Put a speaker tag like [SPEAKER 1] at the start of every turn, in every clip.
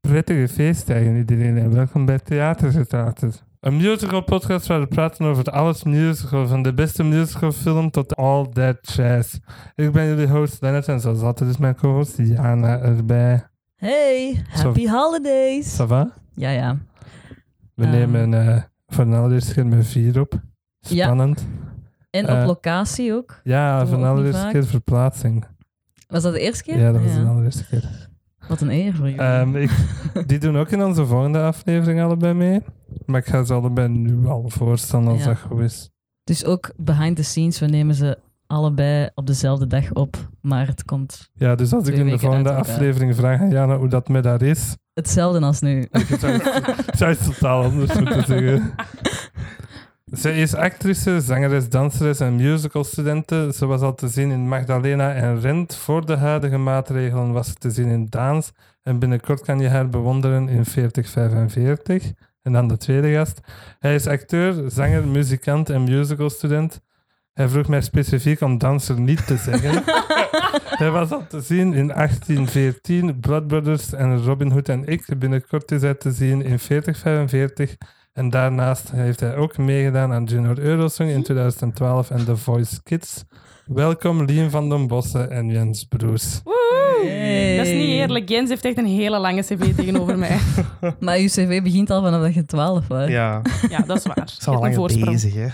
[SPEAKER 1] prettige feestdagen iedereen en welkom bij Theatergetraten. Een musical podcast waar we praten over het alles musical, van de beste musicalfilm tot all that jazz. Ik ben jullie host Lennart en zoals altijd is mijn co-host Jana erbij.
[SPEAKER 2] Hey, happy holidays.
[SPEAKER 1] Ça va?
[SPEAKER 2] Ja, ja.
[SPEAKER 1] We
[SPEAKER 2] Ah.
[SPEAKER 1] nemen eh voor een allereerste keer met vier op.
[SPEAKER 2] Ja.
[SPEAKER 1] Spannend.
[SPEAKER 2] En
[SPEAKER 1] Eh,
[SPEAKER 2] op locatie ook.
[SPEAKER 1] Ja,
[SPEAKER 2] Doen we
[SPEAKER 1] voor een
[SPEAKER 2] ook niet
[SPEAKER 1] allereerste
[SPEAKER 2] vaak.
[SPEAKER 1] keer verplaatsing.
[SPEAKER 2] Was dat de eerste keer?
[SPEAKER 1] Ja, dat was een allereerste keer.
[SPEAKER 2] Wat een eer voor jullie.
[SPEAKER 1] Ehm, ik- Die doen ook in onze volgende aflevering allebei mee. Maar ik ga ze allebei nu al voorstellen als
[SPEAKER 2] Ja.
[SPEAKER 1] dat goed is.
[SPEAKER 2] Dus ook behind the scenes, we nemen ze allebei op dezelfde dag op. Maar het komt
[SPEAKER 1] Ja, dus als
[SPEAKER 2] Twee
[SPEAKER 1] ik in de
[SPEAKER 2] weken
[SPEAKER 1] volgende
[SPEAKER 2] uit elkaar.
[SPEAKER 1] aflevering vraag aan Jana hoe dat met haar is,
[SPEAKER 2] hetzelfde als nu.
[SPEAKER 1] ik zou het- zou het totaal anders moeten zeggen. Ze is actrice, zangeres, danseres en musicalstudente. Ze was al te zien in Magdalena en Rent. Voor de huidige maatregelen was ze te zien in Daans. En binnenkort kan je haar bewonderen in 4045. En dan de tweede gast. Hij is acteur, zanger, muzikant en musicalstudent. Hij vroeg mij specifiek om danser niet te zeggen. Hij was al te zien in 1814, Blood Brothers en Robin Hood en ik. Binnenkort is hij te zien in 4045. En daarnaast heeft hij ook meegedaan aan Junior Eurosong in 2012 en The Voice Kids. Welkom Lien van den Bossen en Jens Broes.
[SPEAKER 3] Woehoe.
[SPEAKER 2] Hey.
[SPEAKER 3] Dat is niet eerlijk. Jens heeft echt een hele lange cv tegenover mij.
[SPEAKER 2] Maar uw cv begint al vanaf dat je 12 was.
[SPEAKER 4] Ja, ze
[SPEAKER 3] Ja, dat is waar. Ik
[SPEAKER 4] zijn
[SPEAKER 3] heb
[SPEAKER 4] al
[SPEAKER 3] een
[SPEAKER 4] langer
[SPEAKER 3] voorsprong.
[SPEAKER 4] bezig, hè.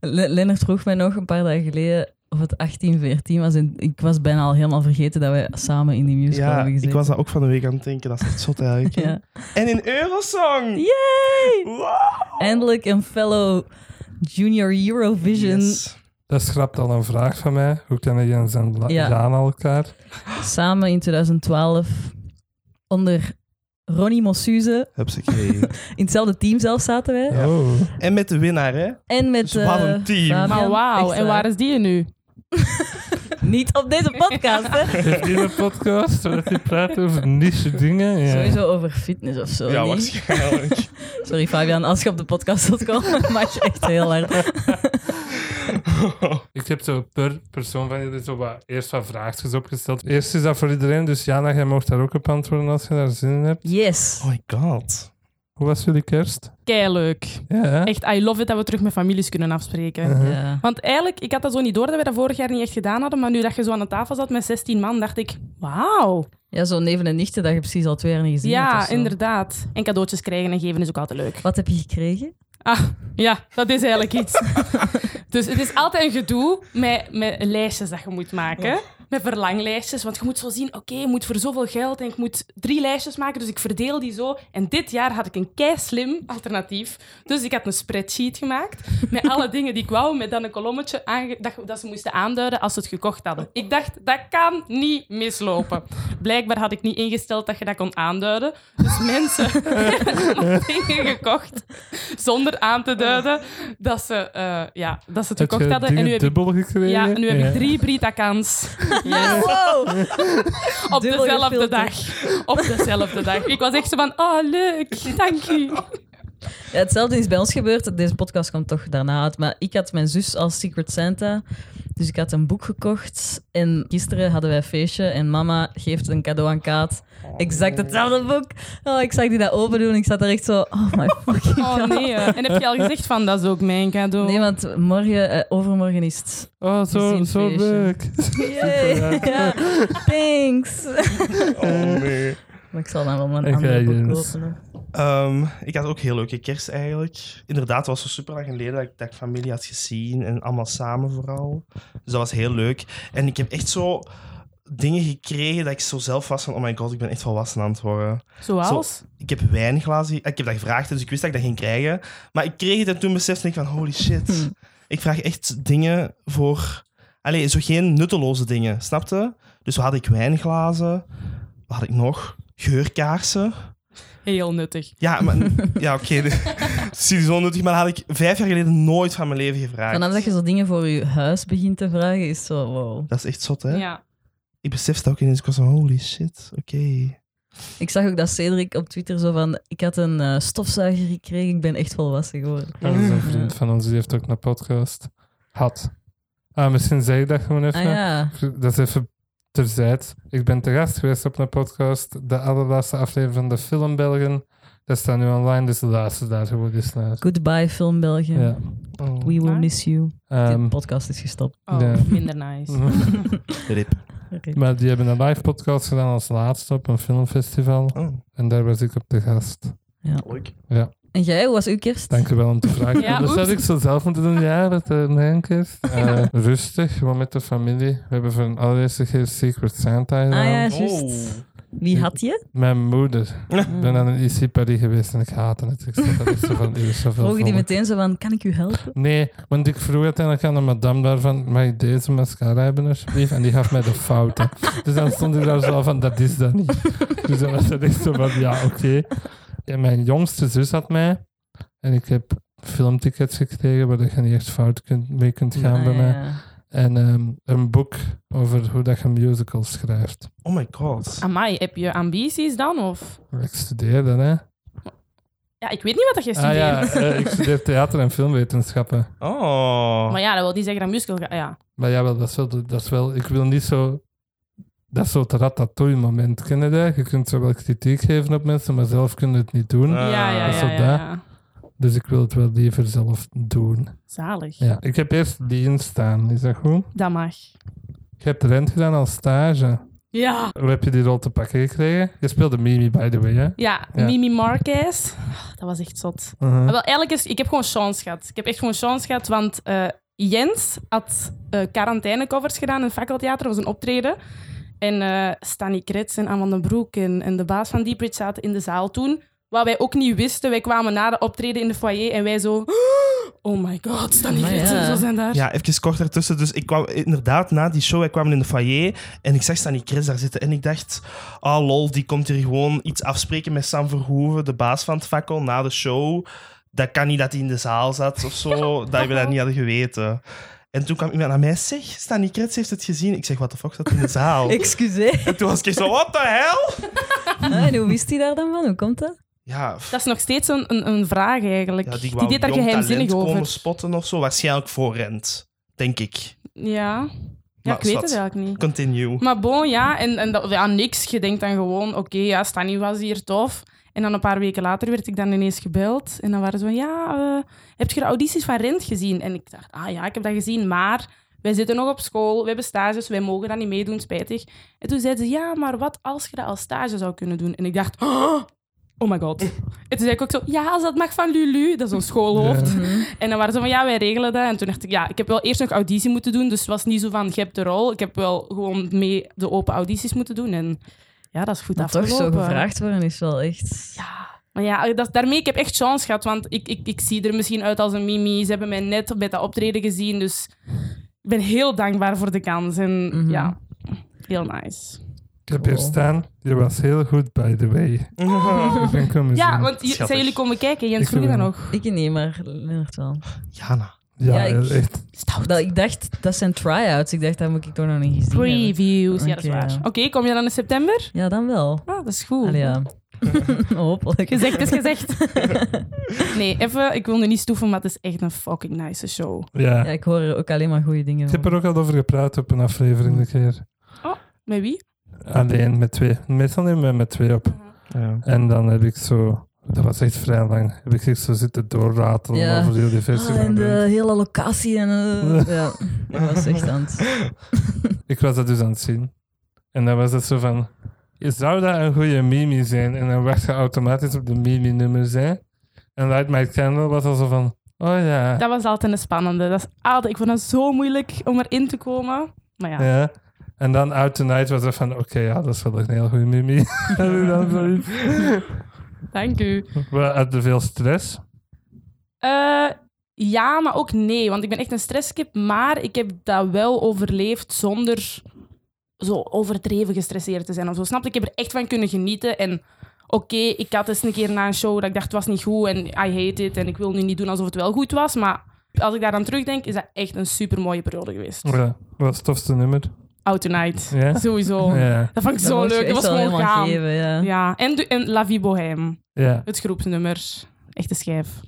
[SPEAKER 2] Le- Lennart vroeg mij nog een paar dagen geleden of het 1814 was. En ik was bijna al helemaal vergeten dat wij samen in die musical
[SPEAKER 4] Ja,
[SPEAKER 2] hebben gezeten.
[SPEAKER 4] ik was dat ook van de week aan het denken. Dat is echt zot eigenlijk. hè.
[SPEAKER 2] Ja.
[SPEAKER 4] En in Eurosong!
[SPEAKER 2] Yay!
[SPEAKER 4] Wow!
[SPEAKER 2] Eindelijk een fellow junior Eurovision
[SPEAKER 4] Yes.
[SPEAKER 1] Dat schrapt al een vraag van mij. Hoe kennen Jens en La-
[SPEAKER 2] Ja.
[SPEAKER 1] Jana elkaar?
[SPEAKER 2] samen in 2012 onder Ronnie Mossuze.
[SPEAKER 4] Hupsakee.
[SPEAKER 2] In hetzelfde team zelf zaten wij.
[SPEAKER 4] Ja.
[SPEAKER 1] Oh.
[SPEAKER 4] en met de winnaar, hè?
[SPEAKER 2] En met...
[SPEAKER 4] Dus wat een
[SPEAKER 2] eh,
[SPEAKER 4] team.
[SPEAKER 2] Fabian.
[SPEAKER 3] Maar wauw,
[SPEAKER 2] Echt
[SPEAKER 3] en waar
[SPEAKER 2] waar.
[SPEAKER 3] is die nu?
[SPEAKER 2] Niet op deze podcast, hè.
[SPEAKER 1] Heeft die een podcast waar die praat over niche dingen? Ja.
[SPEAKER 2] Sowieso over fitness of zo.
[SPEAKER 4] ja,
[SPEAKER 2] niet?
[SPEAKER 4] waarschijnlijk.
[SPEAKER 2] Sorry Fabian, als je op de podcast wilt komen, mag je echt heel hard.
[SPEAKER 1] Ik heb zo per persoon van jullie zo wat, eerst wat vraagjes opgesteld. Eerst is dat voor iedereen, dus Jana, jij mocht daar ook op antwoorden als je daar zin in hebt.
[SPEAKER 2] Yes.
[SPEAKER 4] oh my god.
[SPEAKER 1] Hoe was jullie kerst?
[SPEAKER 3] Keileuk.
[SPEAKER 1] Ja, hè?
[SPEAKER 3] Echt, I love it dat we terug met families kunnen afspreken.
[SPEAKER 1] Uh-huh.
[SPEAKER 2] Ja.
[SPEAKER 3] Want eigenlijk, ik had dat zo niet door dat we dat vorig jaar niet echt gedaan hadden. Maar nu dat je zo aan de tafel zat met 16 man, dacht ik, wauw.
[SPEAKER 2] ja, zo'n neven en nichten dat je precies al twee jaar niet gezien hebt of
[SPEAKER 3] Ja,
[SPEAKER 2] zo.
[SPEAKER 3] inderdaad. En cadeautjes krijgen en geven is ook altijd leuk.
[SPEAKER 2] Wat heb je gekregen?
[SPEAKER 3] Ah, ja, dat is eigenlijk iets. dus het is altijd een gedoe met, met lijstjes dat je moet maken. Met verlanglijstjes. Want je moet zo zien, oké, ik moet voor zoveel geld en ik moet drie lijstjes maken. Dus ik verdeel die zo. En dit jaar had ik een kei-slim alternatief. Dus ik had een spreadsheet gemaakt met alle dingen die ik wou. Met dan een kolommetje aange- dat, dat ze moesten aanduiden als ze het gekocht hadden. Ik dacht, dat kan niet mislopen. Blijkbaar had ik niet ingesteld dat je dat kon aanduiden. Dus mensen hebben dingen gekocht zonder aan te duiden dat ze, eh, ja, dat ze het
[SPEAKER 1] Heb
[SPEAKER 3] gekocht
[SPEAKER 1] je
[SPEAKER 3] hadden. En
[SPEAKER 1] dingen
[SPEAKER 3] nu heb ik,
[SPEAKER 1] dubbel gekregen?
[SPEAKER 3] ja, nu heb ik drie Brita-kans Ah,
[SPEAKER 2] Wow!
[SPEAKER 3] op
[SPEAKER 2] Dubbel
[SPEAKER 3] dezelfde
[SPEAKER 2] gefilterd.
[SPEAKER 3] dag. Op dezelfde dag. Ik was echt zo van, oh leuk, dank u.
[SPEAKER 2] Ja, hetzelfde is bij ons gebeurd. Deze podcast komt toch daarna uit. Maar ik had mijn zus als Secret Santa. Dus ik had een boek gekocht. En gisteren hadden wij een feestje. En mama geeft een cadeau aan Kaat. Exact hetzelfde boek. Oh, ik zag die dat open doen. Ik zat daar echt zo... Oh my fucking god.
[SPEAKER 3] Oh nee, eh. en heb je al gezegd van, dat is ook mijn cadeau.
[SPEAKER 2] Nee, want morgen, eh, overmorgen is het...
[SPEAKER 1] Oh, zo,
[SPEAKER 2] Gezien
[SPEAKER 1] zo
[SPEAKER 2] feestje.
[SPEAKER 1] leuk.
[SPEAKER 2] Yay. Ja, thanks.
[SPEAKER 4] Oh nee.
[SPEAKER 2] Maar ik zal dan wel een
[SPEAKER 1] Oké,
[SPEAKER 2] andere boek
[SPEAKER 1] Jens.
[SPEAKER 2] kopen. hè.
[SPEAKER 4] Ehm, ik had ook heel leuke kerst eigenlijk. Inderdaad, het was zo super lang geleden dat ik, dat ik familie had gezien en allemaal samen vooral. Dus dat was heel leuk. En ik heb echt zo dingen gekregen dat ik zo zelf was van, oh my god, ik ben echt volwassen aan het worden.
[SPEAKER 3] Zoals?
[SPEAKER 4] Ik heb wijnglazen. Ik heb dat gevraagd, dus ik wist dat ik dat ging krijgen. Maar ik kreeg het en toen besefte ik van holy shit.
[SPEAKER 2] Hmm.
[SPEAKER 4] Ik vraag echt dingen voor. Allee, zo geen nutteloze dingen, snapte? Dus wat had ik wijnglazen? Wat had ik nog? Geurkaarsen.
[SPEAKER 3] Heel nuttig.
[SPEAKER 4] Ja, maar, ja oké. Het is hier zo nuttig, maar dat had ik vijf jaar geleden nooit van mijn leven gevraagd.
[SPEAKER 2] Vanaf dat je zo dingen voor je huis begint te vragen, is zo wow.
[SPEAKER 4] Dat is echt zot, hè?
[SPEAKER 3] Ja.
[SPEAKER 4] Ik besefte ook ineens, ik was van holy shit, oké.
[SPEAKER 2] Ik zag ook dat Cedric op Twitter zo van... Ik had een eh, stofzuiger gekregen, ik ben echt volwassen geworden.
[SPEAKER 1] Dat is een vriend van ons, die heeft ook een podcast. Had. Ah, misschien zeg ik dat gewoon even.
[SPEAKER 2] Ah ja.
[SPEAKER 1] Dat is even terzijds. Ik ben te gast geweest op een podcast, de allerlaatste aflevering van de film Belgen. Dat staat nu online, dus de laatste daar gewoon eens naar.
[SPEAKER 2] Goodbye, Film België.
[SPEAKER 1] Ja.
[SPEAKER 4] Oh.
[SPEAKER 2] We will
[SPEAKER 3] Ah.
[SPEAKER 2] miss you.
[SPEAKER 1] Ehm,
[SPEAKER 2] De podcast is gestopt.
[SPEAKER 3] Oh,
[SPEAKER 1] Ja. Mhm.
[SPEAKER 3] minder nice.
[SPEAKER 4] Rip.
[SPEAKER 2] Oké.
[SPEAKER 1] maar die hebben een live podcast gedaan als laatste op een filmfestival.
[SPEAKER 4] Oh,
[SPEAKER 1] En daar was ik op de gast.
[SPEAKER 4] leuk.
[SPEAKER 2] En jij, hoe was uw kerst?
[SPEAKER 1] Dank u wel om te vragen.
[SPEAKER 3] Ja,
[SPEAKER 1] dat zou
[SPEAKER 3] oeps.
[SPEAKER 1] ik zo zelf moeten doen. Ja, dat eh mijn kerst. Eh, rustig, gewoon met de familie. We hebben voor een allereerste keer Secret Santa gedaan.
[SPEAKER 2] Ah ja,
[SPEAKER 4] Oh.
[SPEAKER 2] juist. Wie had je?
[SPEAKER 1] Mijn moeder. Ik
[SPEAKER 2] Mm.
[SPEAKER 1] ben aan een IC Paris geweest en ik haatte het. Ik zat er zo van, "Hier is zoveel
[SPEAKER 2] Vroeg je die
[SPEAKER 1] volk."
[SPEAKER 2] meteen zo van, kan ik u helpen?
[SPEAKER 1] Nee, want ik vroeg uiteindelijk aan de madame daarvan, mag ik deze mascara hebben alsjeblieft? En die gaf mij de fouten. Dus dan stond ik daar zo van, dat is dat niet. Dus dan was het echt zo van, ja, oké. En mijn jongste zus had mij. En ik heb filmtickets gekregen, waar je niet echt fout kunt, mee kunt gaan bij
[SPEAKER 2] Ah,
[SPEAKER 1] mij.
[SPEAKER 2] ja.
[SPEAKER 1] En ehm, een boek over hoe dat je musicals schrijft.
[SPEAKER 4] Oh my god.
[SPEAKER 3] Amai, heb je ambities dan? Of?
[SPEAKER 1] Ik studeerde, hè.
[SPEAKER 3] Ja, ik weet niet wat dat je
[SPEAKER 1] Ah
[SPEAKER 3] studeert.
[SPEAKER 1] ja, eh, ik studeer theater en filmwetenschappen.
[SPEAKER 4] Oh.
[SPEAKER 3] Maar ja, dat wil niet zeggen dat musical gaat... Ja.
[SPEAKER 1] Maar jawel, dat is wel, de- dat is wel ik wil niet zo... Dat is zo het ratatouille-moment, ken je dat? Je kunt zo wel kritiek geven op mensen, maar zelf kunnen het niet doen.
[SPEAKER 4] Ah.
[SPEAKER 3] ja, ja,
[SPEAKER 1] dat is
[SPEAKER 3] ja,
[SPEAKER 1] wel
[SPEAKER 3] ja,
[SPEAKER 1] daar.
[SPEAKER 3] ja.
[SPEAKER 1] Dus ik wil het wel liever zelf doen.
[SPEAKER 3] Zalig.
[SPEAKER 1] Ja. Ik heb eerst Lean staan, is dat goed?
[SPEAKER 3] Dat mag.
[SPEAKER 1] Je hebt rent gedaan als stage.
[SPEAKER 3] Ja.
[SPEAKER 1] Hoe heb je die rol te pakken gekregen? Je speelde Mimi, by the way, hè?
[SPEAKER 3] Ja,
[SPEAKER 1] Ja.
[SPEAKER 3] Mimi Marquez. Ah, Dat was echt zot.
[SPEAKER 1] Mhm.
[SPEAKER 4] Hm?
[SPEAKER 3] Ah, Wel, eigenlijk is, ik heb gewoon chance gehad. Ik heb echt gewoon chance gehad, want eh, Jens had eh quarantainecovers gedaan in het Fakkeltheater. Dat was een optreden. En eh Stanny Krets en Anne van den Broek en, en de baas van Deep Ridge zaten in de zaal toen. Wat wij ook niet wisten, wij kwamen na de optreden in de foyer en wij zo... Oh my god, Stanny
[SPEAKER 2] Maar
[SPEAKER 3] Krets
[SPEAKER 2] ja.
[SPEAKER 3] en zo zijn daar.
[SPEAKER 4] Ja, even kort daartussen. Dus ik kwam inderdaad na die show, wij kwamen in de foyer en ik zag Stanny Chris daar zitten. En ik dacht, ah lol, die komt hier gewoon iets afspreken met Sam Verhoeven, de baas van het fakkel, na de show. Dat kan niet dat hij in de zaal zat of zo, dat we dat niet hadden geweten. En toen kwam iemand naar mij, zeg, Stanny Krets heeft het gezien. Ik zeg, wat de fuck zat in de zaal?
[SPEAKER 2] Excuseer.
[SPEAKER 4] En toen was ik echt zo, what the hell?
[SPEAKER 2] Ah, en hoe wist hij daar dan van? Hoe komt dat?
[SPEAKER 4] Ja, f-
[SPEAKER 3] Dat is nog steeds een, een, een vraag eigenlijk.
[SPEAKER 4] ja
[SPEAKER 3] die,
[SPEAKER 4] wou
[SPEAKER 3] deed daar
[SPEAKER 4] jong
[SPEAKER 3] geheimzinnig
[SPEAKER 4] talent
[SPEAKER 3] over.
[SPEAKER 4] komen spotten of zo, waarschijnlijk voor rent, denk ik.
[SPEAKER 3] Ja, ja
[SPEAKER 4] Maar
[SPEAKER 3] ik weet
[SPEAKER 4] zwart.
[SPEAKER 3] het eigenlijk niet.
[SPEAKER 4] Continue.
[SPEAKER 3] Maar bon, ja, en, en dat, ja, niks. Je denkt dan gewoon, oké, ja, Stanny was hier tof. En dan een paar weken later werd ik dan ineens gebeld. En dan waren ze van, ja, eh, heb je de audities van Rent gezien? En ik dacht, ah ja, ik heb dat gezien, maar wij zitten nog op school, we hebben stages, wij mogen dat niet meedoen, spijtig. En toen zeiden ze, ja, maar wat als je dat als stage zou kunnen doen? En ik dacht, oh, oh my god. En toen zei ik ook zo, ja, als dat mag van Lulu, dat is ons schoolhoofd.
[SPEAKER 2] Mhm.
[SPEAKER 3] En dan waren ze van, ja, wij regelen dat. En toen dacht ik, ja, ik heb wel eerst nog auditie moeten doen. Dus het was niet zo van, je hebt de rol. Ik heb wel gewoon mee de open audities moeten doen. En ja, dat is goed
[SPEAKER 2] Maar toch
[SPEAKER 3] afgelopen.
[SPEAKER 2] zo gevraagd worden is wel echt...
[SPEAKER 3] Maar ja, eh, dat, daarmee, ik heb echt chance gehad. Want ik, ik, ik zie er misschien uit als een mimi. Ze hebben mij net bij dat optreden gezien. Dus ik ben heel dankbaar voor de kans. En
[SPEAKER 2] Mhm.
[SPEAKER 3] ja, heel nice.
[SPEAKER 1] Ik heb hier
[SPEAKER 2] Oh.
[SPEAKER 1] staan. Je was heel goed, by the way. Ik ben komen
[SPEAKER 3] Ja,
[SPEAKER 1] zien.
[SPEAKER 3] want je-
[SPEAKER 4] Schattig.
[SPEAKER 3] zijn jullie komen kijken? Jens
[SPEAKER 1] Ik
[SPEAKER 3] vroeg je
[SPEAKER 1] wil-
[SPEAKER 3] dat nog.
[SPEAKER 2] Ik niet, maar Leonard wel.
[SPEAKER 4] Jana.
[SPEAKER 1] Ja,
[SPEAKER 2] ja, ik-
[SPEAKER 1] echt.
[SPEAKER 2] Dat, ik dacht, dat zijn try-outs. Ik dacht, dat moet ik toch nog niet gezien hebben.
[SPEAKER 3] Previews, ja, dat is
[SPEAKER 2] Oké,
[SPEAKER 3] waar.
[SPEAKER 2] ja.
[SPEAKER 3] Oké, kom je dan in september?
[SPEAKER 2] Ja, dan wel.
[SPEAKER 3] Ah, dat is goed.
[SPEAKER 2] Allee, ja. Hopelijk.
[SPEAKER 3] Gezegd is gezegd. nee, even, ik wil nu niet stoeven, maar het is echt een fucking nice show.
[SPEAKER 1] Ja.
[SPEAKER 2] Ja, ik hoor er ook alleen maar goede dingen
[SPEAKER 1] Ik
[SPEAKER 2] van.
[SPEAKER 1] heb er ook al over gepraat op een aflevering een keer.
[SPEAKER 3] Met wie?
[SPEAKER 1] Alleen met twee. Meestal nemen we met twee op.
[SPEAKER 4] Ja.
[SPEAKER 1] En dan heb ik zo, dat was echt vrij lang, heb ik echt zo zitten doorratelen
[SPEAKER 2] Ja.
[SPEAKER 1] over heel die festival.
[SPEAKER 2] Ah, en de hele locatie en... eh, ja, ik was echt aan het...
[SPEAKER 1] Ik was dat dus aan het zien. En dan was het zo van, zou dat een goede mimi zijn? En dan wacht je automatisch op de mimi-nummers, hè? En Light My Candle was al zo van, oh ja.
[SPEAKER 3] Dat was altijd een spannende. Dat is altijd, ik vond dat zo moeilijk om erin te komen. Maar ja,
[SPEAKER 1] Ja. En dan Out Tonight was er van, oké, ja, dat is wel een heel goede mimi. En dan zoiets.
[SPEAKER 3] dank u.
[SPEAKER 1] Maar had er veel stress?
[SPEAKER 3] Eh, ja, maar ook nee, want ik ben echt een stresskip. Maar ik heb dat wel overleefd zonder zo overdreven gestresseerd te zijn of zo. Snap je? Ik heb er echt van kunnen genieten. En oké, ik had eens een keer na een show dat ik dacht, het was niet goed en I hate it. En ik wil nu niet doen alsof het wel goed was. Maar als ik daaraan terugdenk, is dat echt een super mooie periode geweest.
[SPEAKER 1] Ja, wat was het tofste nummer?
[SPEAKER 3] Out Tonight,
[SPEAKER 1] Ja?
[SPEAKER 3] sowieso.
[SPEAKER 1] Ja,
[SPEAKER 3] Dat vond ik zo
[SPEAKER 2] moet je
[SPEAKER 3] leuk.
[SPEAKER 2] echt
[SPEAKER 3] Dat was
[SPEAKER 2] wel
[SPEAKER 3] gewoon
[SPEAKER 2] helemaal
[SPEAKER 3] gaan.
[SPEAKER 2] geven, ja.
[SPEAKER 3] Ja, en, de- en La Vie Bohème,
[SPEAKER 1] ja.
[SPEAKER 3] het groepsnummer. Echte schijf.
[SPEAKER 2] I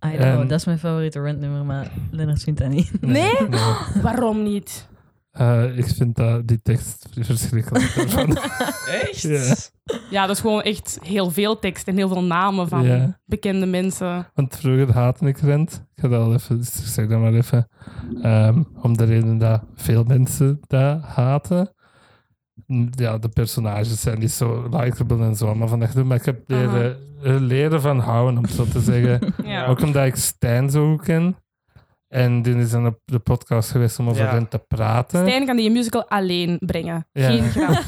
[SPEAKER 2] don't know,
[SPEAKER 1] Ehm.
[SPEAKER 2] dat is mijn favoriete rentnummer, maar Leonard vindt dat niet.
[SPEAKER 3] Nee?
[SPEAKER 1] Nee.
[SPEAKER 3] Waarom niet?
[SPEAKER 1] Eh, ik vind dat, die tekst verschrikkelijk. daarvan.
[SPEAKER 4] Echt?
[SPEAKER 1] Ja.
[SPEAKER 3] Ja, dat is gewoon echt heel veel tekst en heel veel namen van
[SPEAKER 1] Ja.
[SPEAKER 3] bekende mensen.
[SPEAKER 1] Want vroeger haatte ik Rent. Ik ga dat al even, dus ik zeg dat maar even. Ehm, om de reden dat veel mensen dat haten. Ja, de personages zijn niet zo likable en zo, maar van echt, maar ik heb leren, eh, leren van houden, om het zo te zeggen.
[SPEAKER 3] Ja.
[SPEAKER 1] Ook omdat ik Stijn zo goed ken. En die is dan op de podcast geweest om over
[SPEAKER 4] Ja.
[SPEAKER 1] Rent te praten.
[SPEAKER 3] Stijn kan die een musical alleen brengen.
[SPEAKER 1] Ja.
[SPEAKER 3] Geen grap.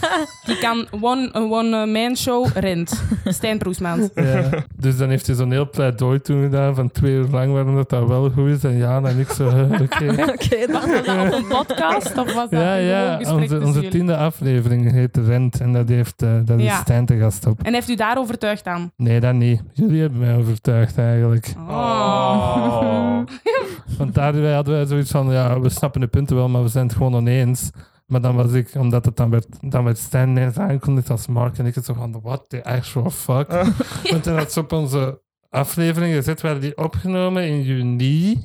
[SPEAKER 3] Die kan one- een one-man show rent. Stijn Proesmans.
[SPEAKER 1] Ja. Dus dan heeft hij zo'n heel pleidooi toen gedaan van twee uur lang waarom dat, dat wel goed is. En ja, en ik zo, eh, oké.
[SPEAKER 2] Oké, dan
[SPEAKER 3] Was dat op een podcast of was dat
[SPEAKER 1] Ja,
[SPEAKER 3] een
[SPEAKER 1] ja,
[SPEAKER 3] gewoon gesprek
[SPEAKER 1] onze,
[SPEAKER 3] tussen
[SPEAKER 1] onze
[SPEAKER 3] jullie?
[SPEAKER 1] tiende aflevering heet Rent en dat, heeft, eh, dat is
[SPEAKER 3] Ja.
[SPEAKER 1] Stijn te gast op.
[SPEAKER 3] En heeft u daar overtuigd aan?
[SPEAKER 1] Nee, dat niet. Jullie hebben mij overtuigd eigenlijk.
[SPEAKER 4] Oh.
[SPEAKER 1] Want daar hadden wij zoiets van, ja, we snappen de punten wel, maar we zijn het gewoon oneens. Maar dan was ik, omdat het dan werd, dan werd Stijn ineens aangekondigd als Mark en ik het zo van, what the actual fuck.
[SPEAKER 3] Ah.
[SPEAKER 1] Want dan had ze op onze aflevering gezet, werden die opgenomen in juni.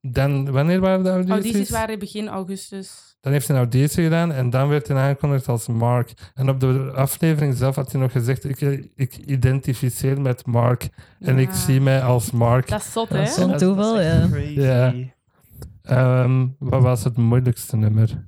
[SPEAKER 1] Dan, wanneer waren de audities?
[SPEAKER 3] Audities waren begin augustus.
[SPEAKER 1] Dan heeft hij een auditie gedaan en dan werd hij aangekondigd als Mark. En op de aflevering zelf had hij nog gezegd: Ik, ik identificeer met Mark en ik
[SPEAKER 3] Ja.
[SPEAKER 1] zie mij als Mark.
[SPEAKER 3] Dat is zot,
[SPEAKER 2] Dat
[SPEAKER 3] hè?
[SPEAKER 2] is zo'n toeval, ja.
[SPEAKER 4] Crazy.
[SPEAKER 1] Ja. Ehm, wat was het moeilijkste nummer?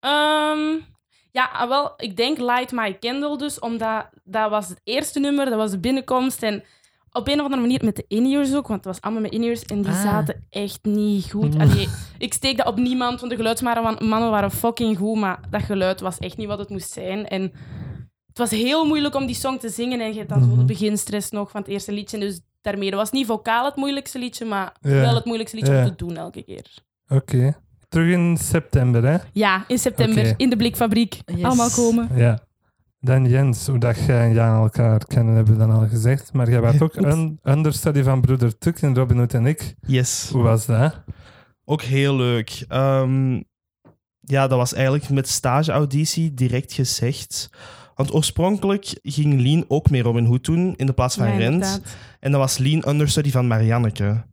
[SPEAKER 3] Ehm, ja, ah, wel, ik denk Light My Candle dus, omdat dat was het eerste nummer, dat was de binnenkomst. En op een of andere manier met de in-ears ook, want het was allemaal met in-ears en die
[SPEAKER 2] Ah.
[SPEAKER 3] zaten echt niet
[SPEAKER 1] Mm.
[SPEAKER 3] goed. Allee, ik steek dat op niemand, want de geluidsmannen waren fucking goed, maar dat geluid was echt niet wat het moest zijn. En het was heel moeilijk om die song te zingen en je hebt dan zo
[SPEAKER 1] Mhm.
[SPEAKER 3] de beginstress nog van het eerste liedje. Dus daarmee, dat was niet vocaal het moeilijkste liedje, maar
[SPEAKER 1] Ja.
[SPEAKER 3] wel het moeilijkste liedje
[SPEAKER 1] Ja.
[SPEAKER 3] om te doen elke keer.
[SPEAKER 1] Oké. Terug in september, hè?
[SPEAKER 3] Ja, in september,
[SPEAKER 1] Oké.
[SPEAKER 3] in de Blikfabriek.
[SPEAKER 2] Yes.
[SPEAKER 3] Allemaal komen.
[SPEAKER 1] Ja. Dan Jens, hoe dat jij en Jan elkaar kennen, hebben we dan al gezegd. Maar jij was ook een understudy van broeder Tuk in Robin Hood en ik.
[SPEAKER 4] Yes.
[SPEAKER 1] Hoe was dat?
[SPEAKER 4] Ook heel leuk. Ehm, ja, dat was eigenlijk met stageauditie direct gezegd. Want oorspronkelijk ging Lien ook mee Robin Hood doen in de plaats van
[SPEAKER 3] Ja,
[SPEAKER 4] Rent.
[SPEAKER 3] inderdaad.
[SPEAKER 4] En dat was Lean Understudy van Marianneke.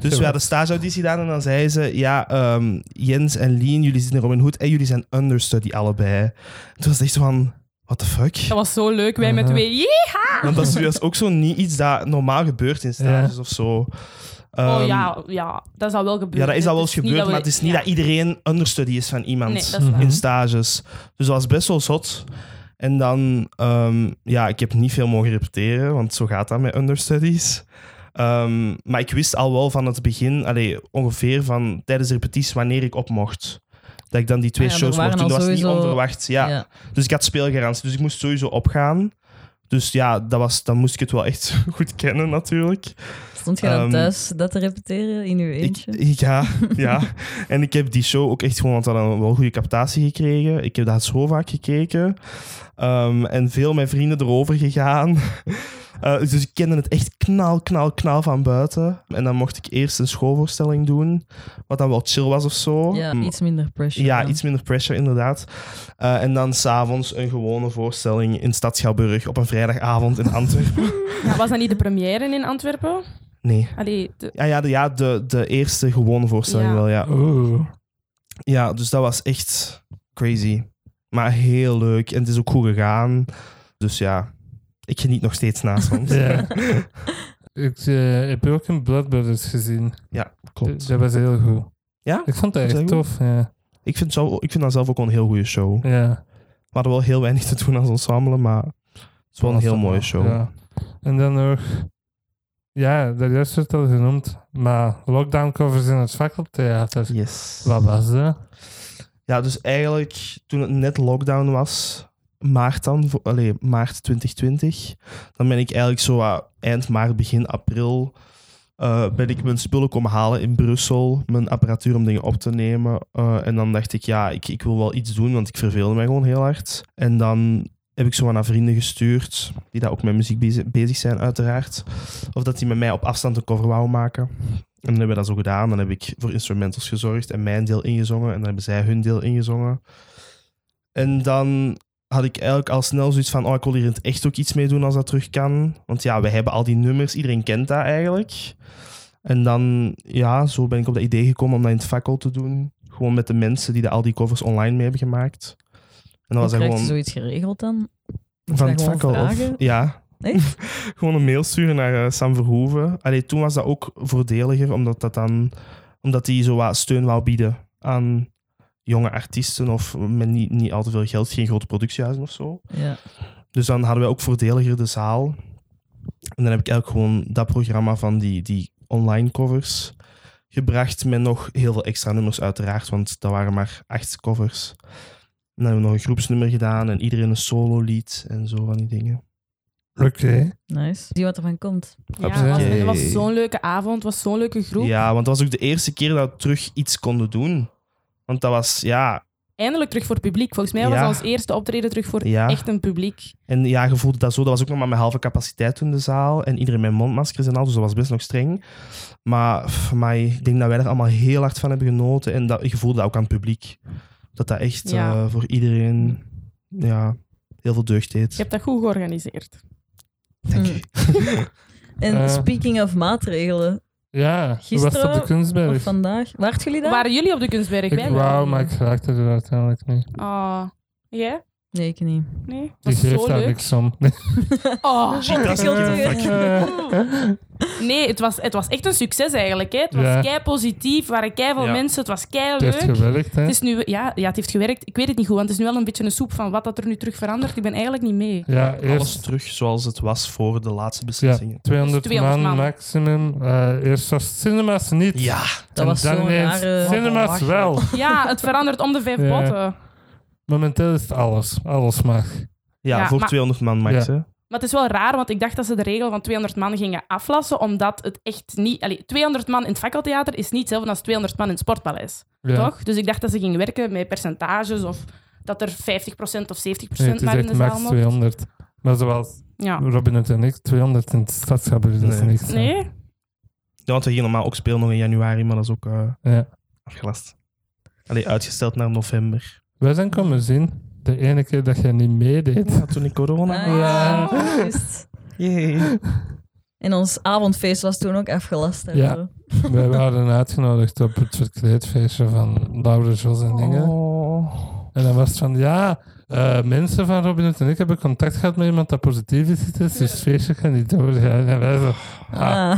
[SPEAKER 4] Dus
[SPEAKER 1] Zo.
[SPEAKER 4] we hadden stageauditie gedaan en dan zei ze... Ja, ehm, Jens en Lean, jullie zitten in Robin Hood en jullie zijn understudy allebei. Toen was het echt zo van... What the fuck?
[SPEAKER 3] Dat was zo leuk, wij met
[SPEAKER 1] Aha.
[SPEAKER 3] twee. Jee!
[SPEAKER 4] Want dat is, dat is ook zo niet iets dat normaal gebeurt in stages of zo. Ehm,
[SPEAKER 3] oh ja, ja, dat is al wel gebeurd.
[SPEAKER 4] Ja, dat is
[SPEAKER 3] hè.
[SPEAKER 4] al wel eens
[SPEAKER 3] Het niet
[SPEAKER 4] gebeurd,
[SPEAKER 3] dat we-
[SPEAKER 4] maar het is niet
[SPEAKER 3] ja.
[SPEAKER 4] dat iedereen understudy is van iemand
[SPEAKER 3] Nee, dat is waar.
[SPEAKER 1] Mhm.
[SPEAKER 4] in stages. Dus dat was best wel zot. En dan, ehm, ja, ik heb niet veel mogen repeteren, want zo gaat dat met understudies. Ehm, maar ik wist al wel van het begin, allee, ongeveer van tijdens de repetities, wanneer ik op mocht. Dat ik dan die twee
[SPEAKER 2] Ah ja, er
[SPEAKER 4] shows mocht
[SPEAKER 2] waren
[SPEAKER 4] doen.
[SPEAKER 2] al
[SPEAKER 4] Dat was niet
[SPEAKER 2] sowieso-
[SPEAKER 4] onverwacht. Ja. Dus ik had speelgarantie, dus ik moest sowieso opgaan. Dus ja, dat was, dan moest ik het wel echt goed kennen natuurlijk.
[SPEAKER 2] Stond je dan
[SPEAKER 4] Ehm,
[SPEAKER 2] thuis dat te repeteren in je
[SPEAKER 4] Ik,
[SPEAKER 2] eentje?
[SPEAKER 4] ik- ja, ja, en ik heb die show ook echt gewoon, want we hadden een wel goede captatie gekregen. Ik heb dat zo vaak gekeken. Ehm, en veel mijn vrienden erover gegaan. Eh, dus ik kende het echt knal, knal, knal van buiten. En dan mocht ik eerst een schoolvoorstelling doen, wat dan wel chill was of zo.
[SPEAKER 2] ja,
[SPEAKER 4] Mm,
[SPEAKER 2] iets minder pressure.
[SPEAKER 4] ja,
[SPEAKER 2] dan.
[SPEAKER 4] iets minder pressure inderdaad. Eh, en dan s'avonds een gewone voorstelling in Stad Schouwburg op een vrijdagavond in Antwerpen.
[SPEAKER 3] Ja, was dat niet de première in Antwerpen?
[SPEAKER 4] Nee.
[SPEAKER 3] Allee, de-
[SPEAKER 4] Ja, ja, de, ja, de, de eerste gewone voorstelling
[SPEAKER 3] Ja.
[SPEAKER 4] wel, ja.
[SPEAKER 1] Oeh.
[SPEAKER 4] Ja, dus dat was echt crazy. Maar heel leuk. En het is ook goed gegaan. Dus ja, ik geniet nog steeds na soms.
[SPEAKER 1] Ja. ik eh, heb ook een Blood Brothers gezien.
[SPEAKER 4] Klopt.
[SPEAKER 1] Dat was heel goed.
[SPEAKER 4] Ja?
[SPEAKER 1] Ik vond dat
[SPEAKER 4] Was
[SPEAKER 1] echt
[SPEAKER 4] dat
[SPEAKER 1] tof. Ja.
[SPEAKER 4] Ik vind, zo, ik vind dat zelf ook wel een heel goede show. We
[SPEAKER 1] ja.
[SPEAKER 4] hadden wel heel weinig te doen als ensemble, maar het is wel een
[SPEAKER 1] Was
[SPEAKER 4] heel
[SPEAKER 1] dat
[SPEAKER 4] mooie
[SPEAKER 1] wel,
[SPEAKER 4] show.
[SPEAKER 1] ja. En dan nog... Ja, dat juist werd al genoemd. Maar lockdown covers in het fakkeltheater.
[SPEAKER 4] Yes.
[SPEAKER 1] Wat was dat?
[SPEAKER 4] Ja, dus eigenlijk toen het net lockdown was, maart dan, voor- allee, maart 2020, dan ben ik eigenlijk zo wat eind maart, begin april, eh, ben ik mijn spullen komen halen in Brussel, mijn apparatuur om dingen op te nemen. Eh, en dan dacht ik, ja, ik, ik wil wel iets doen, want ik verveelde mij gewoon heel hard. En dan heb ik zo wat naar vrienden gestuurd, die daar ook met muziek bezig, bezig zijn uiteraard, of dat die met mij op afstand een cover wou maken. En dan hebben we dat zo gedaan. Dan heb ik voor instrumentals gezorgd en mijn deel ingezongen. En dan hebben zij hun deel ingezongen. En dan had ik eigenlijk al snel zoiets van... Oh, ik wil hier in het echt ook iets mee doen als dat terug kan. Want ja, we hebben al die nummers. Iedereen kent dat eigenlijk. En dan, ja, zo ben ik op dat idee gekomen om dat in het fakkel te doen. Gewoon met de mensen die de, al die covers online mee hebben gemaakt. En dan
[SPEAKER 2] Hoe
[SPEAKER 4] was dat
[SPEAKER 2] krijg je
[SPEAKER 4] gewoon
[SPEAKER 2] zoiets geregeld dan? Moet je
[SPEAKER 4] van
[SPEAKER 2] dat
[SPEAKER 4] het vak
[SPEAKER 2] gewoon
[SPEAKER 4] al af.
[SPEAKER 2] vragen?
[SPEAKER 4] Ja.
[SPEAKER 2] Echt?
[SPEAKER 4] gewoon een mail sturen naar eh, Sam Verhoeven. Allee, toen was dat ook voordeliger, omdat dat dan omdat die zo wat steun wou bieden aan jonge artiesten of met niet, niet al te veel geld, geen grote productiehuizen of zo.
[SPEAKER 2] Ja.
[SPEAKER 4] Dus dan hadden we ook voordeliger de zaal. En dan heb ik eigenlijk gewoon dat programma van die, die online covers gebracht met nog heel veel extra nummers uiteraard, want dat waren maar acht covers. En dan hebben we nog een groepsnummer gedaan en iedereen een solo lied en zo van die dingen.
[SPEAKER 1] Oké.
[SPEAKER 2] Nice. Zie wat er van komt.
[SPEAKER 3] Ja,
[SPEAKER 1] Absoluut.
[SPEAKER 3] was- het was
[SPEAKER 4] Oké.
[SPEAKER 3] zo'n leuke avond, het was zo'n leuke groep.
[SPEAKER 4] Ja, want dat was ook de eerste keer dat we terug iets konden doen. Want dat was, ja,
[SPEAKER 3] Eindelijk terug voor het publiek. Volgens mij was
[SPEAKER 4] Ja.
[SPEAKER 3] dat ons eerste optreden terug voor
[SPEAKER 4] Ja.
[SPEAKER 3] echt een publiek.
[SPEAKER 4] en ja, je voelde dat zo. Dat was ook nog maar met halve capaciteit toen de zaal. En iedereen met mondmaskers en al, dus dat was best nog streng. Maar, pff, maar ik denk dat wij er allemaal heel hard van hebben genoten. En dat, je voelde dat ook aan het publiek. Dat dat echt
[SPEAKER 3] Ja. Mm.
[SPEAKER 4] eh, voor iedereen ja, heel veel deugd deed.
[SPEAKER 3] Je hebt dat goed georganiseerd.
[SPEAKER 4] Dank
[SPEAKER 2] Mm.
[SPEAKER 4] je.
[SPEAKER 2] En
[SPEAKER 1] Eh.
[SPEAKER 2] speaking of maatregelen,
[SPEAKER 1] Ja, hoe was
[SPEAKER 2] Gisteren
[SPEAKER 1] het op de
[SPEAKER 2] of
[SPEAKER 1] kunstberg?
[SPEAKER 2] vandaag. Waart jullie daar?
[SPEAKER 3] Waren jullie op de kunstberg?
[SPEAKER 1] Ik
[SPEAKER 3] Wij waren
[SPEAKER 1] wou,
[SPEAKER 3] niet.
[SPEAKER 1] maar ik raakte er uiteindelijk niet.
[SPEAKER 3] Ah, jij?
[SPEAKER 2] Nee, ik niet.
[SPEAKER 3] Nee? Dat
[SPEAKER 1] Die
[SPEAKER 3] was
[SPEAKER 1] geeft
[SPEAKER 3] zo
[SPEAKER 1] daar
[SPEAKER 3] leuk.
[SPEAKER 1] niks om.
[SPEAKER 3] Oh.
[SPEAKER 4] Chic, dat is
[SPEAKER 2] Ik wil
[SPEAKER 4] een keer
[SPEAKER 2] terug.
[SPEAKER 4] een vak.
[SPEAKER 3] Nee, het was, het was echt een succes eigenlijk. Hè. Het was
[SPEAKER 1] Ja.
[SPEAKER 3] kei positief, er waren kei veel
[SPEAKER 4] Ja.
[SPEAKER 3] mensen, het was kei
[SPEAKER 1] Het heeft
[SPEAKER 3] leuk.
[SPEAKER 1] gewerkt, hè?
[SPEAKER 3] Het is nu, ja, ja, het heeft gewerkt. Ik weet het niet goed, want het is nu wel een beetje een soep van wat dat er nu terug verandert. Ik ben eigenlijk niet mee.
[SPEAKER 1] Ja,
[SPEAKER 4] Alles
[SPEAKER 1] eerst
[SPEAKER 4] terug zoals het was voor de laatste
[SPEAKER 1] ja,
[SPEAKER 4] beslissingen.
[SPEAKER 1] 200,
[SPEAKER 3] 200
[SPEAKER 1] man,
[SPEAKER 3] man.
[SPEAKER 1] maximum. Eh, eerst was Cinema's niet.
[SPEAKER 4] Ja,
[SPEAKER 2] Dat was
[SPEAKER 1] en dan
[SPEAKER 2] zo'n
[SPEAKER 1] ineens
[SPEAKER 2] rare...
[SPEAKER 1] Cinema's wel.
[SPEAKER 3] Ja, het verandert om de vijf
[SPEAKER 1] Ja.
[SPEAKER 3] botten.
[SPEAKER 1] Momenteel is het alles. Alles mag.
[SPEAKER 4] ja,
[SPEAKER 3] Ja,
[SPEAKER 4] voor
[SPEAKER 3] maar-
[SPEAKER 4] 200 man max.
[SPEAKER 1] Ja.
[SPEAKER 4] hè.
[SPEAKER 3] Maar het is wel raar, want ik dacht dat ze de regel van 200 man gingen aflassen, omdat het echt niet... Allee, 200 man in het fakkeltheater is niet hetzelfde als 200 man in het sportpaleis,
[SPEAKER 1] Ja.
[SPEAKER 3] toch? Dus ik dacht dat ze gingen werken met percentages of dat er 50% of 70%
[SPEAKER 1] Nee, het is
[SPEAKER 3] maar in de
[SPEAKER 1] echt
[SPEAKER 3] zaal
[SPEAKER 1] max
[SPEAKER 3] mocht.
[SPEAKER 1] 200. Maar zoals
[SPEAKER 3] Ja.
[SPEAKER 1] Robin het en ik, 200 in het stadsgebied, dat is
[SPEAKER 4] Nee.
[SPEAKER 1] niks. hè.
[SPEAKER 3] Nee?
[SPEAKER 4] Ja, want we gingen normaal ook spelen nog in januari, maar dat is ook eh,
[SPEAKER 1] Ja.
[SPEAKER 4] afgelast. Allee, uitgesteld naar november.
[SPEAKER 1] Wij zijn komen zien, de ene keer dat jij niet meedeed.
[SPEAKER 4] Ja, toen ik corona
[SPEAKER 2] Ah, ja.
[SPEAKER 1] Ja.
[SPEAKER 2] juist.
[SPEAKER 4] Jee.
[SPEAKER 2] En ons avondfeest was toen ook afgelast. hè,
[SPEAKER 1] Ja.
[SPEAKER 2] zo.
[SPEAKER 1] Wij waren uitgenodigd op het verkleedfeestje van Laura, Jos en Inge.
[SPEAKER 4] Oh.
[SPEAKER 2] Oh.
[SPEAKER 1] En dan was het van, ja, eh, mensen van Robinet en ik hebben contact gehad met iemand dat positief is getest, dus het feestje gaat niet doorgaan. En wij zo, ah,
[SPEAKER 2] Ah.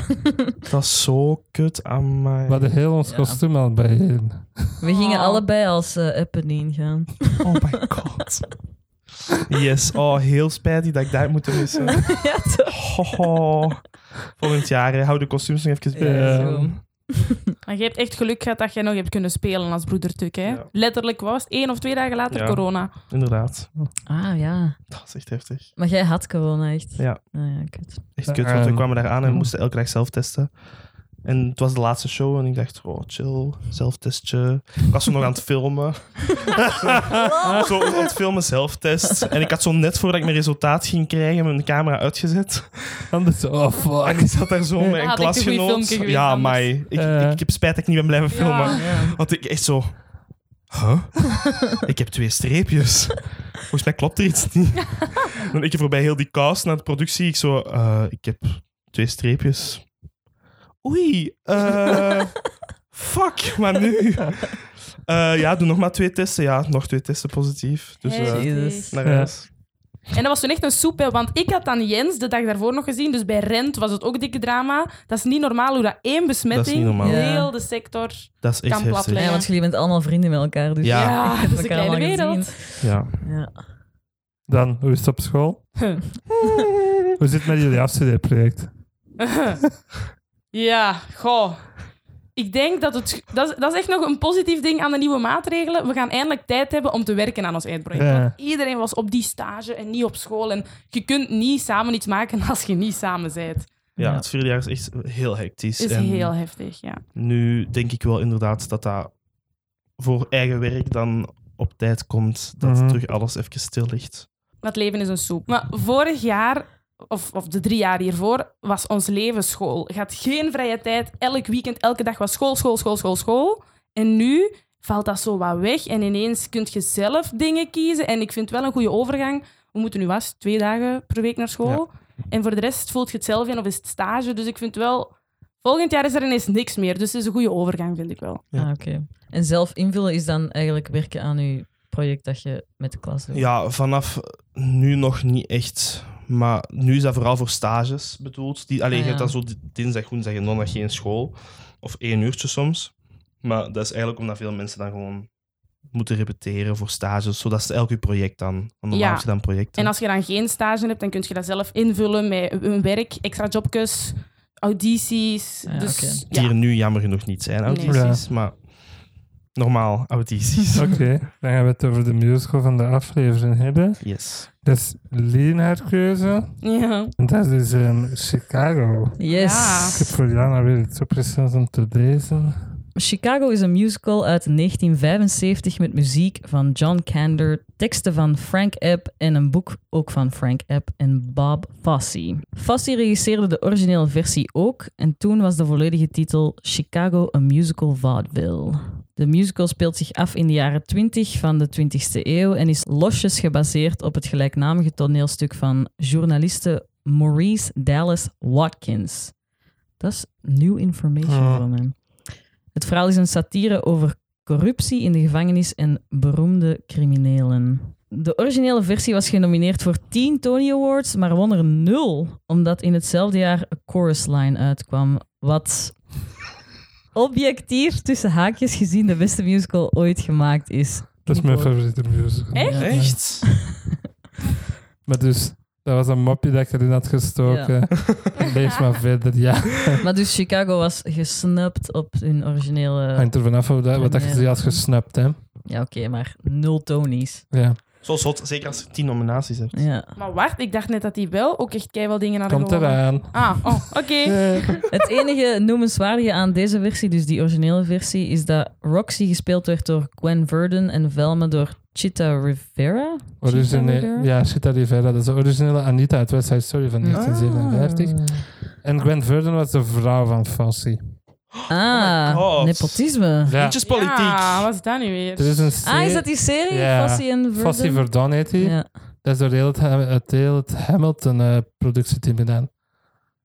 [SPEAKER 4] Dat was zo kut aan
[SPEAKER 1] we
[SPEAKER 4] mij.
[SPEAKER 1] hadden heel ons
[SPEAKER 2] Ja.
[SPEAKER 1] kostuum al bijeen.
[SPEAKER 2] We gingen
[SPEAKER 3] Oh.
[SPEAKER 2] allebei als eh Appen ingaan.
[SPEAKER 4] Oh my god. Yes, oh, heel spijtig dat ik daar moet missen.
[SPEAKER 2] ja, toch?
[SPEAKER 4] Oh. Volgend jaar, hè, hou de kostuums nog even bij. ehm,
[SPEAKER 2] Ja, zo.
[SPEAKER 3] Maar je hebt echt geluk gehad dat jij nog hebt kunnen spelen als broedertuk, hè?
[SPEAKER 4] Ja.
[SPEAKER 3] Letterlijk was het één of twee dagen later
[SPEAKER 4] Ja.
[SPEAKER 3] corona.
[SPEAKER 4] Inderdaad,
[SPEAKER 2] Ah ja.
[SPEAKER 4] dat is echt heftig.
[SPEAKER 2] Maar jij had corona echt.
[SPEAKER 4] Ja.
[SPEAKER 2] Ah, ja, kut.
[SPEAKER 4] Echt kut, want we
[SPEAKER 1] Ehm.
[SPEAKER 4] kwamen daar aan en moesten elke dag zelf testen. En het was de laatste show en ik dacht, oh, chill, zelftestje. Ik was zo nog aan het filmen. zo aan het filmen, zelftest. En ik had zo net voordat ik mijn resultaat ging krijgen, mijn camera uitgezet.
[SPEAKER 1] Anders, oh
[SPEAKER 4] En
[SPEAKER 1] fuck.
[SPEAKER 4] ik zat daar zo
[SPEAKER 1] Ja.
[SPEAKER 4] met een
[SPEAKER 3] Had ik een goeie
[SPEAKER 4] klasgenoot.
[SPEAKER 3] filmpje geweest
[SPEAKER 4] ja,
[SPEAKER 3] anders.
[SPEAKER 4] maar ik,
[SPEAKER 1] Ja.
[SPEAKER 2] Eh.
[SPEAKER 4] ik heb spijt dat ik niet ben blijven filmen.
[SPEAKER 2] Ja.
[SPEAKER 4] Want ik echt zo... Huh? ik heb twee streepjes. Volgens mij klopt er iets niet. Dan ik voorbij heel die cast naar de productie. Ik zo... eh, ik heb twee streepjes. Oei. eh, fuck, maar nu... Eh, ja, doe nog maar twee testen. Ja, nog twee testen positief. Dus eh,
[SPEAKER 3] Heftig.
[SPEAKER 2] Jezus.
[SPEAKER 4] naar
[SPEAKER 1] Ja.
[SPEAKER 4] huis.
[SPEAKER 3] En dat was toen echt een soep, hè, want ik had dan Jens de dag daarvoor nog gezien. Dus bij Rent was het ook dikke drama. Dat is niet normaal hoe dat één
[SPEAKER 4] Dat is niet
[SPEAKER 3] besmetting
[SPEAKER 4] normaal.
[SPEAKER 2] Ja.
[SPEAKER 3] heel de sector.
[SPEAKER 4] Dat is echt
[SPEAKER 3] Kan plat
[SPEAKER 4] heftig.
[SPEAKER 3] liggen.
[SPEAKER 2] Ja, want jullie bent allemaal vrienden met elkaar. Dus
[SPEAKER 4] Ja.
[SPEAKER 3] Ja,
[SPEAKER 2] Ik
[SPEAKER 3] dat
[SPEAKER 2] heb
[SPEAKER 3] is een
[SPEAKER 2] elkaar
[SPEAKER 3] kleine
[SPEAKER 2] allemaal
[SPEAKER 3] wereld.
[SPEAKER 2] gezien.
[SPEAKER 4] Ja.
[SPEAKER 2] Ja.
[SPEAKER 1] Dan, hoe is het op school? Hoe zit het met jullie afstudeerproject?
[SPEAKER 3] ja, goh. Ik denk dat het. Dat is, dat is echt nog een positief ding aan de nieuwe maatregelen. We gaan eindelijk tijd hebben om te werken aan ons eindproject.
[SPEAKER 1] Ja.
[SPEAKER 3] Want iedereen was op die stage en niet op school. En je kunt niet samen iets maken als je niet samen bent.
[SPEAKER 4] Ja,
[SPEAKER 2] Ja.
[SPEAKER 4] het vierde jaar is echt heel hectisch.
[SPEAKER 3] Is
[SPEAKER 4] en
[SPEAKER 3] heel heftig, ja.
[SPEAKER 4] Nu denk ik wel inderdaad dat dat voor eigen werk dan op tijd komt. Dat
[SPEAKER 1] Mhm.
[SPEAKER 4] terug alles even stil ligt.
[SPEAKER 3] Maar het leven is een soep. Maar vorig jaar, of, of de drie jaar hiervoor, was ons leven school. Je had geen vrije tijd. Elk weekend, elke dag was school, school, school, school, school. En nu valt dat zo wat weg. En ineens kun je zelf dingen kiezen. En ik vind wel een goede overgang. We moeten nu was twee dagen per week naar school. En voor de rest voelt je het zelf in of is het stage. Dus ik vind wel... Volgend jaar is er ineens niks meer, dus het is een goede overgang, vind ik wel.
[SPEAKER 4] Ja.
[SPEAKER 2] Ah, oké. En zelf invullen is dan eigenlijk werken aan je project dat je met de klas doet.
[SPEAKER 4] Ja, vanaf nu nog niet echt. Maar nu is dat vooral voor stages bedoeld. Die, alleen
[SPEAKER 2] Ah,
[SPEAKER 4] je hebt
[SPEAKER 2] ja.
[SPEAKER 4] dan zo di- dinsdag, woensdag en donderdag geen school. Of één uurtje soms. Maar dat is eigenlijk omdat veel mensen dan gewoon moeten repeteren voor stages. Zodat ze elk je project dan. want Normaal
[SPEAKER 3] Ja.
[SPEAKER 4] heb je dan projecten.
[SPEAKER 3] En als je dan geen stage hebt, dan kun je dat zelf invullen met een werk, extra jobjes, audities.
[SPEAKER 2] Ja,
[SPEAKER 3] dus
[SPEAKER 2] oké.
[SPEAKER 4] Die
[SPEAKER 3] ja.
[SPEAKER 4] er nu jammer genoeg niet zijn, audities. Maar normaal audities.
[SPEAKER 1] Oké, dan gaan we het over de musical van de aflevering hebben.
[SPEAKER 4] Yes.
[SPEAKER 1] Dat is Lien haar keuze.
[SPEAKER 3] Ja.
[SPEAKER 1] En dat is ehm, Chicago.
[SPEAKER 2] Yes.
[SPEAKER 3] Ja.
[SPEAKER 1] Ik heb voor Jana weer iets opgesteld om te lezen.
[SPEAKER 2] Chicago is een musical uit 1975 met muziek van John Kander, teksten van Frank Epp en een boek ook van Frank Epp en Bob Fosse. Fosse regisseerde de originele versie ook en toen was de volledige titel Chicago a Musical Vaudeville. De musical speelt zich af in de jaren 20 van de 20e eeuw en is losjes gebaseerd op het gelijknamige toneelstuk van journaliste Maurice Dallas Watkins. Dat is new information
[SPEAKER 1] Ja.
[SPEAKER 2] van hem. Het verhaal is een satire over corruptie in de gevangenis en beroemde criminelen. De originele versie was genomineerd voor 10 Tony Awards, maar won er 0, omdat in hetzelfde jaar A Chorus Line uitkwam, wat objectief tussen haakjes gezien de beste musical ooit gemaakt is.
[SPEAKER 1] Dat is mijn
[SPEAKER 2] Knipoog.
[SPEAKER 1] favoriete musical.
[SPEAKER 2] Echt?
[SPEAKER 1] Ja.
[SPEAKER 4] Echt?
[SPEAKER 1] Maar dus, dat was een mopje dat ik erin had gestoken. Lees maar verder, ja.
[SPEAKER 2] Maar dus Chicago was gesnapt op hun originele...
[SPEAKER 1] Hangt er vanaf hoe dat- wat dat je ze had gesnapt, hè.
[SPEAKER 2] Ja, oké, maar 0 Tonys.
[SPEAKER 1] Ja.
[SPEAKER 4] Zo zot, zeker als je tien nominaties hebt.
[SPEAKER 2] Ja.
[SPEAKER 3] Maar wacht, ik dacht net dat die wel ook echt keihard dingen hadden
[SPEAKER 1] Komt Eh,
[SPEAKER 3] gewonnen.
[SPEAKER 1] eraan.
[SPEAKER 3] Ah, oh, oké.
[SPEAKER 2] Het enige noemenswaardige aan deze versie, dus die originele versie, is dat Roxy gespeeld werd door Gwen Verdon en Velma door Chita Rivera.
[SPEAKER 1] Origineel,
[SPEAKER 2] Rivera?
[SPEAKER 1] ja, Chita Rivera. Dat is de originele Anita uit West Side Story
[SPEAKER 2] Ah.
[SPEAKER 1] van 1957. En Gwen Verdon was de vrouw van Fossey.
[SPEAKER 2] Ah,
[SPEAKER 4] God.
[SPEAKER 2] nepotisme.
[SPEAKER 1] Ja.
[SPEAKER 4] Liedjespolitiek.
[SPEAKER 3] Ja, wat is dat nu weer?
[SPEAKER 1] Er Dus is een
[SPEAKER 2] Ah, is
[SPEAKER 1] serie-
[SPEAKER 2] dat die serie?
[SPEAKER 1] Ja.
[SPEAKER 2] Fossey en Verdon?
[SPEAKER 1] Fossey Verdon heet die.
[SPEAKER 2] Ja.
[SPEAKER 1] Dat is door heel het, Ham- het, heel het Hamilton-productieteam gedaan.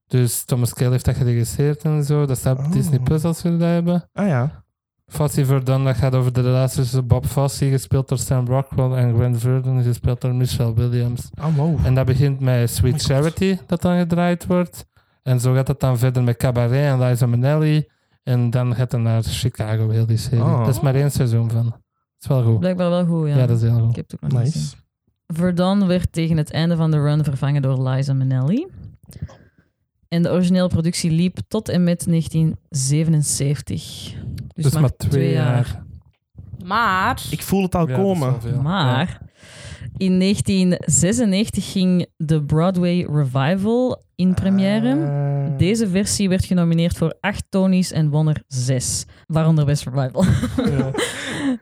[SPEAKER 1] Dus Thomas Cale heeft dat geregisseerd en zo. Dat staat op
[SPEAKER 4] Oh.
[SPEAKER 1] Disney Plus als jullie dat hebben.
[SPEAKER 4] Ah ja.
[SPEAKER 1] Fossey Verdon, dat gaat over de relatie tussen Bob Fosse, gespeeld door Sam Rockwell, en Gwen Verdon, gespeeld door Michelle Williams.
[SPEAKER 4] Oh, wow.
[SPEAKER 1] En dat begint met Sweet
[SPEAKER 4] Oh my God.
[SPEAKER 1] Charity, dat dan gedraaid wordt. En zo gaat het dan verder met Cabaret en Liza Minnelli. En dan gaat het naar Chicago, heel die serie.
[SPEAKER 4] Oh.
[SPEAKER 1] Dat is maar één seizoen van. Dat is wel goed.
[SPEAKER 2] Blijkbaar wel goed, ja.
[SPEAKER 1] Ja, dat is heel
[SPEAKER 2] Ik
[SPEAKER 1] goed.
[SPEAKER 2] heb het ook nog niet gezien.
[SPEAKER 4] Nice.
[SPEAKER 2] Verdon werd tegen het einde van de run vervangen door Liza Minnelli. En de originele productie liep tot en met 1977. Dus,
[SPEAKER 1] Dus maar twee jaar.
[SPEAKER 3] Maar,
[SPEAKER 4] Ik voel het
[SPEAKER 1] Ja,
[SPEAKER 4] al
[SPEAKER 1] dat is
[SPEAKER 4] komen.
[SPEAKER 1] wel veel. Ja.
[SPEAKER 2] Maar in 1996 ging de Broadway Revival in première.
[SPEAKER 4] Ah.
[SPEAKER 2] Deze versie werd genomineerd voor acht Tonys en won er zes, waaronder Best Revival.
[SPEAKER 1] Ja.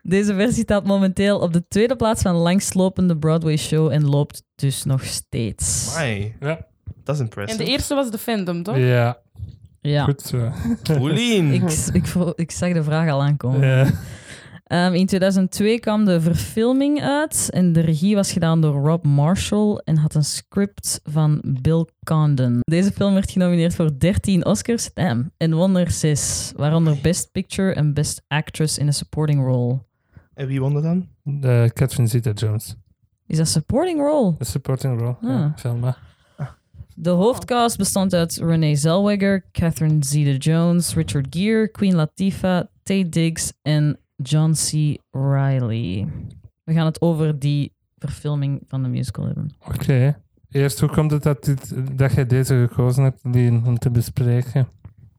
[SPEAKER 2] Deze versie staat momenteel op de tweede plaats van langslopende Broadway show en loopt dus nog steeds.
[SPEAKER 4] Amai,
[SPEAKER 1] Ja.
[SPEAKER 4] dat is
[SPEAKER 3] en de
[SPEAKER 4] impressive.
[SPEAKER 3] eerste was de fandom, toch?
[SPEAKER 1] Ja,
[SPEAKER 2] Ja.
[SPEAKER 1] goed eh, zo.
[SPEAKER 4] Oelien.
[SPEAKER 2] Ik, ik, vo- ik zag de vraag al aankomen.
[SPEAKER 1] Ja.
[SPEAKER 2] Ehm, in 2002 kwam de verfilming uit en de regie was gedaan door Rob Marshall en had een script van Bill Condon. Deze film werd genomineerd voor 13 Oscars damn, en won er 6, waaronder Best Picture en Best Actress in a Supporting Role.
[SPEAKER 4] En wie won er dan?
[SPEAKER 1] De Catherine Zeta-Jones.
[SPEAKER 2] Is dat supporting role?
[SPEAKER 1] De supporting role. Ja,
[SPEAKER 2] Ah.
[SPEAKER 1] Velma.
[SPEAKER 2] De hoofdcast bestond uit Renee Zellweger, Catherine Zeta-Jones, Richard Gere, Queen Latifah, Tay Diggs en John C. Reilly. We gaan het over die verfilming van de musical hebben.
[SPEAKER 1] Oké. Eerst, hoe komt het dat, dit, dat jij deze gekozen hebt, Lien, om te bespreken?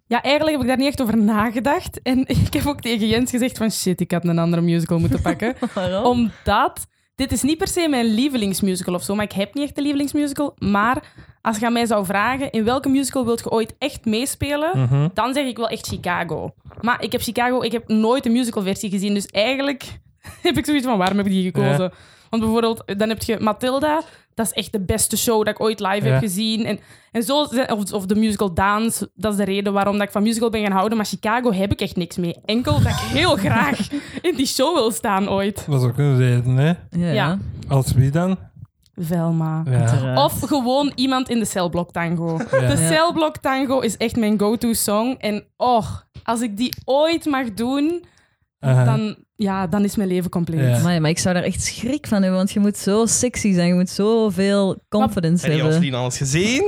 [SPEAKER 3] Ja, eigenlijk heb ik daar niet echt over nagedacht. En ik heb ook tegen Jens gezegd van shit, ik had een andere musical moeten pakken.
[SPEAKER 2] Waarom?
[SPEAKER 3] Omdat, dit is niet per se mijn lievelingsmusical of zo, maar ik heb niet echt een lievelingsmusical. Maar als je aan mij zou vragen, in welke musical wilt je ooit echt meespelen?
[SPEAKER 1] Mhm.
[SPEAKER 3] Dan zeg ik wel echt Chicago. Maar ik heb Chicago, ik heb nooit de musicalversie gezien. Dus eigenlijk heb ik zoiets van, waarom heb ik die gekozen? Want bijvoorbeeld, dan heb je Matilda. Dat is echt de beste show dat ik ooit live
[SPEAKER 1] Ja.
[SPEAKER 3] heb gezien. En, en zo, zijn- of, of de musical Dance. Dat is de reden waarom dat ik van musical ben gaan houden. Maar Chicago heb ik echt niks mee. Enkel dat ik heel graag in die show wil staan ooit.
[SPEAKER 1] Dat was ook een reden, hè?
[SPEAKER 2] Ja.
[SPEAKER 3] Ja.
[SPEAKER 1] Als wie dan?
[SPEAKER 3] Velma.
[SPEAKER 1] Ja.
[SPEAKER 2] Uiteraard.
[SPEAKER 3] Of gewoon iemand in de celblok tango. De
[SPEAKER 1] Ja.
[SPEAKER 3] celblok tango is echt mijn go-to song. En oh, als ik die ooit mag doen,
[SPEAKER 1] Aha.
[SPEAKER 3] dan, ja, dan is mijn leven compleet.
[SPEAKER 1] Ja.
[SPEAKER 2] Amai, maar ik zou daar echt schrik van hebben, want je moet zo sexy zijn, je moet zoveel confidence
[SPEAKER 4] Heb je ons
[SPEAKER 2] hebben.
[SPEAKER 4] niet alles gezien?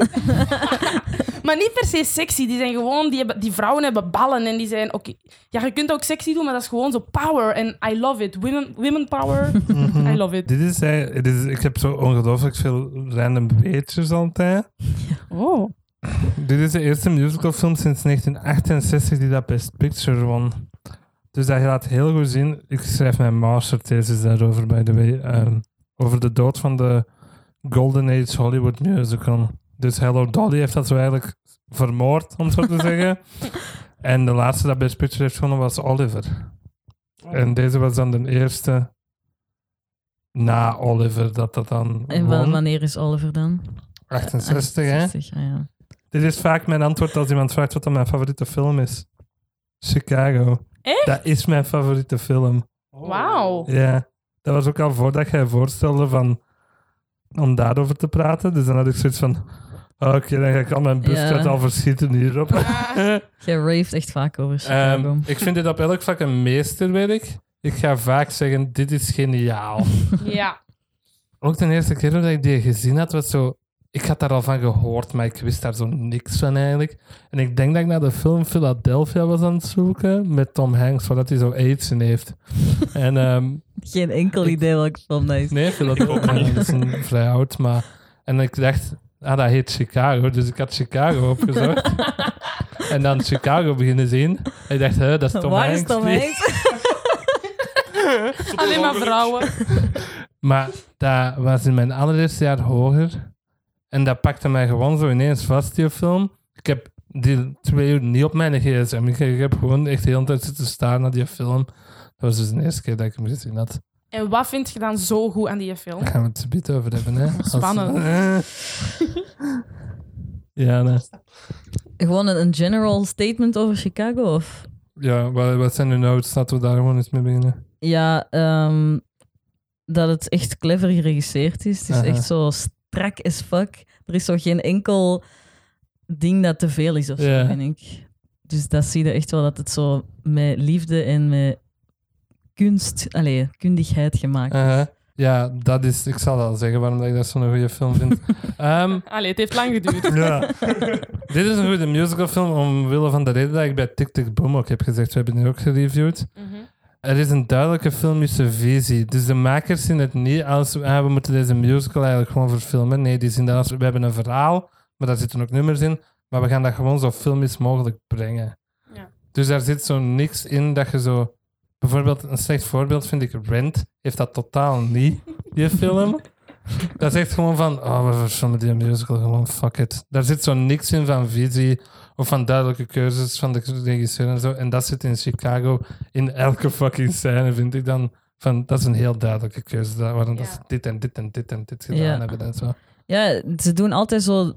[SPEAKER 3] Maar niet per se sexy. Die zijn gewoon, die, hebben, die vrouwen hebben ballen en die zijn oké. Ja, je kunt ook sexy doen, maar dat is gewoon zo power. En I love it. Women, women power. I love it.
[SPEAKER 1] Mhm. Dit is, eh, dit is, ik heb zo ongelooflijk veel random weetjes altijd.
[SPEAKER 3] Oh.
[SPEAKER 1] Dit is de eerste musicalfilm sinds 1968 die dat Best Picture won. Dus dat laat heel goed zien. Ik schrijf mijn masterthesis daarover, by the way. ehm, over de dood van de Golden Age Hollywood musical. Dus Hello Dolly heeft dat zo eigenlijk vermoord, om het zo te zeggen. En de laatste dat Best Picture heeft gewonnen was Oliver. En deze was dan de eerste na Oliver dat dat dan
[SPEAKER 2] En wa-
[SPEAKER 1] won.
[SPEAKER 2] wanneer is Oliver dan?
[SPEAKER 1] 68, hè?
[SPEAKER 2] 68, ah ja.
[SPEAKER 1] Dit is vaak mijn antwoord als iemand vraagt wat dan mijn favoriete film is. Chicago.
[SPEAKER 3] Echt? Oh.
[SPEAKER 1] Dat is mijn favoriete film.
[SPEAKER 3] Wauw.
[SPEAKER 1] Ja. Dat was ook al voordat jij voorstelde van, om daarover te praten. Dus dan had ik zoiets van... oh, Oké, dan ga ik al mijn busstraat
[SPEAKER 2] Ja.
[SPEAKER 1] al verschieten hierop.
[SPEAKER 2] Jij raved echt vaak over Chicago.
[SPEAKER 1] Ehm, ik vind dit op elk vlak een meesterwerk. Ik ga vaak zeggen, dit is geniaal.
[SPEAKER 3] Ja.
[SPEAKER 1] Ook de eerste keer dat ik die gezien had, was zo... Ik had daar al van gehoord, maar ik wist daar zo niks van eigenlijk. En ik denk dat ik naar de film Philadelphia was aan het zoeken met Tom Hanks, voordat hij zo AIDS in heeft. en ehm,
[SPEAKER 2] Geen enkel idee welke film dat is.
[SPEAKER 1] nee, Philadelphia is een vrij oud, maar... En ik dacht, ah, dat heet Chicago, dus ik had Chicago opgezocht. en dan Chicago beginnen zien. En ik dacht, hè, dat is Tom
[SPEAKER 2] Waar
[SPEAKER 1] Hanks.
[SPEAKER 2] is Tom
[SPEAKER 1] die-
[SPEAKER 2] Hanks?
[SPEAKER 3] Alleen maar vrouwen.
[SPEAKER 1] Maar dat was in mijn allereerste jaar hoger. En dat pakte mij gewoon zo ineens vast, die film. Ik heb die twee uur niet op mijn gsm. Ik, ik heb gewoon echt de hele tijd zitten staan naar die film. Dat was dus de eerste keer dat ik hem gezien had.
[SPEAKER 3] En wat vind je dan zo goed aan die film?
[SPEAKER 1] Daar gaan we het zometeen over hebben, hè. Als-
[SPEAKER 3] Spannend.
[SPEAKER 1] Eh. ja, nee.
[SPEAKER 2] Gewoon een, een general statement over Chicago? Of?
[SPEAKER 1] ja wat, wat zijn de notes? Laten we daar gewoon eens mee beginnen.
[SPEAKER 2] Ja, ehm, dat het echt clever geregisseerd is. Het is
[SPEAKER 1] Aha.
[SPEAKER 2] echt zo strak as fuck. Er is zo geen enkel ding dat te veel is of zo,
[SPEAKER 1] Ja.
[SPEAKER 2] vind ik. Dus dat zie je echt wel dat het zo met liefde en met kunst, allee, kundigheid gemaakt is.
[SPEAKER 1] Eh, ja, dat is... Ik zal al zeggen waarom dat ik dat zo'n goede film vind. Ehm,
[SPEAKER 3] Allee, het heeft lang geduurd.
[SPEAKER 1] Ja. Dit is een goede musicalfilm omwille van de reden dat ik bij Tic Tic Boom ook heb gezegd. We hebben die ook gereviewd.
[SPEAKER 3] Mhm.
[SPEAKER 1] Er is een duidelijke filmische visie. Dus de makers zien het niet als ah, we moeten deze musical eigenlijk gewoon verfilmen. Nee, die zien dat als we hebben een verhaal, maar daar zitten ook nummers in. Maar we gaan dat gewoon zo filmisch mogelijk brengen.
[SPEAKER 3] Ja.
[SPEAKER 1] Dus daar zit zo niks in dat je zo... Bijvoorbeeld, een slecht voorbeeld vind ik Rent. Heeft dat totaal niet, die film. Dat is echt gewoon van, oh, we verfilmen die musical gewoon, fuck it. Daar zit zo niks in van visie of van duidelijke keuzes van de regisseur en zo. En dat zit in Chicago in elke fucking scène, vind ik dan. Van, dat is een heel duidelijke keuze, dat- waarom dat
[SPEAKER 3] Ja.
[SPEAKER 1] ze dit en dit en dit en dit gedaan
[SPEAKER 2] Ja.
[SPEAKER 1] hebben en zo.
[SPEAKER 2] Ja, ze doen altijd zo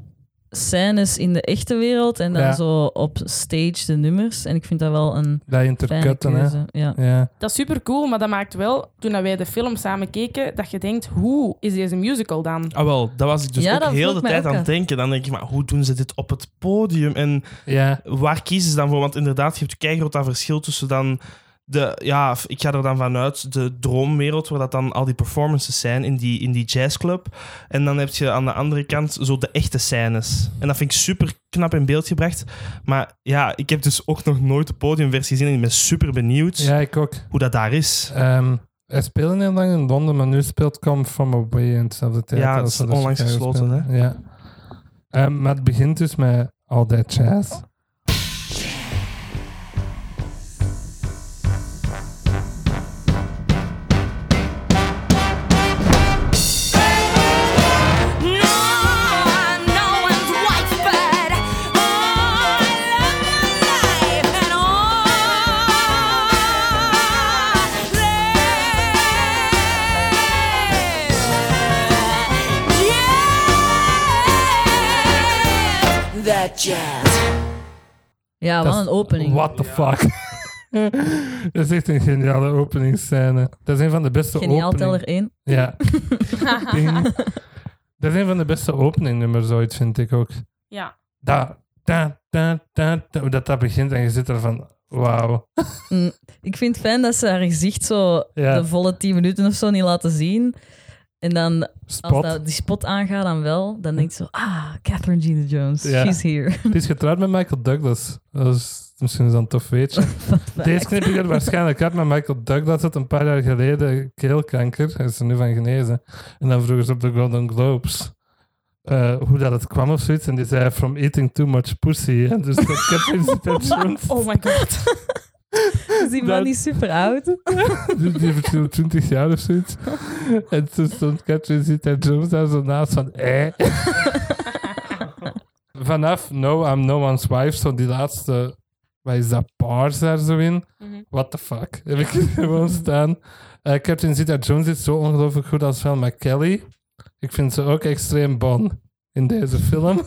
[SPEAKER 2] scènes in de echte wereld en dan
[SPEAKER 1] Ja.
[SPEAKER 2] zo op stage de nummers. En ik vind dat wel een
[SPEAKER 1] Dat
[SPEAKER 2] fijne
[SPEAKER 1] intercutten, hè.
[SPEAKER 2] keuze. Ja.
[SPEAKER 1] Ja.
[SPEAKER 3] Dat is super cool, maar dat maakt wel, toen dat wij de film samen keken, dat je denkt, hoe is deze musical dan?
[SPEAKER 4] Ah, wel, dat was ik dus
[SPEAKER 2] Ja,
[SPEAKER 4] ook
[SPEAKER 2] dat
[SPEAKER 4] heel de
[SPEAKER 2] vroeg mij
[SPEAKER 4] tijd
[SPEAKER 2] ook
[SPEAKER 4] aan het
[SPEAKER 2] af.
[SPEAKER 4] denken. Dan denk ik, maar hoe doen ze dit op het podium? En
[SPEAKER 1] ja.
[SPEAKER 4] waar kiezen ze dan voor? Want inderdaad, je hebt keigroot dat verschil tussen dan... De, ja, f- ik ga er dan vanuit de droomwereld, waar dat dan al die performances zijn in die, in die jazzclub. En dan heb je aan de andere kant zo de echte scènes. En dat vind ik super knap in beeld gebracht. Maar ja, ik heb dus ook nog nooit de podiumversie gezien. En ik ben super benieuwd
[SPEAKER 1] ja, ik ook.
[SPEAKER 4] hoe dat daar is.
[SPEAKER 1] Ehm hij speelde heel lang in Londen, maar nu speelt Come From Away in hetzelfde tijd.
[SPEAKER 4] Ja, het
[SPEAKER 1] als
[SPEAKER 4] is
[SPEAKER 1] dat in
[SPEAKER 4] onlangs
[SPEAKER 1] Chicago
[SPEAKER 4] gesloten,
[SPEAKER 1] speelde. Ja. Ehm, maar het begint dus met All That Jazz.
[SPEAKER 5] That jazz.
[SPEAKER 2] ja,
[SPEAKER 1] Dat
[SPEAKER 2] wat
[SPEAKER 1] is-
[SPEAKER 2] een opening.
[SPEAKER 1] What the fuck? dat is echt een geniale openingsscène. Dat is een van de beste
[SPEAKER 2] Geniaal
[SPEAKER 1] openingen.
[SPEAKER 2] teller 1.
[SPEAKER 1] Ja. Ding. Dat is een van de beste openingnummers ooit, vind ik ook.
[SPEAKER 3] Ja.
[SPEAKER 1] Dat, dat, dat, dat, dat, dat, dat begint en je zit er van, wauw.
[SPEAKER 2] Ik vind het fijn dat ze haar gezicht zo
[SPEAKER 1] Ja.
[SPEAKER 2] de volle 10 minuten of zo niet laten zien. En dan, als
[SPEAKER 1] Spot.
[SPEAKER 2] dat, die spot aangaat, dan wel, dan denk je zo, ah, Catherine Zeta-Jones,
[SPEAKER 1] Ja.
[SPEAKER 2] she's here.
[SPEAKER 1] Die is getrouwd met Michael Douglas. Dat is misschien zo'n tof weetje. Deze knip ik er waarschijnlijk uit, maar Michael Douglas had een paar jaar geleden keelkanker. Hij is er nu van genezen. En dan vroegen ze op de Golden Globes eh, hoe dat het kwam of zoiets. En die zei, from eating too much pussy. En dus dat Catherine Zeta-Jones,
[SPEAKER 3] Oh my god.
[SPEAKER 2] Is die man
[SPEAKER 1] Dat-
[SPEAKER 2] niet super oud?
[SPEAKER 1] die die verschilt 20 jaar of zoiets. En toen stond Catherine Zeta-Jones daar zo naast van, eh. Vanaf No, I'm No One's Wife, zo die laatste, wat is dat, bars daar zo in.
[SPEAKER 3] Mhm.
[SPEAKER 1] What the fuck? Heb ik gewoon staan. Eh, Captain Zita Jones is zo ongelooflijk goed als wel McKelly. Ik vind ze ook extreem bon in deze film.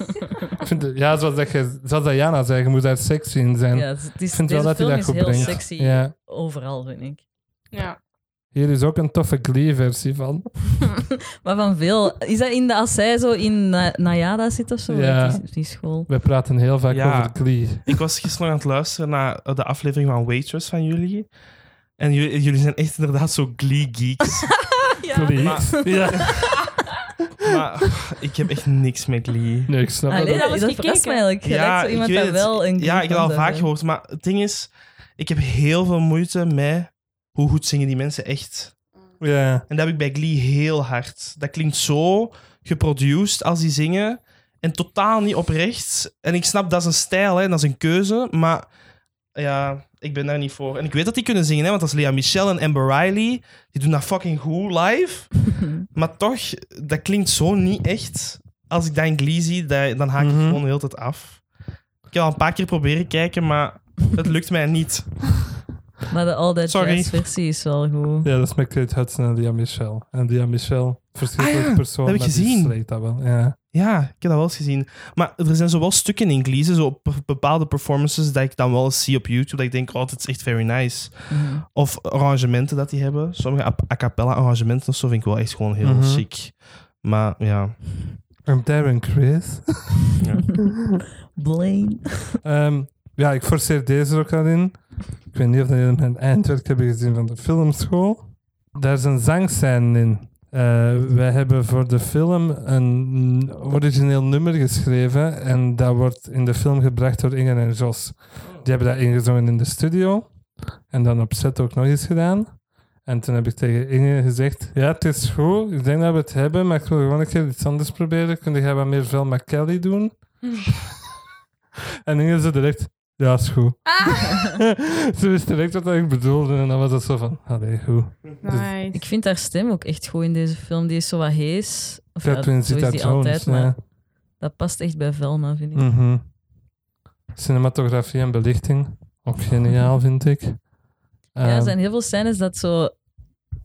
[SPEAKER 1] ik vind het- ja, zoals, dat je, zoals dat Jana zei, je moet daar sexy in zijn.
[SPEAKER 2] Ja, het is,
[SPEAKER 1] ik vind wel
[SPEAKER 2] deze
[SPEAKER 1] dat hij
[SPEAKER 2] film
[SPEAKER 1] dat
[SPEAKER 2] is
[SPEAKER 1] goed
[SPEAKER 2] heel
[SPEAKER 1] brengt.
[SPEAKER 2] sexy
[SPEAKER 1] Ja.
[SPEAKER 2] overal, vind ik.
[SPEAKER 3] Ja.
[SPEAKER 1] Hier is ook een toffe Glee-versie van.
[SPEAKER 2] Maar van veel. Is dat in de, als zij zo in Na- Nayada zit of zo?
[SPEAKER 1] Ja.
[SPEAKER 2] Die, die school.
[SPEAKER 1] We praten heel vaak
[SPEAKER 4] Ja.
[SPEAKER 1] over Glee.
[SPEAKER 4] Ik was gisteren aan het luisteren naar eh, de aflevering van Waitress van jullie. En jullie, jullie zijn echt inderdaad zo glee-geeks.
[SPEAKER 1] Glee?
[SPEAKER 4] Maar-
[SPEAKER 1] Ja.
[SPEAKER 4] maar ik heb echt niks met glee.
[SPEAKER 1] Nee, ik snap
[SPEAKER 2] Allee,
[SPEAKER 1] dat.
[SPEAKER 3] dat
[SPEAKER 2] Ah, dat,
[SPEAKER 3] was
[SPEAKER 2] dat
[SPEAKER 3] gekeken.
[SPEAKER 2] verrast mij eigenlijk. Je lijkt zo iemand
[SPEAKER 4] ik
[SPEAKER 2] dat
[SPEAKER 4] weet het.
[SPEAKER 2] wel
[SPEAKER 4] Ja,
[SPEAKER 2] een Glee
[SPEAKER 4] ik heb dat al
[SPEAKER 2] fan
[SPEAKER 4] vaak
[SPEAKER 2] is.
[SPEAKER 4] gehoord. Maar het ding is, ik heb heel veel moeite met hoe goed zingen die mensen echt.
[SPEAKER 1] Ja.
[SPEAKER 4] En dat heb ik bij Glee heel hard. Dat klinkt zo geproduced als die zingen. En totaal niet oprecht. En ik snap, dat is een stijl hè, en dat is een keuze. Maar ja, ik ben daar niet voor. En ik weet dat die kunnen zingen, hè, want dat is Lea Michelle en Amber Riley. Die doen dat fucking goed live. maar toch, dat klinkt zo niet echt. Als ik dat in Glee zie, dat- dan haak ik
[SPEAKER 1] Mhm.
[SPEAKER 4] gewoon de hele tijd af. Ik heb al een paar keer proberen kijken, maar het lukt mij niet.
[SPEAKER 2] Maar de All That
[SPEAKER 4] Sorry.
[SPEAKER 2] Jazz versie is wel goed.
[SPEAKER 1] ja, dat is met Kate Hudson en Lia Michelle. En Lia Michelle, verschrikkelijk
[SPEAKER 4] Ah ja,
[SPEAKER 1] persoon,
[SPEAKER 4] dat heb ik
[SPEAKER 1] maar die
[SPEAKER 4] gezien.
[SPEAKER 1] sleet dat wel. Ja.
[SPEAKER 4] Ja, ik heb dat wel eens gezien. Maar er zijn zowel stukken in Glee, zo pe- bepaalde performances dat ik dan wel eens zie op YouTube, dat ik denk, oh, dit is echt very nice.
[SPEAKER 2] Mhm.
[SPEAKER 4] Of arrangementen dat die hebben. Sommige a, a cappella arrangementen of zo vind ik wel echt gewoon heel
[SPEAKER 1] Mhm.
[SPEAKER 4] chic. Maar ja.
[SPEAKER 1] I'm Darren Chris.
[SPEAKER 4] ja.
[SPEAKER 2] Blaine.
[SPEAKER 1] Ehm, ja, ik forceer deze er ook al in. Ik weet niet of jullie mijn eindwerk hebben gezien van de filmschool. Daar is een zangscène in. Eh, wij hebben voor de film een origineel nummer geschreven. En dat wordt in de film gebracht door Inge en Jos. Die hebben dat ingezongen in de studio. En dan op set ook nog eens gedaan. En toen heb ik tegen Inge gezegd: Ja, het is goed. Ik denk dat we het hebben. Maar ik wil gewoon een keer iets anders proberen. Kun jij wat meer Velma Kelly doen? En Inge zei direct, ja, is goed.
[SPEAKER 2] Ah.
[SPEAKER 1] ze wist direct wat ik bedoelde en dan was dat zo van, allee, goed.
[SPEAKER 3] Nice.
[SPEAKER 2] Ik vind haar stem ook echt goed in deze film. Die is zo wat hees. Of ja,
[SPEAKER 1] Catherine
[SPEAKER 2] zo is die
[SPEAKER 1] Zeta-Jones,
[SPEAKER 2] altijd, maar
[SPEAKER 1] ja.
[SPEAKER 2] dat past echt bij Velma, vind ik.
[SPEAKER 1] Mhm. Cinematografie en belichting, ook geniaal, vind ik.
[SPEAKER 2] Ja, er
[SPEAKER 1] Ehm,
[SPEAKER 2] zijn heel veel scènes dat zo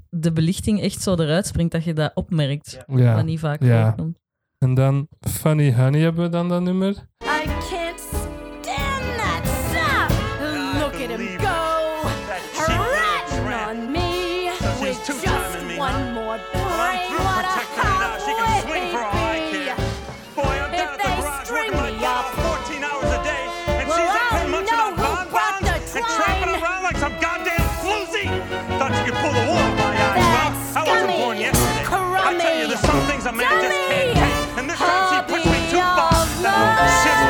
[SPEAKER 2] de belichting echt zo eruit springt dat je dat opmerkt.
[SPEAKER 1] ja.
[SPEAKER 2] Wat niet vaak
[SPEAKER 1] Ja.
[SPEAKER 2] voorkomt.
[SPEAKER 1] En dan Funny Honey hebben we dan dat nummer.
[SPEAKER 5] I can't stand that stuff. Look at him go. Harassing on me. With just one more break. What a how would he be? If they string me up, well, I'll know who brought the twine. That scummy, crummy, dummy, hobby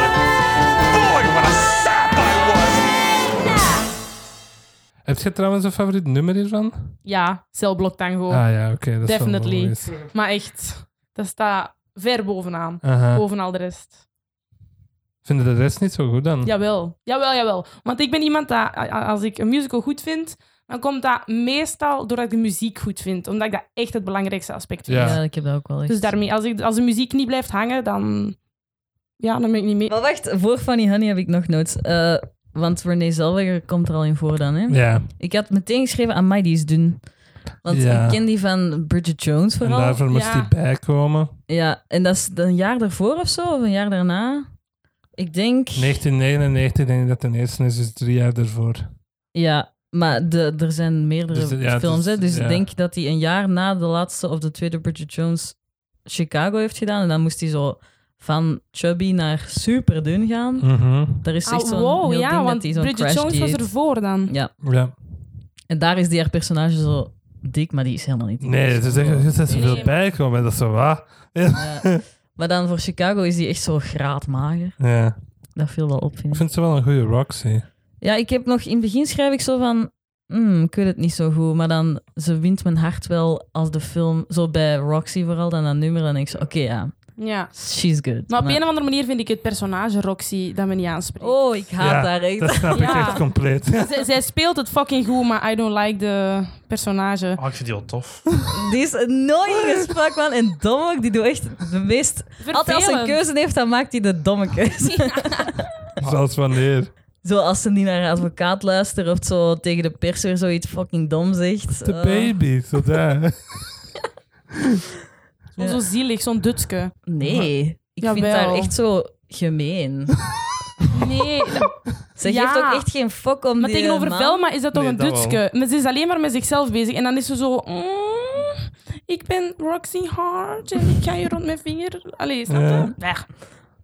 [SPEAKER 5] of mine.
[SPEAKER 1] Heb je trouwens een favoriet nummer hiervan?
[SPEAKER 3] Ja, celblok
[SPEAKER 2] Oh,
[SPEAKER 3] tango.
[SPEAKER 1] Ah ja, oké. dat is wel
[SPEAKER 3] Definitely.
[SPEAKER 1] logisch.
[SPEAKER 3] Maar echt, dat staat ver bovenaan.
[SPEAKER 1] Aha.
[SPEAKER 2] Oh.
[SPEAKER 3] Boven al de rest.
[SPEAKER 1] Vinden de rest niet zo goed dan?
[SPEAKER 3] Jawel, jawel, jawel. Want ik ben iemand dat, a- a- als ik een musical goed vind, dan komt dat meestal doordat ik de muziek goed vind. Omdat ik dat echt het belangrijkste aspect vind.
[SPEAKER 1] Ja.
[SPEAKER 2] Ja. ik heb dat ook wel echt.
[SPEAKER 3] Dus daarmee, als, ik, als de muziek niet blijft hangen, dan... Ja, dan ben ik niet mee.
[SPEAKER 2] Maar wacht, voor Funny Honey heb ik nog notes. Eh, want Renee Zellweger komt er al in voor dan, hè?
[SPEAKER 1] Ja,
[SPEAKER 2] Ik had meteen geschreven aan mij die is dun. Want
[SPEAKER 1] Ja.
[SPEAKER 2] ik ken die van Bridget Jones
[SPEAKER 1] en
[SPEAKER 2] vooral.
[SPEAKER 1] daarvoor moest
[SPEAKER 3] ja.
[SPEAKER 1] die bijkomen.
[SPEAKER 2] Ja, en dat is een jaar daarvoor of zo, of een jaar daarna. Ik denk...
[SPEAKER 1] 1999 denk ik dat de eerste is, dus drie jaar daarvoor.
[SPEAKER 2] Ja, maar de, er zijn meerdere
[SPEAKER 1] Dus de- ja,
[SPEAKER 2] films,
[SPEAKER 1] dus-
[SPEAKER 2] hè. Dus
[SPEAKER 1] ja.
[SPEAKER 2] ik denk dat hij een jaar na de laatste of de tweede Bridget Jones Chicago heeft gedaan. En dan moest hij zo van chubby naar super dun gaan.
[SPEAKER 1] Mhm.
[SPEAKER 2] Daar is echt
[SPEAKER 3] Ah,
[SPEAKER 2] zo'n
[SPEAKER 3] wow,
[SPEAKER 2] heel
[SPEAKER 3] ja,
[SPEAKER 2] ding dat
[SPEAKER 3] want
[SPEAKER 2] hij zo'n
[SPEAKER 3] Bridget
[SPEAKER 2] crash
[SPEAKER 3] Jones was
[SPEAKER 2] dieet-
[SPEAKER 3] ervoor dan.
[SPEAKER 2] Ja,
[SPEAKER 1] Ja.
[SPEAKER 2] en daar is die haar personage zo dik, maar die is helemaal niet dik.
[SPEAKER 1] Nee, ze zeggen, je zet zoveel
[SPEAKER 3] Nee.
[SPEAKER 1] bijkomen, dat is zo waar.
[SPEAKER 2] Ja. Maar dan voor Chicago is die echt zo graadmager.
[SPEAKER 1] Ja.
[SPEAKER 2] Dat viel wel op, vind
[SPEAKER 1] Ik
[SPEAKER 2] ik.
[SPEAKER 1] vind ze wel een goede Roxy.
[SPEAKER 2] Ja, ik heb nog... In het begin schrijf ik zo van... "Hmm, ik weet het niet zo goed. Maar dan, ze wint mijn hart wel als de film... Zo bij Roxy vooral, dan dat nummer. Dan denk ik zo, oké, ja,
[SPEAKER 3] Ja.
[SPEAKER 2] she's good.
[SPEAKER 3] Maar op een of andere manier vind ik het personage Roxy dat me niet aanspreekt.
[SPEAKER 2] Oh, ik haat
[SPEAKER 1] Ja,
[SPEAKER 2] haar echt.
[SPEAKER 1] Dat snap ik
[SPEAKER 3] Ja.
[SPEAKER 1] echt compleet.
[SPEAKER 3] Z- zij speelt het fucking goed, maar I don't like de personage.
[SPEAKER 4] Oh, ik vind die wel tof.
[SPEAKER 2] Die is annoying as fuck, man. En dom ook. Die doet echt de meest... Altijd als ze een keuze heeft, dan maakt hij de domme keuze.
[SPEAKER 1] Zoals wanneer.
[SPEAKER 2] Zo als ze niet naar haar advocaat luistert of zo tegen de pers weer zoiets fucking dom zegt.
[SPEAKER 1] De
[SPEAKER 2] Eh,
[SPEAKER 1] baby, zo daar.
[SPEAKER 3] Zo, zo zielig, zo'n dutske.
[SPEAKER 2] Nee, ik vind
[SPEAKER 3] Jawel.
[SPEAKER 2] haar echt zo gemeen.
[SPEAKER 3] Nee,
[SPEAKER 2] Ze
[SPEAKER 3] Ja.
[SPEAKER 2] geeft ook echt geen fuck om
[SPEAKER 3] maar
[SPEAKER 2] die eh,
[SPEAKER 3] tegenover
[SPEAKER 2] man.
[SPEAKER 3] Velma is dat toch
[SPEAKER 4] Nee,
[SPEAKER 3] een
[SPEAKER 4] dat wel.
[SPEAKER 3] dutske. Maar ze is alleen maar met zichzelf bezig. En dan is ze zo... "Mm, ik ben Roxy Hart en ik ga je rond mijn vinger... Allee, snap je?
[SPEAKER 1] Ja.
[SPEAKER 3] Nee,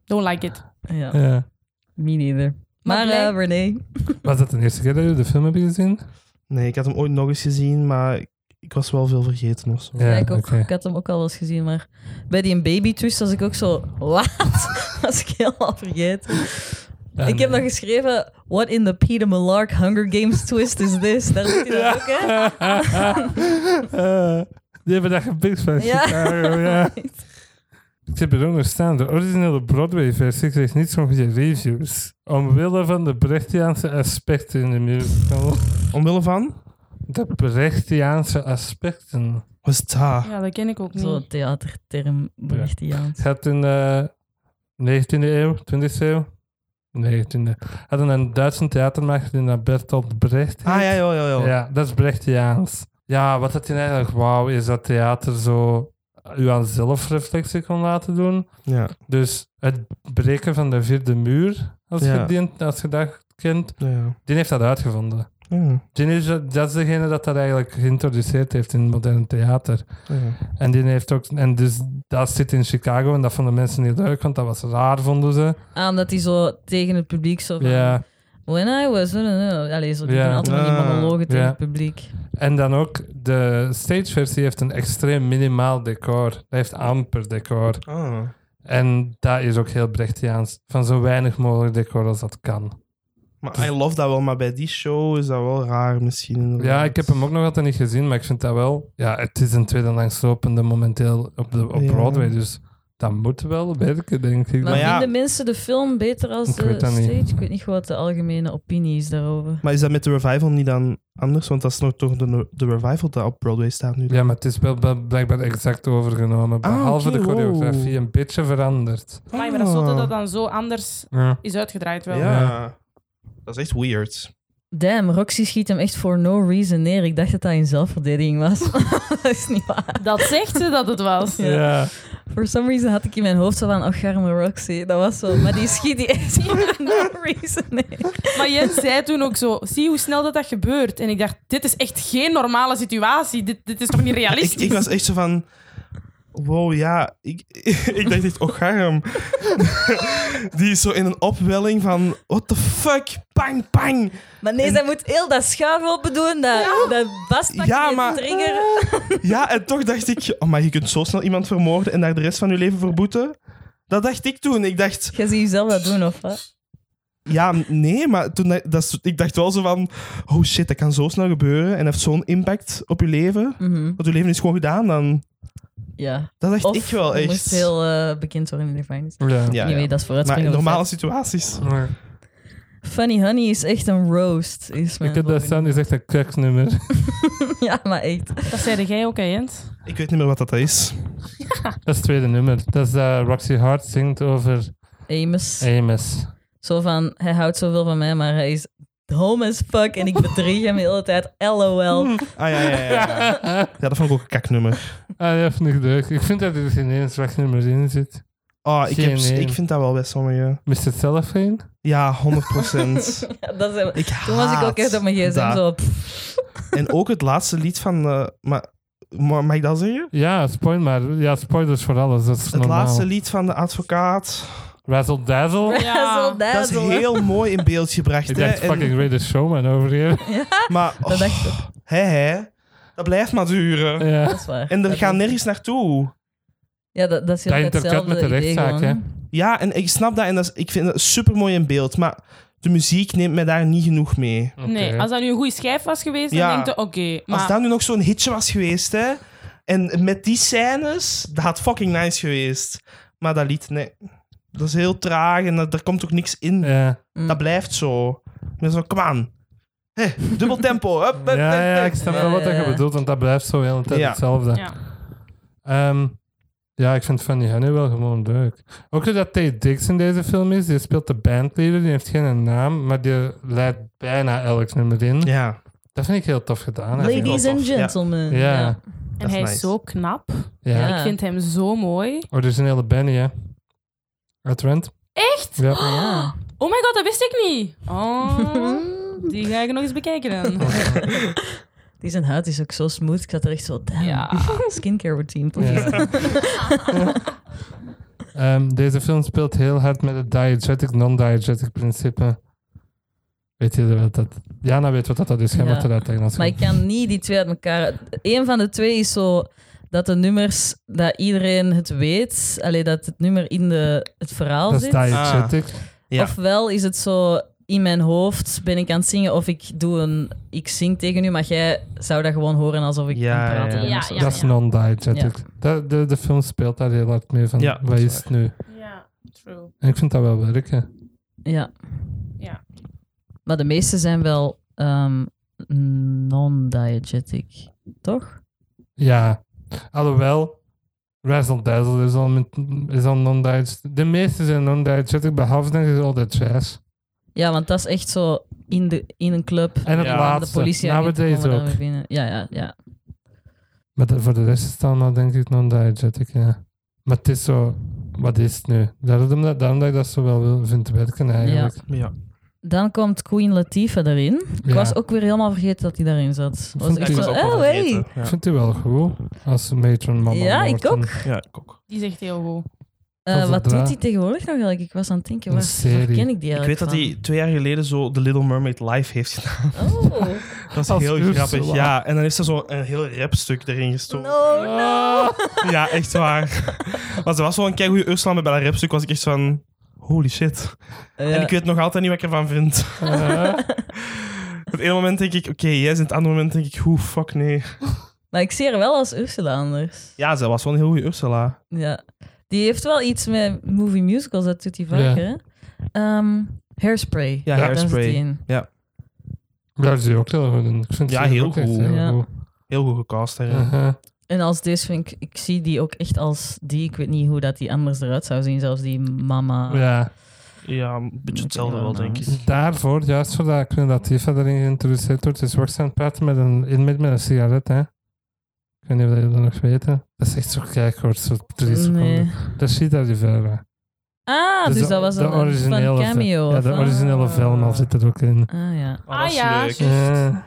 [SPEAKER 3] don't like it.
[SPEAKER 2] Ja,
[SPEAKER 1] Ja.
[SPEAKER 2] me neither. Maar,
[SPEAKER 3] blijk-
[SPEAKER 2] eh, René,
[SPEAKER 1] Was dat de eerste keer dat je de film hebt gezien?
[SPEAKER 4] Nee, ik had hem ooit nog eens gezien, maar ik, ik was wel veel vergeten of zo.
[SPEAKER 1] Ja,
[SPEAKER 2] ja, ik, ook,
[SPEAKER 1] oké.
[SPEAKER 2] ik had hem ook al eens gezien, maar bij die baby twist was ik ook zo... Wat? was ik helemaal vergeten.
[SPEAKER 1] Ja,
[SPEAKER 2] ik heb
[SPEAKER 1] nee.
[SPEAKER 2] nog geschreven... What in the Peter Millark Hunger Games twist is this? Daar zit hij dan ook, hè?
[SPEAKER 1] Eh, Die hebben daar gepikt van
[SPEAKER 2] Ja.
[SPEAKER 1] Chicago, ja. Ik heb er ook nog staan. De originele Broadway-versie kreeg niet zo'n goede reviews. Omwille van de Brechtiaanse aspecten in de musical.
[SPEAKER 4] Omwille van?
[SPEAKER 1] De Brechtiaanse aspecten.
[SPEAKER 4] Was het daar?
[SPEAKER 3] Ja, dat ken ik ook niet.
[SPEAKER 2] Zo'n theaterterm, bericht hij aan.
[SPEAKER 1] Het had in de 19e eeuw, 20e eeuw? 19e. Hadden een Duitse theatermaker die naar Bertolt Brecht heet.
[SPEAKER 4] Ah, ja, ja, ja. ja.
[SPEAKER 1] Ja, dat is Brechtiaans. Ja, wat dat hij eigenlijk wou, is dat theater zo eh, u aan zelfreflectie kon laten doen.
[SPEAKER 4] ja.
[SPEAKER 1] Dus het breken van de vierde muur, als,
[SPEAKER 4] Ja.
[SPEAKER 1] je, die, als je dat kent,
[SPEAKER 4] ja, ja.
[SPEAKER 1] die heeft dat uitgevonden.
[SPEAKER 4] Ja,
[SPEAKER 1] Die is, dat is degene dat dat eigenlijk geïntroduceerd heeft in het moderne theater.
[SPEAKER 4] ja.
[SPEAKER 1] En die heeft ook, en dus dat zit in Chicago en dat vonden mensen niet leuk, want dat was raar, vonden ze.
[SPEAKER 2] Ah, omdat hij zo tegen het publiek zo van...
[SPEAKER 1] Ja.
[SPEAKER 2] When I was... eh, Allee, zo, die
[SPEAKER 1] Ja.
[SPEAKER 2] doen altijd van die
[SPEAKER 4] Ah,
[SPEAKER 2] monologen tegen
[SPEAKER 1] ja.
[SPEAKER 2] het publiek.
[SPEAKER 1] En dan ook, de stageversie heeft een extreem minimaal decor. Dat heeft amper decor.
[SPEAKER 4] Ah.
[SPEAKER 1] En dat is ook heel Brechtiaans. Van zo weinig mogelijk decor als dat kan.
[SPEAKER 4] Maar I love dat wel, maar bij die show is dat wel raar misschien. inderdaad.
[SPEAKER 1] Ja, ik heb hem ook nog altijd niet gezien, maar ik vind dat wel... Ja, het is een tweede langslopende momenteel op, de, op
[SPEAKER 4] Ja.
[SPEAKER 1] Broadway, dus dat moet wel werken, denk ik.
[SPEAKER 2] Maar,
[SPEAKER 4] Maar ja,
[SPEAKER 2] vinden mensen de film beter als
[SPEAKER 1] Ik
[SPEAKER 2] de
[SPEAKER 1] weet dat
[SPEAKER 2] stage?
[SPEAKER 1] niet.
[SPEAKER 2] Ik weet niet wat de algemene opinie is daarover.
[SPEAKER 4] Maar is dat met de revival niet dan anders? Want dat is nog toch de, de revival dat op Broadway staat nu.
[SPEAKER 1] Ja, maar het is wel bl- blijkbaar exact overgenomen.
[SPEAKER 4] Ah,
[SPEAKER 1] Behalve
[SPEAKER 4] oké,
[SPEAKER 1] de
[SPEAKER 4] wow.
[SPEAKER 1] choreografie, een beetje veranderd.
[SPEAKER 3] Amai, maar dat is zot dat dat dan zo anders
[SPEAKER 1] Ja.
[SPEAKER 3] is uitgedraaid wel.
[SPEAKER 4] Ah. Ja. Dat is echt weird.
[SPEAKER 2] Damn, Roxy schiet hem echt for no reason neer. Ik dacht dat dat in zelfverdediging was. dat is niet waar.
[SPEAKER 3] Dat zegt ze dat het was.
[SPEAKER 2] Ja. For some reason had ik in mijn hoofd zo van, oh, arme Roxy. Dat was zo. Maar die schiet die echt for no reason neer.
[SPEAKER 3] Maar Jens zei toen ook zo, zie hoe snel dat, dat gebeurt. En ik dacht, dit is echt geen normale situatie. Dit, dit is toch niet
[SPEAKER 4] Ik,
[SPEAKER 3] realistisch?
[SPEAKER 4] ik was echt zo van... Wow, ja. Ik, ik dacht echt, oh, garm. Die is zo in een opwelling van... What the fuck? Bang, bang.
[SPEAKER 2] Maar nee, zij moet heel dat schuif open doen. Dat, dat vastpakken,
[SPEAKER 4] Ja,
[SPEAKER 2] die
[SPEAKER 4] maar-
[SPEAKER 2] trigger.
[SPEAKER 4] Ja, en toch dacht ik... Oh, maar je kunt zo snel iemand vermoorden en daar de rest van je leven voor boeten. Dat dacht ik toen. Ik dacht...
[SPEAKER 2] Je ziet jezelf dat doen, of wat?
[SPEAKER 4] Ja, nee, maar toen dat, dat is- ik dacht wel zo van... Oh shit, dat kan zo snel gebeuren en heeft zo'n impact op je leven.
[SPEAKER 2] Mhm.
[SPEAKER 4] Want je leven is gewoon gedaan dan.
[SPEAKER 2] Ja.
[SPEAKER 4] Dat dacht
[SPEAKER 2] Of
[SPEAKER 4] ik wel
[SPEAKER 2] je
[SPEAKER 4] echt.
[SPEAKER 2] moest heel eh, bekend worden in de finance.
[SPEAKER 1] Ja.
[SPEAKER 4] Ja,
[SPEAKER 2] nee,
[SPEAKER 4] ja.
[SPEAKER 2] nee, dat is
[SPEAKER 4] Maar in
[SPEAKER 2] vooruitspringen. over
[SPEAKER 4] normale situaties.
[SPEAKER 1] Maar
[SPEAKER 2] Funny Honey is echt een roast. Is mijn
[SPEAKER 1] Ik heb daar
[SPEAKER 2] volgende.
[SPEAKER 1] staan, die is echt een kruksnummer.
[SPEAKER 2] Ja, maar echt.
[SPEAKER 3] Dat zei jij ook, hè, Jens?
[SPEAKER 4] Ik weet niet meer wat dat is.
[SPEAKER 1] Dat is het tweede nummer. Dat is dat Roxy Hart zingt over
[SPEAKER 2] Amos.
[SPEAKER 1] Amos.
[SPEAKER 2] Zo van, hij houdt zoveel van mij, maar hij is home as fuck en ik bedrieg hem de hele tijd. LOL.
[SPEAKER 4] Ah ja, ja, ja. Ja, Ja, dat vond ik ook een kaknummer.
[SPEAKER 1] Ah, dat vind ik leuk. Ik vind dat er dus geen één zwak nummer in zit.
[SPEAKER 4] Oh, ik, heb,
[SPEAKER 1] Geen één.
[SPEAKER 4] ik vind dat wel bij sommigen.
[SPEAKER 1] Mist het zelf in?
[SPEAKER 4] Ja, 100 procent.
[SPEAKER 2] Ja, dat is,
[SPEAKER 4] Ik
[SPEAKER 2] toen was ik ook
[SPEAKER 4] haat
[SPEAKER 2] echt op mijn gsm
[SPEAKER 4] dat.
[SPEAKER 2] zo... pff.
[SPEAKER 4] En ook het laatste lied van... eh, maar ma- mag ik dat zeggen?
[SPEAKER 1] Ja, spoil maar. Ja, spoilers voor alles. Dat is
[SPEAKER 4] Het
[SPEAKER 1] normaal.
[SPEAKER 4] laatste lied van de advocaat.
[SPEAKER 1] Razzle Dazzle.
[SPEAKER 3] Ja.
[SPEAKER 2] Razzle
[SPEAKER 4] Dat is
[SPEAKER 2] dazzle, hè.
[SPEAKER 4] heel mooi in beeld gebracht.
[SPEAKER 1] Ik
[SPEAKER 4] hè.
[SPEAKER 1] dacht
[SPEAKER 4] En-
[SPEAKER 1] fucking Greatest Showman over hier.
[SPEAKER 4] Maar
[SPEAKER 2] Dat
[SPEAKER 4] oh,
[SPEAKER 2] dacht ik. ook.
[SPEAKER 4] hè, hè. dat blijft maar duren.
[SPEAKER 1] Ja.
[SPEAKER 2] Dat is waar.
[SPEAKER 4] En er
[SPEAKER 2] Dat
[SPEAKER 4] gaan
[SPEAKER 2] is-
[SPEAKER 4] nergens naartoe.
[SPEAKER 2] Ja, dat, dat is heel
[SPEAKER 1] Dat
[SPEAKER 2] erg
[SPEAKER 1] intercat met de
[SPEAKER 2] hetzelfde idee
[SPEAKER 1] rechtszaak,
[SPEAKER 2] gewoon.
[SPEAKER 4] Ja, en ik snap dat en dat is- ik vind dat super mooi in beeld. Maar de muziek neemt mij daar niet genoeg mee.
[SPEAKER 3] Nee,
[SPEAKER 1] Oké.
[SPEAKER 3] als dat nu een goede schijf was geweest,
[SPEAKER 4] Ja.
[SPEAKER 3] dan denk je, oké.
[SPEAKER 4] Als
[SPEAKER 3] maar
[SPEAKER 4] dat nu nog zo'n hitje was geweest, hè. En met die scènes, dat had fucking nice geweest. Maar dat lied, nee. Dat is heel traag en dat, daar komt ook niks in.
[SPEAKER 1] Ja.
[SPEAKER 2] Mm.
[SPEAKER 4] Dat blijft zo. Ik ben zo, kom aan. Hé, dubbel tempo. Hup, hup,
[SPEAKER 1] Ja,
[SPEAKER 4] hup,
[SPEAKER 1] ja,
[SPEAKER 4] hup.
[SPEAKER 1] ik snap
[SPEAKER 2] Ja,
[SPEAKER 1] wel wat
[SPEAKER 2] ja,
[SPEAKER 1] je
[SPEAKER 2] ja.
[SPEAKER 1] bedoelt, want dat blijft zo heel de tijd
[SPEAKER 4] Ja.
[SPEAKER 1] hetzelfde.
[SPEAKER 3] ja.
[SPEAKER 1] Ehm, ja, ik vind Fanny Honey wel gewoon leuk. Ook dat Tate Dix in deze film is, die speelt de bandleader, die heeft geen naam, maar die leidt bijna elk nummer in.
[SPEAKER 4] Ja.
[SPEAKER 1] Dat vind ik heel tof gedaan.
[SPEAKER 4] vind ik
[SPEAKER 1] eigenlijk.
[SPEAKER 2] Ladies
[SPEAKER 4] wel
[SPEAKER 2] and
[SPEAKER 4] tof, ja.
[SPEAKER 2] gentlemen.
[SPEAKER 1] Ja.
[SPEAKER 2] Ja.
[SPEAKER 4] Dat
[SPEAKER 3] En
[SPEAKER 4] is
[SPEAKER 3] hij
[SPEAKER 4] nice.
[SPEAKER 3] is zo knap.
[SPEAKER 1] Ja.
[SPEAKER 2] Ja.
[SPEAKER 3] Ik vind hem zo mooi.
[SPEAKER 1] Originele Benny, hè. Uit Rent.
[SPEAKER 3] Echt?
[SPEAKER 1] Ja.
[SPEAKER 2] Ja.
[SPEAKER 3] Oh my god, dat wist ik niet. Oh, die ga ik nog eens bekijken dan.
[SPEAKER 2] Die zijn huid is ook zo smooth. Ik zat er echt zo, damn.
[SPEAKER 3] Ja.
[SPEAKER 2] Skincare routine, please.
[SPEAKER 1] Ja. Ja. Ehm, deze film speelt heel hard met het diegetic, non-diegetic principe. Weet je wat dat... Jana weet wat dat is, jij
[SPEAKER 2] Ja.
[SPEAKER 1] mag dat tegen ons
[SPEAKER 2] Maar ik
[SPEAKER 1] zeggen.
[SPEAKER 2] kan niet die twee uit elkaar... Eén van de twee is zo dat de nummers, dat iedereen het weet. Alleen dat het nummer in de, het verhaal
[SPEAKER 1] Dat is
[SPEAKER 2] zit.
[SPEAKER 1] diegetic.
[SPEAKER 4] Ja.
[SPEAKER 2] Ofwel is het zo in mijn hoofd ben ik aan het zingen of ik doe een... Ik zing tegen u, maar jij zou dat gewoon horen alsof ik
[SPEAKER 4] Ja,
[SPEAKER 2] aan het praten
[SPEAKER 4] ja,
[SPEAKER 2] ben
[SPEAKER 3] ja.
[SPEAKER 2] of zo.
[SPEAKER 1] dat is non-diegetic.
[SPEAKER 2] Ja.
[SPEAKER 1] Dat- De, de film speelt daar heel hard mee van,
[SPEAKER 4] Ja, dat
[SPEAKER 1] wat
[SPEAKER 4] is
[SPEAKER 1] is het nu?
[SPEAKER 3] Ja, true.
[SPEAKER 1] En ik vind dat wel werken.
[SPEAKER 2] Ja.
[SPEAKER 3] Ja.
[SPEAKER 2] Maar de meeste zijn wel ehm, non-diegetic, toch?
[SPEAKER 1] Ja. Alhoewel, Razzle Dazzle is al, met- is al non-diegetic. De meeste zijn non-diegetic, behalve denk ik al dat jazz.
[SPEAKER 2] Ja, want dat is echt zo in, de, in een club.
[SPEAKER 1] En het
[SPEAKER 4] Ja.
[SPEAKER 2] de
[SPEAKER 1] laatste,
[SPEAKER 2] politie agenten
[SPEAKER 1] nowadays
[SPEAKER 2] komen dan
[SPEAKER 1] ook.
[SPEAKER 2] weer binnen. Ja, ja, ja.
[SPEAKER 1] Maar de- voor de rest is het allemaal denk ik non-diegetic, ja. Maar het is zo, wat is het nu? Daarom, dat- daarom dat ik dat zo wel wil- vind werken eigenlijk.
[SPEAKER 4] ja.
[SPEAKER 2] Dan komt Queen Latifah erin. Ik
[SPEAKER 1] Ja.
[SPEAKER 2] was ook weer helemaal vergeten dat hij daarin zat. Was
[SPEAKER 1] vond
[SPEAKER 2] echt
[SPEAKER 1] die
[SPEAKER 2] zo,
[SPEAKER 1] ook
[SPEAKER 2] oh, hey.
[SPEAKER 1] Ik vind die wel goed, als matron mama
[SPEAKER 2] Ja, ik
[SPEAKER 1] Morton.
[SPEAKER 2] ook.
[SPEAKER 4] Ja, ik ook.
[SPEAKER 3] Die zegt heel goed.
[SPEAKER 2] Eh,
[SPEAKER 1] Als het
[SPEAKER 2] wat
[SPEAKER 1] draait.
[SPEAKER 2] doet hij tegenwoordig nog eigenlijk? Ik was aan het denken,
[SPEAKER 1] Een
[SPEAKER 2] waar, waar
[SPEAKER 1] serie.
[SPEAKER 2] ken ik die
[SPEAKER 4] Ik
[SPEAKER 2] eigenlijk
[SPEAKER 4] weet dat
[SPEAKER 2] van?
[SPEAKER 4] hij twee jaar geleden zo The Little Mermaid live heeft gedaan.
[SPEAKER 2] Oh,
[SPEAKER 4] Dat is
[SPEAKER 1] Als
[SPEAKER 4] heel
[SPEAKER 1] Ursula.
[SPEAKER 4] grappig. Ja, en dan heeft ze zo een heel rapstuk erin gestoken.
[SPEAKER 2] no, no.
[SPEAKER 4] Ah. Ja, echt waar. Maar ze was wel een kei goede Ursula, maar bij dat rapstuk was ik echt van... Holy shit. En ik weet nog altijd niet wat ik ervan vind.
[SPEAKER 1] Eh,
[SPEAKER 4] Op het ene moment denk ik, oké, yes. En het andere moment denk ik, hoe fuck nee.
[SPEAKER 2] Maar ik zie haar wel als Ursula anders.
[SPEAKER 4] Ja, ze was wel een heel goede Ursula.
[SPEAKER 2] Ja. Die heeft wel iets met movie musicals, dat doet hij vaker. hè? Ehm, hairspray.
[SPEAKER 4] Ja,
[SPEAKER 2] daar zit
[SPEAKER 4] Hairspray.
[SPEAKER 2] die in.
[SPEAKER 1] Daar is die ook heel goed in. Ik vind
[SPEAKER 4] Ja,
[SPEAKER 1] die
[SPEAKER 4] heel
[SPEAKER 1] ook echt
[SPEAKER 4] goed.
[SPEAKER 1] heel
[SPEAKER 2] Ja.
[SPEAKER 1] goed.
[SPEAKER 4] Heel goed gecast daarin.
[SPEAKER 1] Uh-huh.
[SPEAKER 2] En als deze vind ik, ik zie die ook echt als die. Ik weet niet hoe dat die anders eruit zou zien, zelfs die mama.
[SPEAKER 1] Ja,
[SPEAKER 4] Ja, een beetje
[SPEAKER 2] Moet
[SPEAKER 4] hetzelfde
[SPEAKER 2] ik
[SPEAKER 4] wel,
[SPEAKER 2] wel
[SPEAKER 4] denk ik.
[SPEAKER 2] nadenken.
[SPEAKER 1] daarvoor, juist voordat Queen Latifah erin geïntroduceerd wordt, is Roxanne Pratt met een, in met, met een sigaret, hè. Ik weet niet of jullie dat nog weten. Dat is echt zo kijk, hoor, zo drie
[SPEAKER 2] Nee.
[SPEAKER 1] seconden. Dat ziet daar die verre.
[SPEAKER 2] Ah, dus, dat was een, een van cameo.
[SPEAKER 1] Ja,
[SPEAKER 2] of
[SPEAKER 1] de
[SPEAKER 2] wat?
[SPEAKER 1] originele film al zit er ook in.
[SPEAKER 2] Ah ja.
[SPEAKER 4] Ah, dat is
[SPEAKER 3] Ah, ja,
[SPEAKER 4] leuk.
[SPEAKER 3] juist.
[SPEAKER 1] Eh,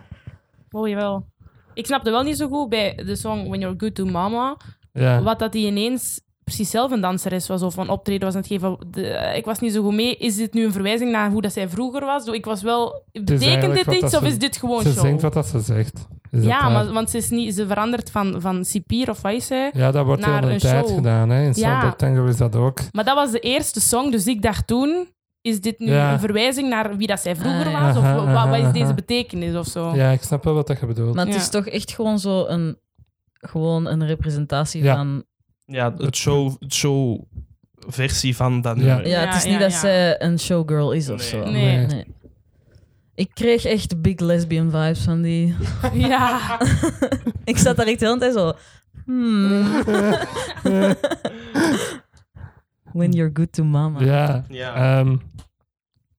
[SPEAKER 3] Oh, jawel. Ik snapte wel niet zo goed bij de song When You're Good to Mama,
[SPEAKER 1] ja.
[SPEAKER 3] wat dat hij ineens precies zelf een danseres was of een optreden was aan het geven. De- eh, ik was niet zo goed mee. Is dit nu een verwijzing naar hoe dat zij vroeger was? Doe- Ik was wel... Betekent
[SPEAKER 1] eigenlijk
[SPEAKER 3] dit
[SPEAKER 1] wat
[SPEAKER 3] iets
[SPEAKER 1] dat
[SPEAKER 3] of
[SPEAKER 1] ze-
[SPEAKER 3] is dit gewoon
[SPEAKER 1] Ze
[SPEAKER 3] show?
[SPEAKER 1] zingt wat dat ze zegt. Is dat
[SPEAKER 3] ja,
[SPEAKER 1] waar?
[SPEAKER 3] maar, want ze, is niet, ze verandert van, van cipier of wat is zij?
[SPEAKER 1] ja, dat wordt heel
[SPEAKER 3] naar
[SPEAKER 1] de
[SPEAKER 3] een
[SPEAKER 1] tijd
[SPEAKER 3] show.
[SPEAKER 1] gedaan. Hè. In Samba Tango is dat ook.
[SPEAKER 3] Maar dat was de eerste song, dus ik dacht toen... Is dit nu
[SPEAKER 1] Ja.
[SPEAKER 3] een verwijzing naar wie dat zij vroeger
[SPEAKER 2] Ah, ja.
[SPEAKER 3] was? Of
[SPEAKER 1] Aha,
[SPEAKER 3] wa- wa- wat
[SPEAKER 1] aha,
[SPEAKER 3] is deze
[SPEAKER 1] aha.
[SPEAKER 3] betekenis of zo?
[SPEAKER 1] Ja, ik snap wel wat dat je bedoelt.
[SPEAKER 2] Maar het
[SPEAKER 3] Ja.
[SPEAKER 2] is toch echt gewoon zo een, gewoon een representatie
[SPEAKER 1] Ja.
[SPEAKER 2] van...
[SPEAKER 4] Ja, het show, het show versie van dat
[SPEAKER 1] Ja.
[SPEAKER 4] nummer.
[SPEAKER 2] Ja,
[SPEAKER 3] Ja,
[SPEAKER 2] het is
[SPEAKER 3] ja,
[SPEAKER 2] niet dat
[SPEAKER 3] ja.
[SPEAKER 2] zij een showgirl is of
[SPEAKER 4] Nee.
[SPEAKER 2] zo.
[SPEAKER 3] Nee.
[SPEAKER 1] Nee.
[SPEAKER 2] Ik kreeg echt big lesbian vibes van die.
[SPEAKER 3] Ja.
[SPEAKER 2] Ik zat daar echt de hele tijd zo. Hmm. When you're good to mama.
[SPEAKER 1] Ja. Ehm,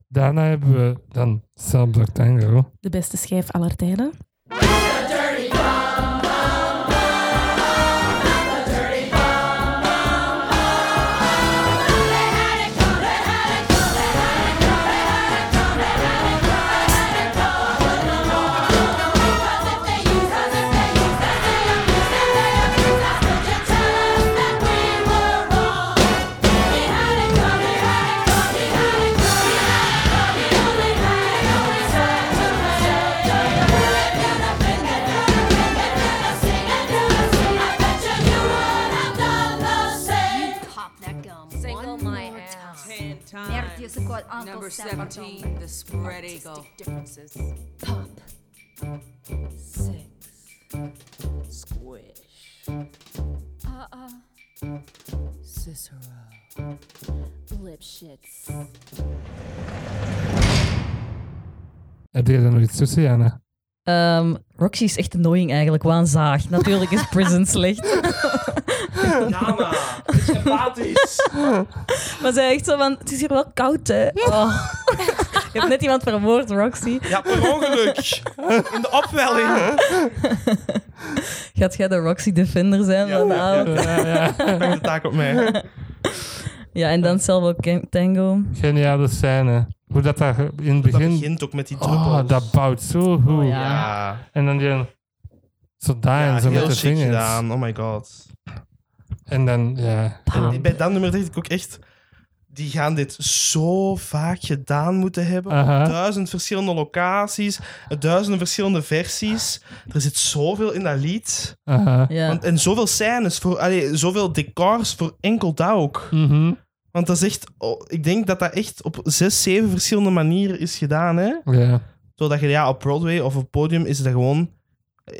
[SPEAKER 1] daarna hebben we dan Samba Tango.
[SPEAKER 3] De beste schijf aller tijden.
[SPEAKER 5] Cause if they use us, if they use us, they abuse us, they
[SPEAKER 6] way in time.
[SPEAKER 5] Bert used to call Uncle
[SPEAKER 6] Number
[SPEAKER 5] Sam
[SPEAKER 6] 17, the spread eagle.
[SPEAKER 5] Artistic differences. Pop. Six.
[SPEAKER 6] Squish.
[SPEAKER 5] Uh-uh.
[SPEAKER 6] Cicero.
[SPEAKER 5] Lipschitz.
[SPEAKER 1] Heb jij daar nog iets tussen, Jana?
[SPEAKER 2] Ehm, Roxy is echt annoying eigenlijk, waanzaag. Natuurlijk is Prison slecht.
[SPEAKER 4] Jana, dat is empathisch.
[SPEAKER 2] Maar zij echt zo van, het is hier wel koud, hè. Oh. Je hebt net iemand vermoord, Roxy.
[SPEAKER 4] Ja, per ongeluk. In de opwelling.
[SPEAKER 2] Gaat jij de Roxy Defender zijn
[SPEAKER 4] Ja.
[SPEAKER 2] van de avond?
[SPEAKER 1] Ja, ja.
[SPEAKER 4] Breng de taak op mij.
[SPEAKER 2] Ja, en dan Salvo Cam- Tango.
[SPEAKER 1] Geniale scène. Hoe dat daar in het
[SPEAKER 4] Dat
[SPEAKER 1] begin...
[SPEAKER 4] begint ook met die druppels.
[SPEAKER 1] oh, dat bouwt zo goed.
[SPEAKER 2] Oh, ja.
[SPEAKER 4] Ah, Ja,
[SPEAKER 1] En dan die... Zo daar
[SPEAKER 4] ja
[SPEAKER 1] en zo met
[SPEAKER 4] heel
[SPEAKER 1] de
[SPEAKER 4] chic
[SPEAKER 1] vingers.
[SPEAKER 4] gedaan. Oh my god.
[SPEAKER 1] En dan, ja...
[SPEAKER 2] Bam.
[SPEAKER 4] Bij dat nummer dacht ik ook echt... Die gaan dit zo vaak gedaan moeten hebben. op
[SPEAKER 1] Aha.
[SPEAKER 4] Duizend verschillende locaties. Duizenden verschillende versies. Er zit zoveel in dat lied.
[SPEAKER 1] Aha.
[SPEAKER 2] Ja.
[SPEAKER 4] Want, en zoveel scènes. Voor, allee, zoveel decors voor enkel dat ook.
[SPEAKER 1] Mhm.
[SPEAKER 4] Want dat is echt... oh, ik denk dat dat echt op zes, zeven verschillende manieren is gedaan, hè.
[SPEAKER 1] Ja.
[SPEAKER 4] Zodat je ja, op Broadway of op podium is dat gewoon...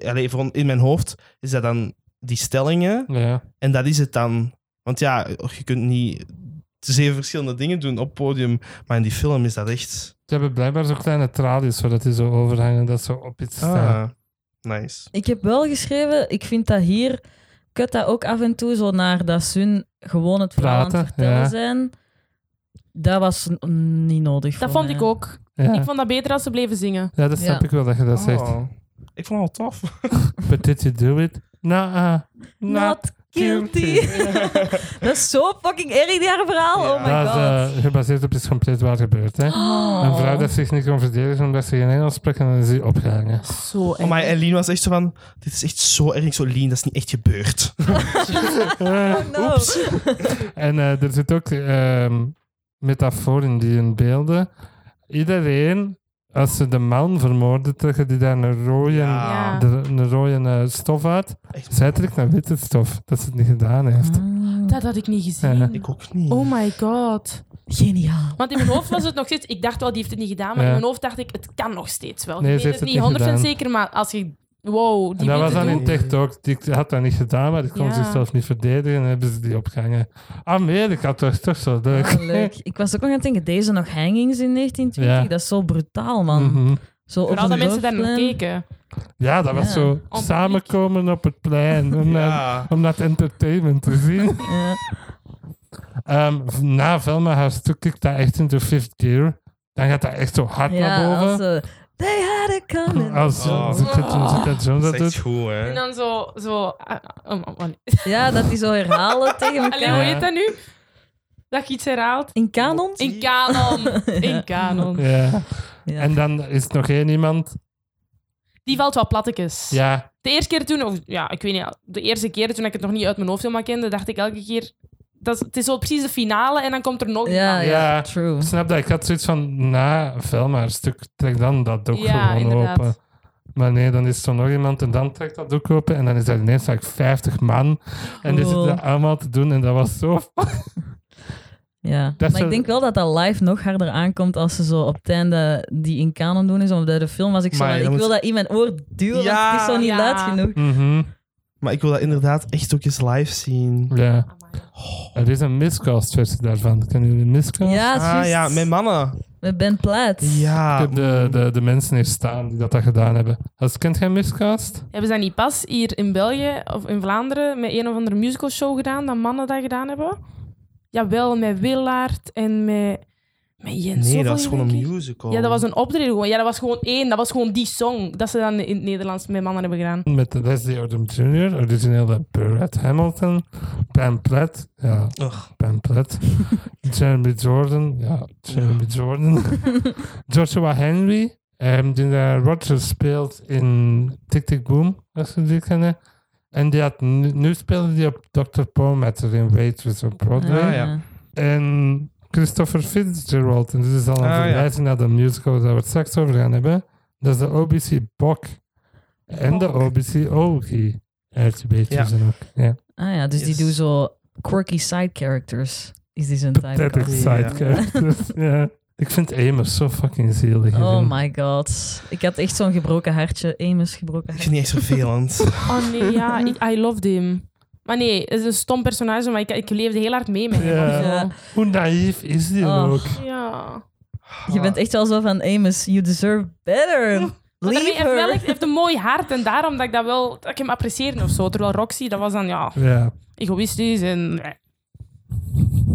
[SPEAKER 4] Allee, voor, in mijn hoofd is dat dan die stellingen.
[SPEAKER 1] Ja.
[SPEAKER 4] En dat is het dan. Want ja, je kunt niet zeven verschillende dingen doen op podium. Maar in die film is dat echt...
[SPEAKER 1] Ze hebben blijkbaar zo kleine tralies, zodat die zo overhangen, dat ze op iets staan.
[SPEAKER 4] Ah, nice.
[SPEAKER 2] Ik heb wel geschreven, ik vind dat hier, kut dat ook af en toe zo naar dat Sun gewoon het verhaal aan
[SPEAKER 1] Praten,
[SPEAKER 2] het vertellen
[SPEAKER 1] ja.
[SPEAKER 2] zijn. Dat was n- niet nodig.
[SPEAKER 3] Dat
[SPEAKER 2] voor
[SPEAKER 3] vond ik
[SPEAKER 2] mij.
[SPEAKER 3] ook.
[SPEAKER 1] Ja.
[SPEAKER 3] Ik vond dat beter als ze bleven zingen.
[SPEAKER 1] ja, dat snap
[SPEAKER 2] Ja.
[SPEAKER 1] ik wel dat je dat zegt.
[SPEAKER 4] Oh, ik vond het wel tof.
[SPEAKER 1] But did you do it? ah. Nah,
[SPEAKER 2] Not guilty. dat is zo fucking erg, die haar verhaal.
[SPEAKER 4] Ja.
[SPEAKER 2] Oh my
[SPEAKER 1] Dat is
[SPEAKER 2] god. Oh.
[SPEAKER 1] eh, gebaseerd op iets compleet waar gebeurd. Hè? Een vrouw dat zich niet kon verdedigen omdat ze geen Engels sprak en dan is die opgehangen.
[SPEAKER 3] Zo
[SPEAKER 4] Oh, maar Eline was echt zo van... Dit is echt zo erg. Ik Zo, Eline, dat is niet echt gebeurd.
[SPEAKER 1] Eh,
[SPEAKER 2] Oh no.
[SPEAKER 1] en eh, er zit ook ehm metafoor in die in beelden. Iedereen, als ze de man vermoorden, trekken die daar een rode,
[SPEAKER 4] Ja.
[SPEAKER 1] de- een rode eh, stof uit.
[SPEAKER 4] Echt,
[SPEAKER 1] Zij trekt naar witte stof, dat ze het niet gedaan heeft.
[SPEAKER 3] Dat had ik niet gezien.
[SPEAKER 1] Ja.
[SPEAKER 4] Ik ook niet.
[SPEAKER 3] Oh my god.
[SPEAKER 2] Geniaal.
[SPEAKER 3] Want in mijn hoofd was het nog steeds... Ik dacht wel, die heeft het niet gedaan. Maar
[SPEAKER 1] Ja.
[SPEAKER 3] in mijn hoofd dacht ik, het kan nog steeds wel.
[SPEAKER 1] Nee,
[SPEAKER 3] ik
[SPEAKER 1] ze
[SPEAKER 3] weet
[SPEAKER 1] heeft
[SPEAKER 3] het
[SPEAKER 1] het
[SPEAKER 3] niet
[SPEAKER 1] niet
[SPEAKER 3] 100%
[SPEAKER 1] gedaan.
[SPEAKER 3] zeker, maar als je... Wow,
[SPEAKER 1] En
[SPEAKER 3] die
[SPEAKER 1] dat was
[SPEAKER 3] witte
[SPEAKER 1] dan in
[SPEAKER 3] doek.
[SPEAKER 4] doel.
[SPEAKER 1] TikTok. Die had dat niet gedaan, maar die kon
[SPEAKER 3] Ja.
[SPEAKER 1] zichzelf niet verdedigen en hebben ze die opgehangen. Amerika, dat is toch zo leuk.
[SPEAKER 2] Oh, leuk. Ik was ook nog aan het denken, deze nog hangings in 1920,
[SPEAKER 1] Ja.
[SPEAKER 2] dat is zo brutaal, man.
[SPEAKER 1] Mhm.
[SPEAKER 2] Zo op
[SPEAKER 3] Vooral
[SPEAKER 2] een
[SPEAKER 3] dat mensen daar naar
[SPEAKER 2] dorpsplein.
[SPEAKER 3] keken.
[SPEAKER 1] Ja, dat was
[SPEAKER 2] Ja.
[SPEAKER 1] zo
[SPEAKER 3] publiek.
[SPEAKER 1] samenkomen op het plein om, dat,
[SPEAKER 4] Ja.
[SPEAKER 1] om dat entertainment te zien.
[SPEAKER 2] Ja.
[SPEAKER 1] Ehm, na Velma haar stuk kikt dat echt in de fifth gear. Dan gaat dat echt zo hard
[SPEAKER 2] Ja,
[SPEAKER 1] naar
[SPEAKER 2] als
[SPEAKER 1] boven. Ah.
[SPEAKER 2] ze... They had it coming.
[SPEAKER 1] Als
[SPEAKER 4] Oh.
[SPEAKER 1] Zeta Jones dat
[SPEAKER 4] Dat is echt
[SPEAKER 1] doet.
[SPEAKER 4] goed, hè.
[SPEAKER 3] En dan zo... zo ah, ah, oh, oh,
[SPEAKER 2] Ja, dat die zo herhalen tegen
[SPEAKER 3] Allee,
[SPEAKER 2] elkaar.
[SPEAKER 3] hoe heet dat nu? Dat je iets herhaalt?
[SPEAKER 2] In kanon?
[SPEAKER 3] In kanon. In kanon.
[SPEAKER 1] Ja.
[SPEAKER 2] Ja.
[SPEAKER 1] En dan is er nog één iemand.
[SPEAKER 3] Die valt wel plattekes.
[SPEAKER 1] Ja,
[SPEAKER 3] De eerste keer toen, of ja, ik weet niet, de eerste keer toen ik het nog niet uit mijn hoofd helemaal kende, dacht ik elke keer, dat is, het is zo precies de finale en dan komt er nog
[SPEAKER 2] ja, ja,
[SPEAKER 1] Ja.
[SPEAKER 2] true.
[SPEAKER 1] ik snap dat. Ik had zoiets van, na Velma haar stuk, trek dan dat ook
[SPEAKER 3] Ja,
[SPEAKER 1] gewoon
[SPEAKER 3] inderdaad.
[SPEAKER 1] open. Maar nee, dan is er nog iemand en dan trekt dat ook open. En dan is er ineens like 50 man. En die
[SPEAKER 2] Cool.
[SPEAKER 1] zitten dat allemaal te doen. En dat was zo
[SPEAKER 2] Ja.
[SPEAKER 1] Dat
[SPEAKER 2] maar
[SPEAKER 1] ze-
[SPEAKER 2] ik denk wel dat dat live nog harder aankomt als ze zo op het einde die in kanon doen is. Omdat bij de film was ik zo
[SPEAKER 4] Maar
[SPEAKER 2] van,
[SPEAKER 4] dan
[SPEAKER 2] ik
[SPEAKER 4] moet-
[SPEAKER 2] wil dat in mijn oor duwen,
[SPEAKER 4] Ja,
[SPEAKER 2] want het is zo niet
[SPEAKER 3] ja.
[SPEAKER 2] luid genoeg.
[SPEAKER 1] Mhm,
[SPEAKER 4] Maar ik wil dat inderdaad echt ook eens live zien.
[SPEAKER 1] ja.
[SPEAKER 2] Oh
[SPEAKER 1] Er is een miscast versie daarvan. Kennen jullie een miscast?
[SPEAKER 2] Ja, het is
[SPEAKER 4] Ah
[SPEAKER 2] juist
[SPEAKER 4] ja, met mannen.
[SPEAKER 2] met Ben Platt.
[SPEAKER 1] Ik
[SPEAKER 4] Ja.
[SPEAKER 1] heb de, de, de mensen hier staan die dat, dat gedaan hebben. Als kent geen miscast?
[SPEAKER 3] Hebben ze dat niet pas hier in België of in Vlaanderen met een of andere musicalshow gedaan, dat mannen dat gedaan hebben? Jawel, met Willaard en met, met Jens.
[SPEAKER 4] Nee,
[SPEAKER 3] Zoveel,
[SPEAKER 4] dat is gewoon
[SPEAKER 3] denk ik.
[SPEAKER 4] een musical.
[SPEAKER 3] Ja, dat was een optreden gewoon. Ja, dat was gewoon één. Dat was gewoon die song dat ze dan in het Nederlands met mannen hebben gedaan.
[SPEAKER 1] Met Leslie Odom Jr., originele Burrett Hamilton, Pam Platt, ja,
[SPEAKER 4] Ugh.
[SPEAKER 1] Pam Platt, Jeremy Jordan, ja, Jeremy Jordan, Joshua Henry, ehm, die daar Roger speelt in Tick Tick Boom, als jullie die kennen. En die had, nu, nu speelde die op Dr. Palmetter in Waitress op Broadway.
[SPEAKER 4] Ah, ja.
[SPEAKER 1] En Christopher Fitzgerald, en dit is al een
[SPEAKER 4] Ah, ja.
[SPEAKER 1] verwijzing naar de musical waar we het straks over gaan hebben. Dat is de OBC Bok. En de OBC Ogie. RTB
[SPEAKER 4] Ja.
[SPEAKER 1] tussen ook. Ja.
[SPEAKER 2] Ah ja, dus die
[SPEAKER 4] Yes.
[SPEAKER 2] doen zo quirky side characters. is die zijn
[SPEAKER 1] Pathetic
[SPEAKER 2] typecast.
[SPEAKER 4] Ja.
[SPEAKER 1] side characters. ja. Ik vind Amos zo fucking zielig.
[SPEAKER 2] Oh
[SPEAKER 1] hierin.
[SPEAKER 2] my god. Ik had echt zo'n gebroken hartje. Amos gebroken
[SPEAKER 4] Ik
[SPEAKER 2] hartje.
[SPEAKER 4] vind die echt vervelend.
[SPEAKER 3] Oh nee, ja, ik, I loved him. Maar nee, het is een stom personage, maar ik, ik leefde heel hard mee met hem.
[SPEAKER 1] Ja.
[SPEAKER 3] of zo.
[SPEAKER 2] Ja.
[SPEAKER 1] Hoe naïef is die
[SPEAKER 2] Oh.
[SPEAKER 1] ook?
[SPEAKER 3] ja.
[SPEAKER 2] Je bent echt wel zo van, Amos, you deserve better.
[SPEAKER 3] Maar daarmee
[SPEAKER 2] Leave
[SPEAKER 3] heeft wel
[SPEAKER 2] her.
[SPEAKER 3] echt, heeft een mooi hart en daarom dat ik dat wel dat ik hem apprecieerde of zo. Terwijl Roxy, dat was dan ja,
[SPEAKER 1] Ja.
[SPEAKER 3] egoïstisch en nee.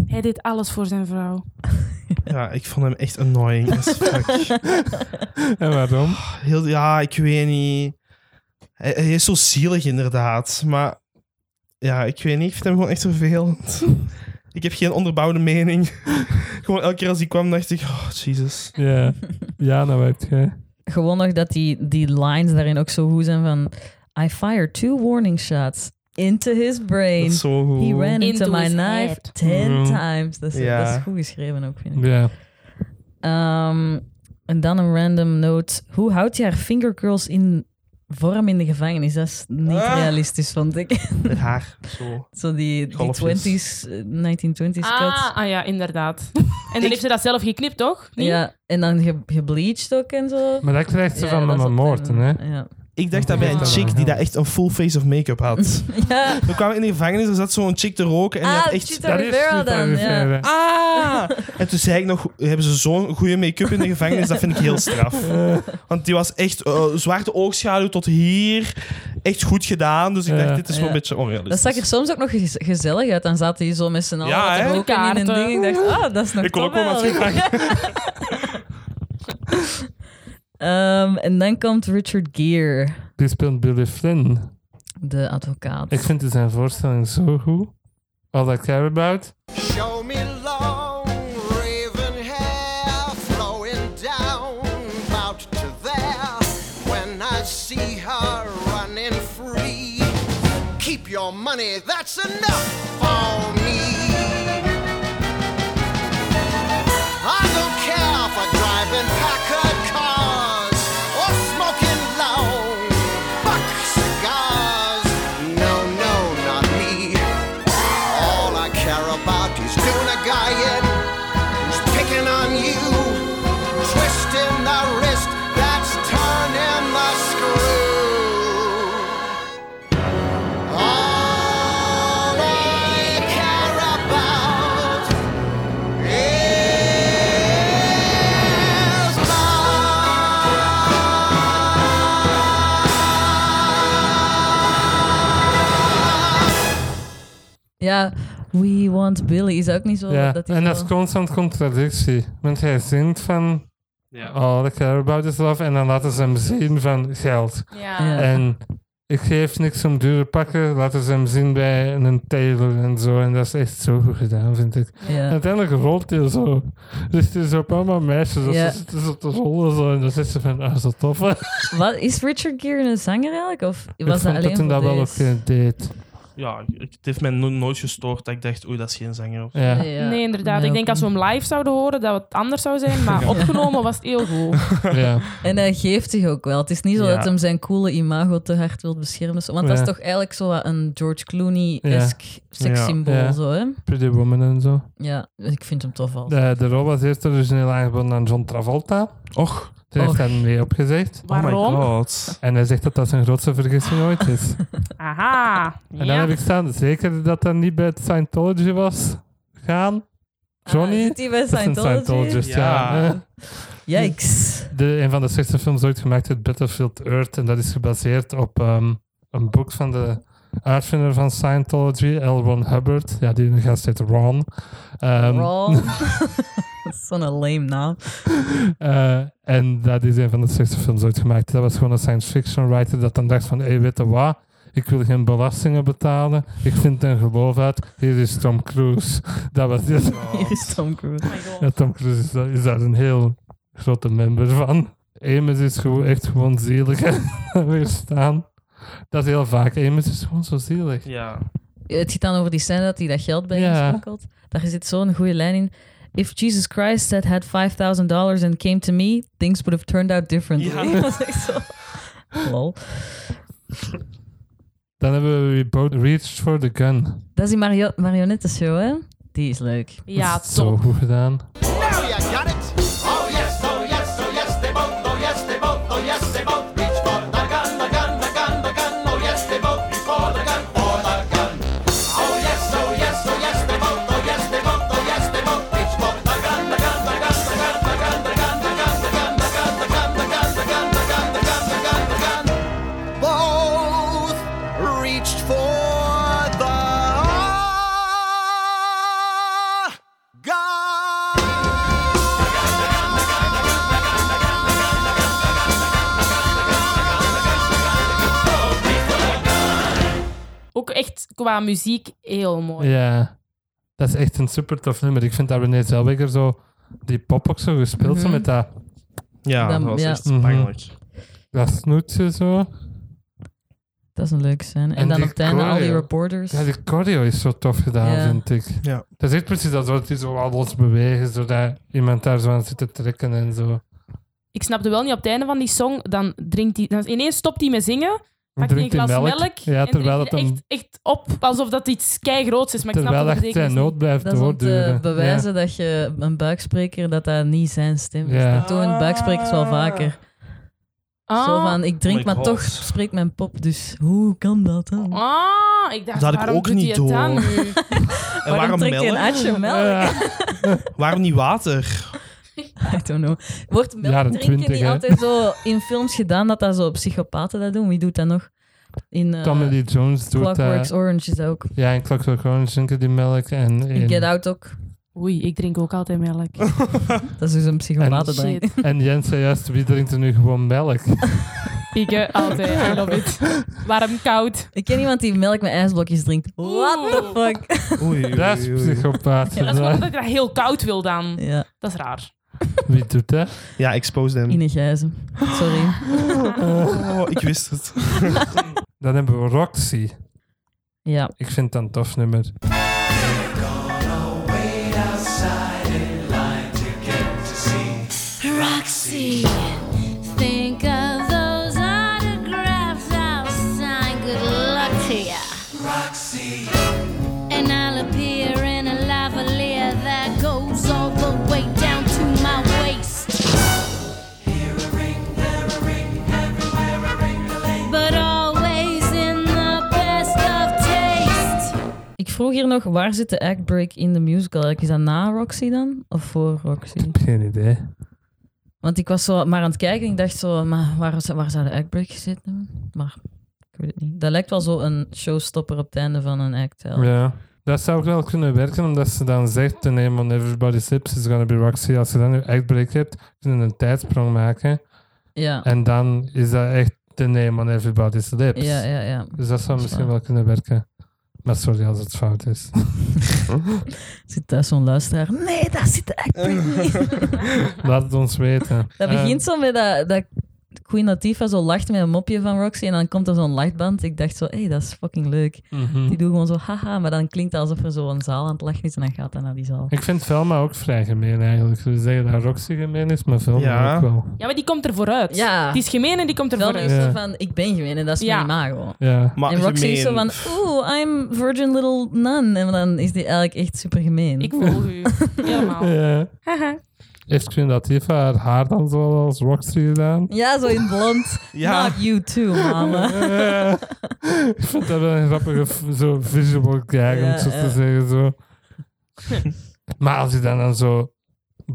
[SPEAKER 3] hij deed alles voor zijn vrouw.
[SPEAKER 4] Ja, ik vond hem echt annoying as fuck.
[SPEAKER 1] En waarom?
[SPEAKER 4] Heel, ja, ik weet niet. Hij, hij is zo zielig inderdaad, maar ja, ik weet niet. Ik vind hem gewoon echt vervelend. Ik heb geen onderbouwde mening. Gewoon elke keer als hij kwam, dacht ik, oh, Jesus.
[SPEAKER 1] Ja. nou Jana, wat heb jij?
[SPEAKER 2] Gewoon nog dat die, die lines daarin ook zo goed zijn van... I fired two warning shots into his
[SPEAKER 4] Dat
[SPEAKER 2] brain.
[SPEAKER 4] is zo goed.
[SPEAKER 2] He ran into,
[SPEAKER 3] Into
[SPEAKER 2] my
[SPEAKER 3] his
[SPEAKER 2] knife
[SPEAKER 3] head.
[SPEAKER 2] ten
[SPEAKER 1] Mm.
[SPEAKER 2] times. Dat is,
[SPEAKER 4] Ja.
[SPEAKER 2] dat is goed geschreven ook, vind ik.
[SPEAKER 1] Ja.
[SPEAKER 2] Ehm, en dan een random note. Hoe houdt je haar fingercurls in vorm in de gevangenis? Dat is niet
[SPEAKER 4] Ah.
[SPEAKER 2] realistisch, vond ik.
[SPEAKER 4] Met haar, zo.
[SPEAKER 2] Zo die, die
[SPEAKER 4] Golfjes.
[SPEAKER 2] 20s, eh, 1920s cut.
[SPEAKER 3] Ah, ah ja, inderdaad. En dan heeft ze dat zelf geknipt, toch? Niet?
[SPEAKER 2] Ja, en dan ge gebleached ook en zo.
[SPEAKER 1] Maar dat krijgt ze
[SPEAKER 2] Ja,
[SPEAKER 1] van
[SPEAKER 2] dat is
[SPEAKER 1] mama
[SPEAKER 2] op-
[SPEAKER 1] Morten, hè?
[SPEAKER 2] Ja.
[SPEAKER 4] Ik dacht dat bij een chick die daar echt een full face of make-up had.
[SPEAKER 2] ja.
[SPEAKER 4] We kwamen in de gevangenis, er zat zo'n chick te roken en die
[SPEAKER 2] Ah,
[SPEAKER 4] had echt...
[SPEAKER 2] Cheetah Rivera dan. Ja.
[SPEAKER 4] Ah! En toen zei ik nog, hebben ze zo'n goede make-up in de gevangenis? Dat vind ik heel straf. Want die was echt eh, zwarte oogschaduw tot hier. Echt goed gedaan. Dus ik
[SPEAKER 1] Ja.
[SPEAKER 4] dacht, dit is wel
[SPEAKER 2] Ja.
[SPEAKER 4] een beetje
[SPEAKER 2] Dat
[SPEAKER 4] onrealistisch.
[SPEAKER 2] zag er soms ook nog gez- gezellig uit. Dan zaten die zo met z'n allen
[SPEAKER 4] dus- Ja,
[SPEAKER 2] ja,
[SPEAKER 4] hè?
[SPEAKER 2] te roken in een
[SPEAKER 3] Kaarten.
[SPEAKER 2] ding. Ik dacht, ah, dat is nog
[SPEAKER 4] Ik kon
[SPEAKER 2] toch
[SPEAKER 4] ook wel wat
[SPEAKER 2] wel. Ehm, en dan komt Richard Gere,
[SPEAKER 1] Die speelt Billy Flynn.
[SPEAKER 2] de advocaat.
[SPEAKER 1] Ik vind zijn voorstelling zo goed. All I Care About.
[SPEAKER 7] Show me long raven hair flowing down about to there. When I see her running free, keep your money, that's enough for me. I don't care for driving Packard cars or smoking long buck cigars. No, no, not me. All I care about is doing a guy in who's picking on you, twisting the wrist that's turning the screw. All I care about is
[SPEAKER 2] Ja, We Want Billy is ook niet zo.
[SPEAKER 1] Ja.
[SPEAKER 2] Oh, Dat
[SPEAKER 1] En dat is
[SPEAKER 2] zo-
[SPEAKER 1] constant contradictie. Want hij zingt van... All I Care About is Love. En dan laten ze hem zien van geld.
[SPEAKER 2] Ja.
[SPEAKER 1] En ik geef niks om dure pakken. Laten ze hem zien bij een tailor en zo. En dat is echt zo goed gedaan, vind ik.
[SPEAKER 2] Ja.
[SPEAKER 1] En uiteindelijk rolt hij zo. Dus het is op allemaal meisjes. Dat
[SPEAKER 2] Ja.
[SPEAKER 1] ze zitten zo te rollen zo. En dan zit ze van, ah, zo tof. hè.
[SPEAKER 2] Wat, is Richard Gere een zanger eigenlijk? Of was
[SPEAKER 1] ik
[SPEAKER 2] dat
[SPEAKER 1] vond
[SPEAKER 2] alleen
[SPEAKER 1] dat
[SPEAKER 2] voor
[SPEAKER 1] toen dat wel
[SPEAKER 2] deze?
[SPEAKER 1] oké deed.
[SPEAKER 4] Ja, ik- het heeft mij no- nooit gestoord dat ik dacht, oei, dat is geen zanger. Of...
[SPEAKER 1] Ja.
[SPEAKER 2] Ja.
[SPEAKER 3] Nee, inderdaad.
[SPEAKER 2] Nee,
[SPEAKER 3] ik
[SPEAKER 2] ook
[SPEAKER 3] denk als we hem live zouden horen, dat het anders zou zijn. Maar opgenomen was het heel goed.
[SPEAKER 1] ja.
[SPEAKER 2] En hij geeft zich ook wel. Het is niet zo
[SPEAKER 4] Ja.
[SPEAKER 2] dat hem zijn coole imago te hard wil beschermen. zo- Want dat
[SPEAKER 1] Ja.
[SPEAKER 2] is toch eigenlijk zo wat een George Clooney-esk sekssymbool.
[SPEAKER 1] Ja. Ja.
[SPEAKER 2] Zo, hè?
[SPEAKER 1] Pretty Woman en zo.
[SPEAKER 2] ja, ik vind hem tof al.
[SPEAKER 1] De, de rol was eerst origineel aangeboden aan John Travolta.
[SPEAKER 4] Och,
[SPEAKER 1] Ze heeft
[SPEAKER 2] Och.
[SPEAKER 1] daar mee opgezegd.
[SPEAKER 4] oh my
[SPEAKER 3] Waarom?
[SPEAKER 4] god.
[SPEAKER 1] En hij zegt dat dat zijn grootste vergissing ooit is.
[SPEAKER 3] Aha.
[SPEAKER 1] En
[SPEAKER 3] ja.
[SPEAKER 1] dan heb ik staan, zeker dat dat niet bij het Scientology was gaan. Johnny?
[SPEAKER 2] Ah, zit hij bij
[SPEAKER 1] dat is een
[SPEAKER 2] Scientology?
[SPEAKER 1] Scientologist, ja.
[SPEAKER 4] Ja.
[SPEAKER 1] Eh,
[SPEAKER 2] Yikes.
[SPEAKER 1] De, een van de slechtste films ooit gemaakt uit Battlefield Earth. En dat is gebaseerd op ehm, een boek van de uitvinder van Scientology, L. Ron Hubbard. Ja, die gast heet Ron. Ehm,
[SPEAKER 2] Raw. Dat is Zo'n lame naam.
[SPEAKER 1] Eh, en dat is een van de slechtste films ooit gemaakt. Dat was gewoon een science fiction writer dat dan dacht van, hé, weet je wat? Ik wil geen belastingen betalen. Ik vind een geloof uit. Hier is Tom Cruise. Dat was dit.
[SPEAKER 2] Hier
[SPEAKER 1] Oh.
[SPEAKER 2] is Tom Cruise.
[SPEAKER 1] Ja, Tom Cruise is, daar- is daar een heel grote member van. Amos is gewoon echt gewoon zielig. en Weer staan. Dat is heel vaak. Amos is gewoon zo zielig.
[SPEAKER 4] Ja.
[SPEAKER 2] Het gaat dan over die scène dat hij dat geld bij
[SPEAKER 1] Ja.
[SPEAKER 2] hem smokkelt. Daar zit zo'n goede lijn in. If Jesus Christ had had $5,000 and came to me, things would have turned out differently.
[SPEAKER 4] Ja.
[SPEAKER 2] Dat is echt zo. Lol.
[SPEAKER 1] Dan hebben we We Both Reached for the Gun.
[SPEAKER 2] Dat is die mario marionettenshow, hè? Die is leuk.
[SPEAKER 3] Ja,
[SPEAKER 1] Zo
[SPEAKER 3] top.
[SPEAKER 1] goed gedaan.
[SPEAKER 7] Now you got it. Oh yes, oh yes, oh yes, they both, oh yes, they both, oh yes, they both reach for the gun, the gun, the gun, the gun. Oh yes, they both reach for the gun, for the gun. Oh yes, oh yes, oh yes, they both, oh yes, they both, oh yes, they both reach for the gun, the gun, the gun, the gun, the gun, the gun, the gun, the gun, the gun, the gun, the gun, the gun, the gun, the gun, the gun, the gun. Both reached for the gun.
[SPEAKER 3] Ook echt qua muziek heel mooi.
[SPEAKER 1] Ja, dat is echt een super tof nummer. Ik vind dat René Zellweger zo die pop ook zo gespeeld, zo
[SPEAKER 3] Mhm.
[SPEAKER 1] met dat,
[SPEAKER 4] Ja,
[SPEAKER 2] Dan-
[SPEAKER 4] dat was
[SPEAKER 2] ja.
[SPEAKER 4] echt
[SPEAKER 1] Mhm.
[SPEAKER 4] bangelijk.
[SPEAKER 1] dat snoetje zo.
[SPEAKER 2] Dat is een leuke scène. En,
[SPEAKER 1] En
[SPEAKER 2] dan
[SPEAKER 1] die
[SPEAKER 2] op het einde al die
[SPEAKER 1] choreo.
[SPEAKER 2] reporters.
[SPEAKER 1] Ja, die choreo is zo tof gedaan,
[SPEAKER 2] Ja.
[SPEAKER 1] vind ik.
[SPEAKER 4] Ja.
[SPEAKER 1] Dat is echt precies dat soort die zo al los bewegen, zodat iemand daar zo aan zit te trekken en zo.
[SPEAKER 3] Ik snapte wel niet op het einde van die song, dan drinkt hij... Dan ineens stopt hij met zingen, pakt hij een
[SPEAKER 1] Drinkt die
[SPEAKER 3] glas melk,
[SPEAKER 1] Ja,
[SPEAKER 3] en
[SPEAKER 1] terwijl
[SPEAKER 3] drinkt
[SPEAKER 1] dat hem-
[SPEAKER 3] echt, echt op, alsof dat iets kei groots is. Maar ik snap
[SPEAKER 1] terwijl
[SPEAKER 3] wat
[SPEAKER 1] dat
[SPEAKER 3] de
[SPEAKER 1] zijn
[SPEAKER 3] betekenis
[SPEAKER 1] nood blijft
[SPEAKER 2] Dat is om te
[SPEAKER 3] eh,
[SPEAKER 1] doorduren.
[SPEAKER 2] bewijzen dat je een buikspreker, dat dat niet zijn stem is.
[SPEAKER 1] Ja.
[SPEAKER 2] Dat doen buiksprekers wel vaker.
[SPEAKER 3] is. Ah,
[SPEAKER 2] Zo van, ik drink,
[SPEAKER 4] Oh my
[SPEAKER 2] maar toch
[SPEAKER 4] God.
[SPEAKER 2] spreekt mijn pop. Dus hoe kan dat dan?
[SPEAKER 3] ah, ik dacht,
[SPEAKER 4] Dat had ik
[SPEAKER 3] waarom
[SPEAKER 4] ook
[SPEAKER 3] doet
[SPEAKER 4] niet
[SPEAKER 3] hij het dan
[SPEAKER 4] door.
[SPEAKER 3] nu?
[SPEAKER 4] En Eh, waarom
[SPEAKER 2] trekt hij een
[SPEAKER 4] melk?
[SPEAKER 2] atje melk?
[SPEAKER 1] Ja.
[SPEAKER 4] Waarom niet water?
[SPEAKER 2] I don't know. Wordt melk
[SPEAKER 1] Jaren
[SPEAKER 2] drinken
[SPEAKER 1] 20,
[SPEAKER 2] niet
[SPEAKER 1] hè?
[SPEAKER 2] altijd zo in films gedaan dat dat zo psychopaten dat doen? Wie doet dat nog? In eh,
[SPEAKER 1] Tommy Lee Jones doet eh,
[SPEAKER 2] Clockworks
[SPEAKER 1] dat.
[SPEAKER 2] Orange is dat ook.
[SPEAKER 1] Ja, en Clockwork Orange drinken die melk. En
[SPEAKER 2] In
[SPEAKER 1] in,
[SPEAKER 2] Get Out ook.
[SPEAKER 3] Oei, ik drink ook altijd melk.
[SPEAKER 2] Dat is dus een psychopaten drink.
[SPEAKER 3] Shit.
[SPEAKER 1] en Jens zei juist, wie drinkt er nu gewoon melk?
[SPEAKER 3] Ik eh, altijd, I love it. Warm, koud.
[SPEAKER 2] Ik ken iemand die melk met ijsblokjes drinkt. What the fuck?
[SPEAKER 4] Oei, oei,
[SPEAKER 1] Dat is
[SPEAKER 4] oei, oei.
[SPEAKER 1] psychopaat.
[SPEAKER 3] Ja, dat is gewoon omdat ik dat heel koud wil dan.
[SPEAKER 2] Ja,
[SPEAKER 3] Dat is raar.
[SPEAKER 1] Wie doet dat?
[SPEAKER 4] Ja, exposed hem.
[SPEAKER 2] Ine Gijzen. Sorry.
[SPEAKER 4] Oh, ik wist het.
[SPEAKER 1] Dan hebben we Roxy.
[SPEAKER 2] Ja.
[SPEAKER 1] Ik vind dat een tof nummer.
[SPEAKER 5] Roxy, think of those autographs I'll sign. Good luck to ya. Roxy. And I'll appear in a lavalier that goes all the way down to my waist. Here a ring, there a ring, everywhere a ring, But always in the best of taste.
[SPEAKER 2] Ik vroeg hier nog, waar zit de act break in de musical? Is dat na Roxy dan? Of voor Roxy?
[SPEAKER 1] Geen idee.
[SPEAKER 2] Want ik was zo maar aan het kijken. Ik dacht zo, maar waar, zou- waar zou de act break zitten? Maar ik weet het niet. Dat lijkt wel zo een showstopper op het einde van een act. wel.
[SPEAKER 1] Ja. Dat zou ook wel kunnen werken, omdat ze dan zegt: The name on everybody slips is gonna be Roxy. Als je dan nu echt break hebt, kunnen een tijdsprong maken.
[SPEAKER 2] Ja.
[SPEAKER 1] En dan is dat echt The name on everybody slips.
[SPEAKER 2] Ja, ja, ja.
[SPEAKER 1] Dus dat zou
[SPEAKER 2] is
[SPEAKER 1] misschien
[SPEAKER 2] waar.
[SPEAKER 1] wel kunnen werken. Maar sorry als het fout is.
[SPEAKER 2] Zit daar zo'n luisteraar? Nee, daar zit de act break niet.
[SPEAKER 1] Laat het ons weten.
[SPEAKER 2] Eh, Dat begint zo met dat, dat Queen Latifah zo lacht met een mopje van Roxy en dan komt er zo'n lachband. Ik dacht zo, hé, hey, dat is fucking leuk.
[SPEAKER 1] Mhm.
[SPEAKER 2] Die doen gewoon zo, haha, maar dan klinkt het alsof er zo een zaal aan het lachen is en dan gaat dat naar die zaal.
[SPEAKER 1] Ik vind Velma ook vrij gemeen eigenlijk. Ze zeggen dat Roxy gemeen is, maar Velma
[SPEAKER 4] Ja.
[SPEAKER 1] ook wel.
[SPEAKER 3] Ja, maar die komt er vooruit.
[SPEAKER 2] Ja.
[SPEAKER 3] Die is gemeen en die komt er
[SPEAKER 2] Wel
[SPEAKER 3] vooruit.
[SPEAKER 2] is zo
[SPEAKER 1] Ja.
[SPEAKER 2] van, ik ben gemeen en dat is
[SPEAKER 3] Ja.
[SPEAKER 2] mijn imago.
[SPEAKER 1] Ja.
[SPEAKER 4] Maar
[SPEAKER 2] en Roxy
[SPEAKER 4] gemeen.
[SPEAKER 2] is zo van, oeh, I'm virgin little nun. En dan is die eigenlijk echt super gemeen.
[SPEAKER 3] Ik volg u. Helemaal.
[SPEAKER 1] Ja.
[SPEAKER 3] Haha.
[SPEAKER 1] Heeft Queen Latifah haar haar dan zo als Roxy gedaan?
[SPEAKER 2] Ja, zo in blond.
[SPEAKER 4] Ja.
[SPEAKER 2] Not you too, mama.
[SPEAKER 1] Eh, ik vind dat wel een grappige v- zo visual gag, om
[SPEAKER 2] Ja,
[SPEAKER 1] het zo
[SPEAKER 2] ja.
[SPEAKER 1] te zeggen. Zo. maar als je dan, dan zo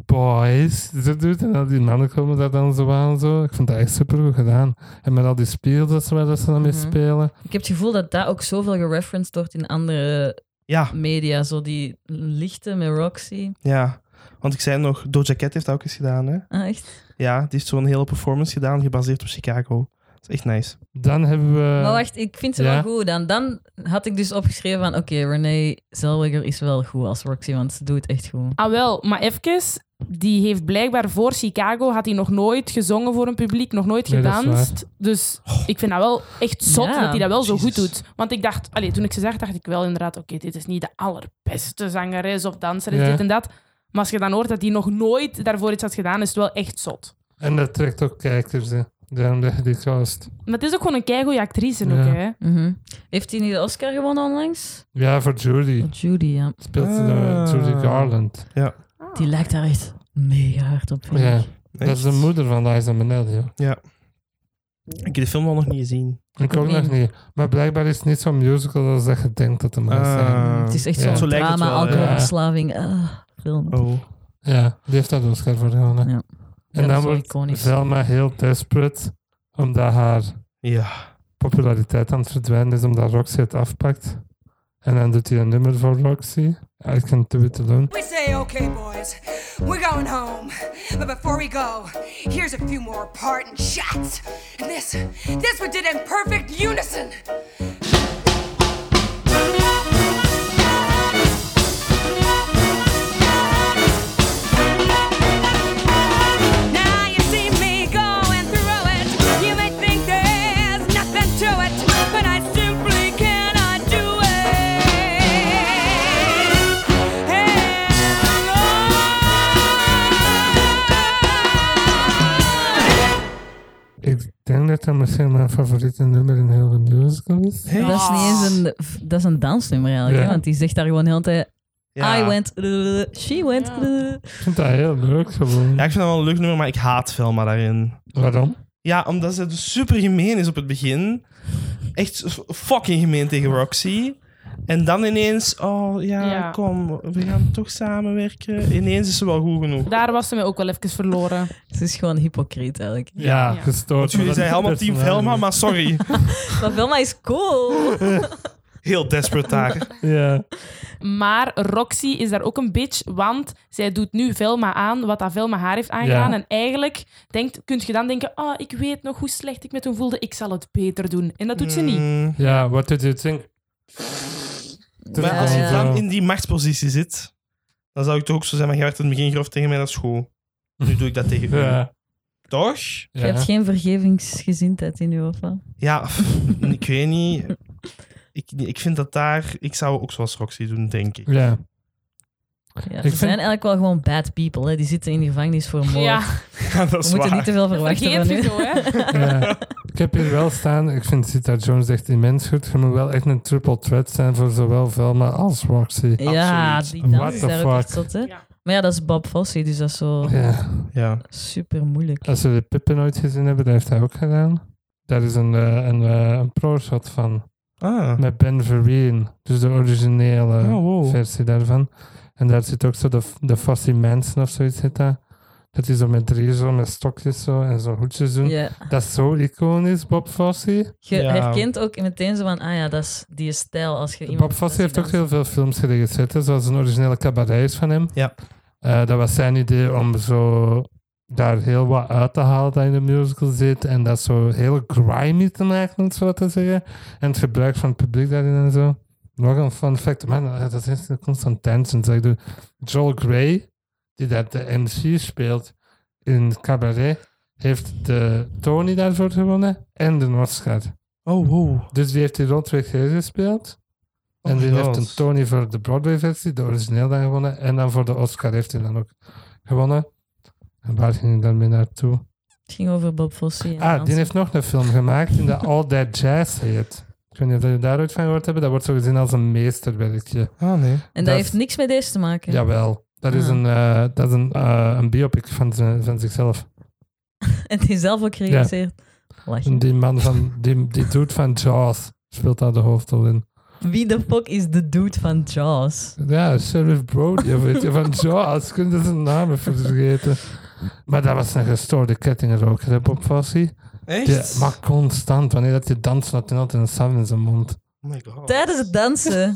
[SPEAKER 1] boys zo doet en dan die mannen komen daar dan zo aan, zo. ik vind dat echt super goed gedaan. En met al die spiegels dat ze, waar dat ze dan mee
[SPEAKER 2] Mhm.
[SPEAKER 1] spelen.
[SPEAKER 2] Ik heb het gevoel dat dat ook zoveel gereferenced wordt in andere
[SPEAKER 4] Ja,
[SPEAKER 2] media. Zo die lichten met Roxy.
[SPEAKER 4] ja. Want ik zei nog, Doja Cat heeft dat ook eens gedaan, hè?
[SPEAKER 2] Ah, echt?
[SPEAKER 4] Ja, die heeft zo'n hele performance gedaan, gebaseerd op Chicago. Dat is echt nice.
[SPEAKER 1] Dan hebben we.
[SPEAKER 2] maar wacht, ik vind ze
[SPEAKER 1] ja.
[SPEAKER 2] wel goed. Dan, dan had ik dus opgeschreven van, oké, Renee Zellweger is wel goed als Roxy, want ze doet het echt goed.
[SPEAKER 3] Ah wel, maar even, die heeft blijkbaar voor Chicago had hij nog nooit gezongen voor een publiek, nog nooit
[SPEAKER 1] Nee, dat is Oh.
[SPEAKER 3] gedanst. Dus ik vind dat wel echt zot
[SPEAKER 2] Ja.
[SPEAKER 3] dat hij dat wel zo
[SPEAKER 4] Jezus.
[SPEAKER 3] goed doet. Want ik dacht, allee, toen ik ze zag, dacht ik wel inderdaad, oké, dit is niet de allerbeste zangeres of danseres,
[SPEAKER 1] Ja.
[SPEAKER 3] dit en dat. Maar als je dan hoort dat hij nog nooit daarvoor iets had gedaan, is het wel echt zot.
[SPEAKER 1] En dat trekt ook kijkers. Hè. Daarom dat je dit cast.
[SPEAKER 3] Maar het is ook gewoon een keigoeie actrice ook,
[SPEAKER 1] Ja.
[SPEAKER 3] hè.
[SPEAKER 2] Mhm. Heeft hij niet de Oscar gewonnen onlangs?
[SPEAKER 1] Ja, voor Judy.
[SPEAKER 2] Oh, Judy, ja.
[SPEAKER 1] Speelt ze de-
[SPEAKER 4] Ah.
[SPEAKER 1] Judy Garland.
[SPEAKER 2] Die lijkt daar echt mega hard op. vind
[SPEAKER 1] Ja.
[SPEAKER 2] ik.
[SPEAKER 1] Dat is de moeder van Liza Minnelli. hoor.
[SPEAKER 4] Ik heb de film al nog niet gezien.
[SPEAKER 1] Ik ook nog niet. Maar blijkbaar is het niet zo'n musical als dat je denkt dat het moet zijn.
[SPEAKER 4] Ah.
[SPEAKER 2] Het is echt
[SPEAKER 1] Ja.
[SPEAKER 2] zo'n
[SPEAKER 1] Zo
[SPEAKER 4] lijkt het
[SPEAKER 2] drama,
[SPEAKER 4] wel, ja.
[SPEAKER 2] alcoholverslaving. ah, film.
[SPEAKER 4] Oh.
[SPEAKER 1] Ja, die heeft dat Oscar voor gewonnen.
[SPEAKER 2] Ja.
[SPEAKER 1] En dan
[SPEAKER 2] dat is wel
[SPEAKER 1] wordt
[SPEAKER 2] iconisch.
[SPEAKER 1] Zelma heel desperate omdat haar
[SPEAKER 4] Ja.
[SPEAKER 1] populariteit aan het verdwijnen is, omdat Roxy het afpakt. En dan doet hij een nummer voor Roxy. I can do it alone.
[SPEAKER 8] We say, okay, boys, we're going home. But before we go, here's a few more parting shots. And this, this we did in perfect unison. Now you see me going through it. You may think there's nothing to it, but I simply cannot do it. Hang on.
[SPEAKER 1] Ik denk dat dat misschien mijn favoriete nummer in heel de musical is.
[SPEAKER 2] Dat is niet eens een, dat is een dansnummer eigenlijk,
[SPEAKER 1] Ja.
[SPEAKER 2] hè, want die zegt daar gewoon heel de hele tijd,
[SPEAKER 4] Ja.
[SPEAKER 2] I went, uh, she went. uh.
[SPEAKER 1] Ik vind dat heel leuk gewoon.
[SPEAKER 4] Ja, ik vind dat wel een leuk nummer, maar ik haat Velma daarin.
[SPEAKER 1] Waarom?
[SPEAKER 4] Ja, omdat ze dus super gemeen is op het begin. Echt fucking gemeen tegen Roxy. En dan ineens, oh ja,
[SPEAKER 3] Ja.
[SPEAKER 4] kom, we gaan toch samenwerken. Ineens is ze wel goed genoeg.
[SPEAKER 3] Daar was ze mij ook wel even verloren.
[SPEAKER 2] Ze is gewoon hypocriet eigenlijk.
[SPEAKER 1] Ja,
[SPEAKER 3] Ja.
[SPEAKER 1] gestoord.
[SPEAKER 4] Want jullie zijn helemaal team Velma, maar sorry.
[SPEAKER 2] Maar Velma is cool.
[SPEAKER 4] Heel desperate daar.
[SPEAKER 1] Ja.
[SPEAKER 3] Maar Roxy is daar ook een bitch, want zij doet nu Velma aan wat dat Velma haar heeft aangedaan.
[SPEAKER 1] Ja.
[SPEAKER 3] En eigenlijk denkt, kun je dan denken, oh, ik weet nog hoe slecht ik me toen voelde, ik zal het beter doen. En dat doet ze niet.
[SPEAKER 4] Mm.
[SPEAKER 1] ja, what did you think?
[SPEAKER 4] Maar
[SPEAKER 2] Ja,
[SPEAKER 4] als je
[SPEAKER 2] ja.
[SPEAKER 4] dan in die machtspositie zit, dan zou ik toch ook zo zijn, maar je werd in het begin grof tegen mij, dat is goed. Nu doe ik dat tegen u.
[SPEAKER 1] Ja.
[SPEAKER 4] Toch?
[SPEAKER 2] Je hebt
[SPEAKER 1] Ja.
[SPEAKER 2] geen vergevingsgezindheid in je hoofd. hè?
[SPEAKER 4] Ja, pff, ik weet niet. Ik, ik vind dat daar... Ik zou ook zoals Roxy doen, denk ik.
[SPEAKER 1] Ja.
[SPEAKER 2] Ja, ze
[SPEAKER 1] vind-
[SPEAKER 2] zijn eigenlijk wel gewoon bad people. Hè. Die zitten in de gevangenis voor moord.
[SPEAKER 3] Ja,
[SPEAKER 4] Ja, dat
[SPEAKER 2] We
[SPEAKER 4] is
[SPEAKER 2] moeten
[SPEAKER 4] waar.
[SPEAKER 2] niet te veel verwachten
[SPEAKER 3] vergeet
[SPEAKER 2] van
[SPEAKER 3] je
[SPEAKER 2] u.
[SPEAKER 3] zo, hè.
[SPEAKER 1] Ja. Ik heb hier wel staan, ik vind Zita Jones echt immens goed. Je moet wel echt een triple threat zijn voor zowel Velma als Roxy.
[SPEAKER 2] Ja,
[SPEAKER 4] Absoluut.
[SPEAKER 2] die dans
[SPEAKER 1] What
[SPEAKER 2] is
[SPEAKER 1] the
[SPEAKER 2] daar ook echt
[SPEAKER 1] fuck?
[SPEAKER 2] zot, hè.
[SPEAKER 3] Ja.
[SPEAKER 2] Maar ja, dat is Bob Fosse, dus dat is zo
[SPEAKER 1] Ja.
[SPEAKER 4] Ja.
[SPEAKER 2] super moeilijk.
[SPEAKER 1] Als we de Pippen nooit gezien hebben, dat heeft hij ook gedaan. Daar is een, eh, een, eh, een pro-shot van.
[SPEAKER 4] Ah.
[SPEAKER 1] Met Ben Verween. Dus de originele
[SPEAKER 4] Oh, wow.
[SPEAKER 1] versie daarvan. En daar zit ook zo de, de Fossey Manson of zoiets zit dat. Dat die zo met drie zo met stokjes zo en zo hoedjes doen.
[SPEAKER 2] Ja.
[SPEAKER 1] Dat is zo iconisch, Bob Fosse.
[SPEAKER 2] Je
[SPEAKER 4] Ja.
[SPEAKER 2] herkent ook meteen zo van, ah ja, dat is die stijl. Als je iemand
[SPEAKER 1] Bob Fosse heeft ook heel veel films geregisseerd, hè, zoals een originele cabaret is van hem.
[SPEAKER 4] Ja.
[SPEAKER 1] Eh, dat was zijn idee om zo daar heel wat uit te halen dat in de musical zit en dat zo heel grimy te maken, om het zo te zeggen. En het gebruik van het publiek daarin en zo. Nog een fun fact, man, eh, dat is echt constant tangent. Ik doe Joel Grey, die dat de MC speelt in Cabaret, heeft de Tony daarvoor gewonnen en de Oscar.
[SPEAKER 4] Oh, wow.
[SPEAKER 1] Dus die heeft die rondweg gespeeld.
[SPEAKER 4] Oh
[SPEAKER 1] en die
[SPEAKER 4] my
[SPEAKER 1] heeft
[SPEAKER 4] God.
[SPEAKER 1] een Tony voor de Broadway-versie, de origineel dan gewonnen. En dan voor de Oscar heeft hij dan ook gewonnen. En waar ging hij dan mee naartoe?
[SPEAKER 2] Het ging over Bob Fosse. en
[SPEAKER 1] Ah, die
[SPEAKER 2] dansen.
[SPEAKER 1] heeft nog een film gemaakt in de All That Jazz heet. Ik weet niet of jullie daar ooit van gehoord hebben. Dat wordt zo gezien als een meesterwerkje.
[SPEAKER 4] Ah, nee.
[SPEAKER 2] En dat,
[SPEAKER 1] dat-
[SPEAKER 2] heeft niks met deze te maken.
[SPEAKER 1] Jawel. Dat is,
[SPEAKER 2] Ah.
[SPEAKER 1] een, eh, dat is een, eh, een biopic van, zijn- van zichzelf.
[SPEAKER 2] En die is zelf ook gerealiseerd.
[SPEAKER 1] En die man van, die, die dude van Jaws speelt daar de hoofdrol in.
[SPEAKER 2] Wie de fuck is de dude van Jaws?
[SPEAKER 1] Ja, Sheriff Brody, of weet je, van Jaws. Ik kunnen zijn naam even vergeten. Maar dat was een gestoorde kettingroker, hè, Bob Fosse. Die,
[SPEAKER 4] Echt?
[SPEAKER 1] maar constant, wanneer dat je danst, had hij altijd een sap in zijn mond.
[SPEAKER 4] Oh my god.
[SPEAKER 2] Tijdens het dansen.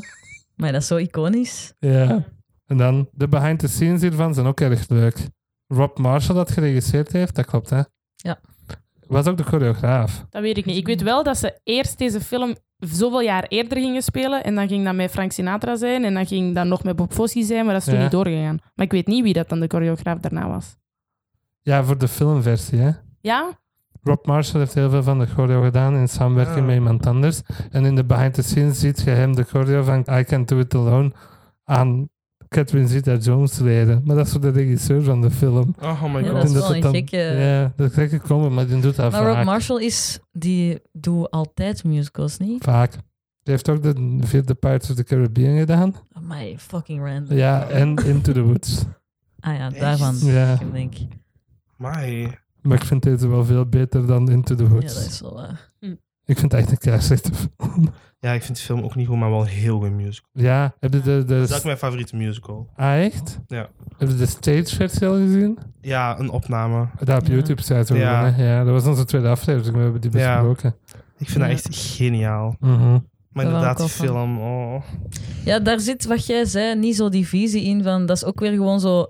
[SPEAKER 2] maar dat is zo iconisch.
[SPEAKER 1] Ja. En dan, de behind the scenes hiervan zijn ook erg leuk. Rob Marshall dat geregisseerd heeft, dat klopt, hè?
[SPEAKER 2] Ja.
[SPEAKER 1] Was ook de choreograaf.
[SPEAKER 3] Dat weet ik niet. Ik weet wel dat ze eerst deze film zoveel jaar eerder gingen spelen. En dan ging dat met Frank Sinatra zijn. En dan ging dat nog met Bob Fosse zijn. Maar dat is toen
[SPEAKER 1] Ja.
[SPEAKER 3] niet doorgegaan. Maar ik weet niet wie dat dan de choreograaf daarna was.
[SPEAKER 1] Ja, voor de filmversie, hè?
[SPEAKER 3] Ja?
[SPEAKER 1] Rob Marshall heeft heel veel van de choreo gedaan in samenwerking
[SPEAKER 4] Ah.
[SPEAKER 1] met iemand anders. En in de behind the scenes ziet je hem de choreo van I Can Do It Alone aan Catherine Zeta-Jones leren. Maar dat is voor de regisseur van de film.
[SPEAKER 4] Oh my
[SPEAKER 2] Ja,
[SPEAKER 1] Ik
[SPEAKER 2] dat
[SPEAKER 1] denk
[SPEAKER 2] is
[SPEAKER 4] god.
[SPEAKER 2] wel een gekke-
[SPEAKER 1] Ja, dat is een gekke combo, maar die doet dat
[SPEAKER 2] Maar Rob
[SPEAKER 1] vaak.
[SPEAKER 2] Marshall is, die doet altijd musicals, niet?
[SPEAKER 1] Vaak. Die heeft ook de vierde Pirates of the Caribbean gedaan.
[SPEAKER 2] Oh, My fucking random.
[SPEAKER 1] Ja, en Into the Woods.
[SPEAKER 2] Ah ja,
[SPEAKER 4] Echt?
[SPEAKER 2] daarvan.
[SPEAKER 1] Ja.
[SPEAKER 2] Ik denk, ja,
[SPEAKER 4] Amai.
[SPEAKER 1] Maar ik vind deze wel veel beter dan Into the Woods.
[SPEAKER 2] dat is wel waar.
[SPEAKER 1] Ik vind het echt een keer slechte film.
[SPEAKER 4] Ja, ik vind de film ook niet goed, maar wel een heel goed musical.
[SPEAKER 1] Ja, heb je de...
[SPEAKER 4] Dat is ook
[SPEAKER 1] de
[SPEAKER 4] mijn favoriete musical.
[SPEAKER 1] ah, echt?
[SPEAKER 4] Ja.
[SPEAKER 1] Heb je de stage versie al gezien?
[SPEAKER 4] Ja, een opname.
[SPEAKER 1] Daar op
[SPEAKER 2] Ja.
[SPEAKER 1] YouTube staat over,
[SPEAKER 4] Ja.
[SPEAKER 1] hè? ja, dat was onze tweede aflevering, we hebben die
[SPEAKER 4] Ja.
[SPEAKER 1] besproken.
[SPEAKER 4] Ik vind dat echt geniaal.
[SPEAKER 1] Mhm.
[SPEAKER 4] Maar
[SPEAKER 2] Daar wou
[SPEAKER 4] inderdaad,
[SPEAKER 2] ik
[SPEAKER 4] die
[SPEAKER 2] al van.
[SPEAKER 4] film. Oh.
[SPEAKER 2] Ja, daar zit wat jij zei, niet zo die visie in van, dat is ook weer gewoon zo...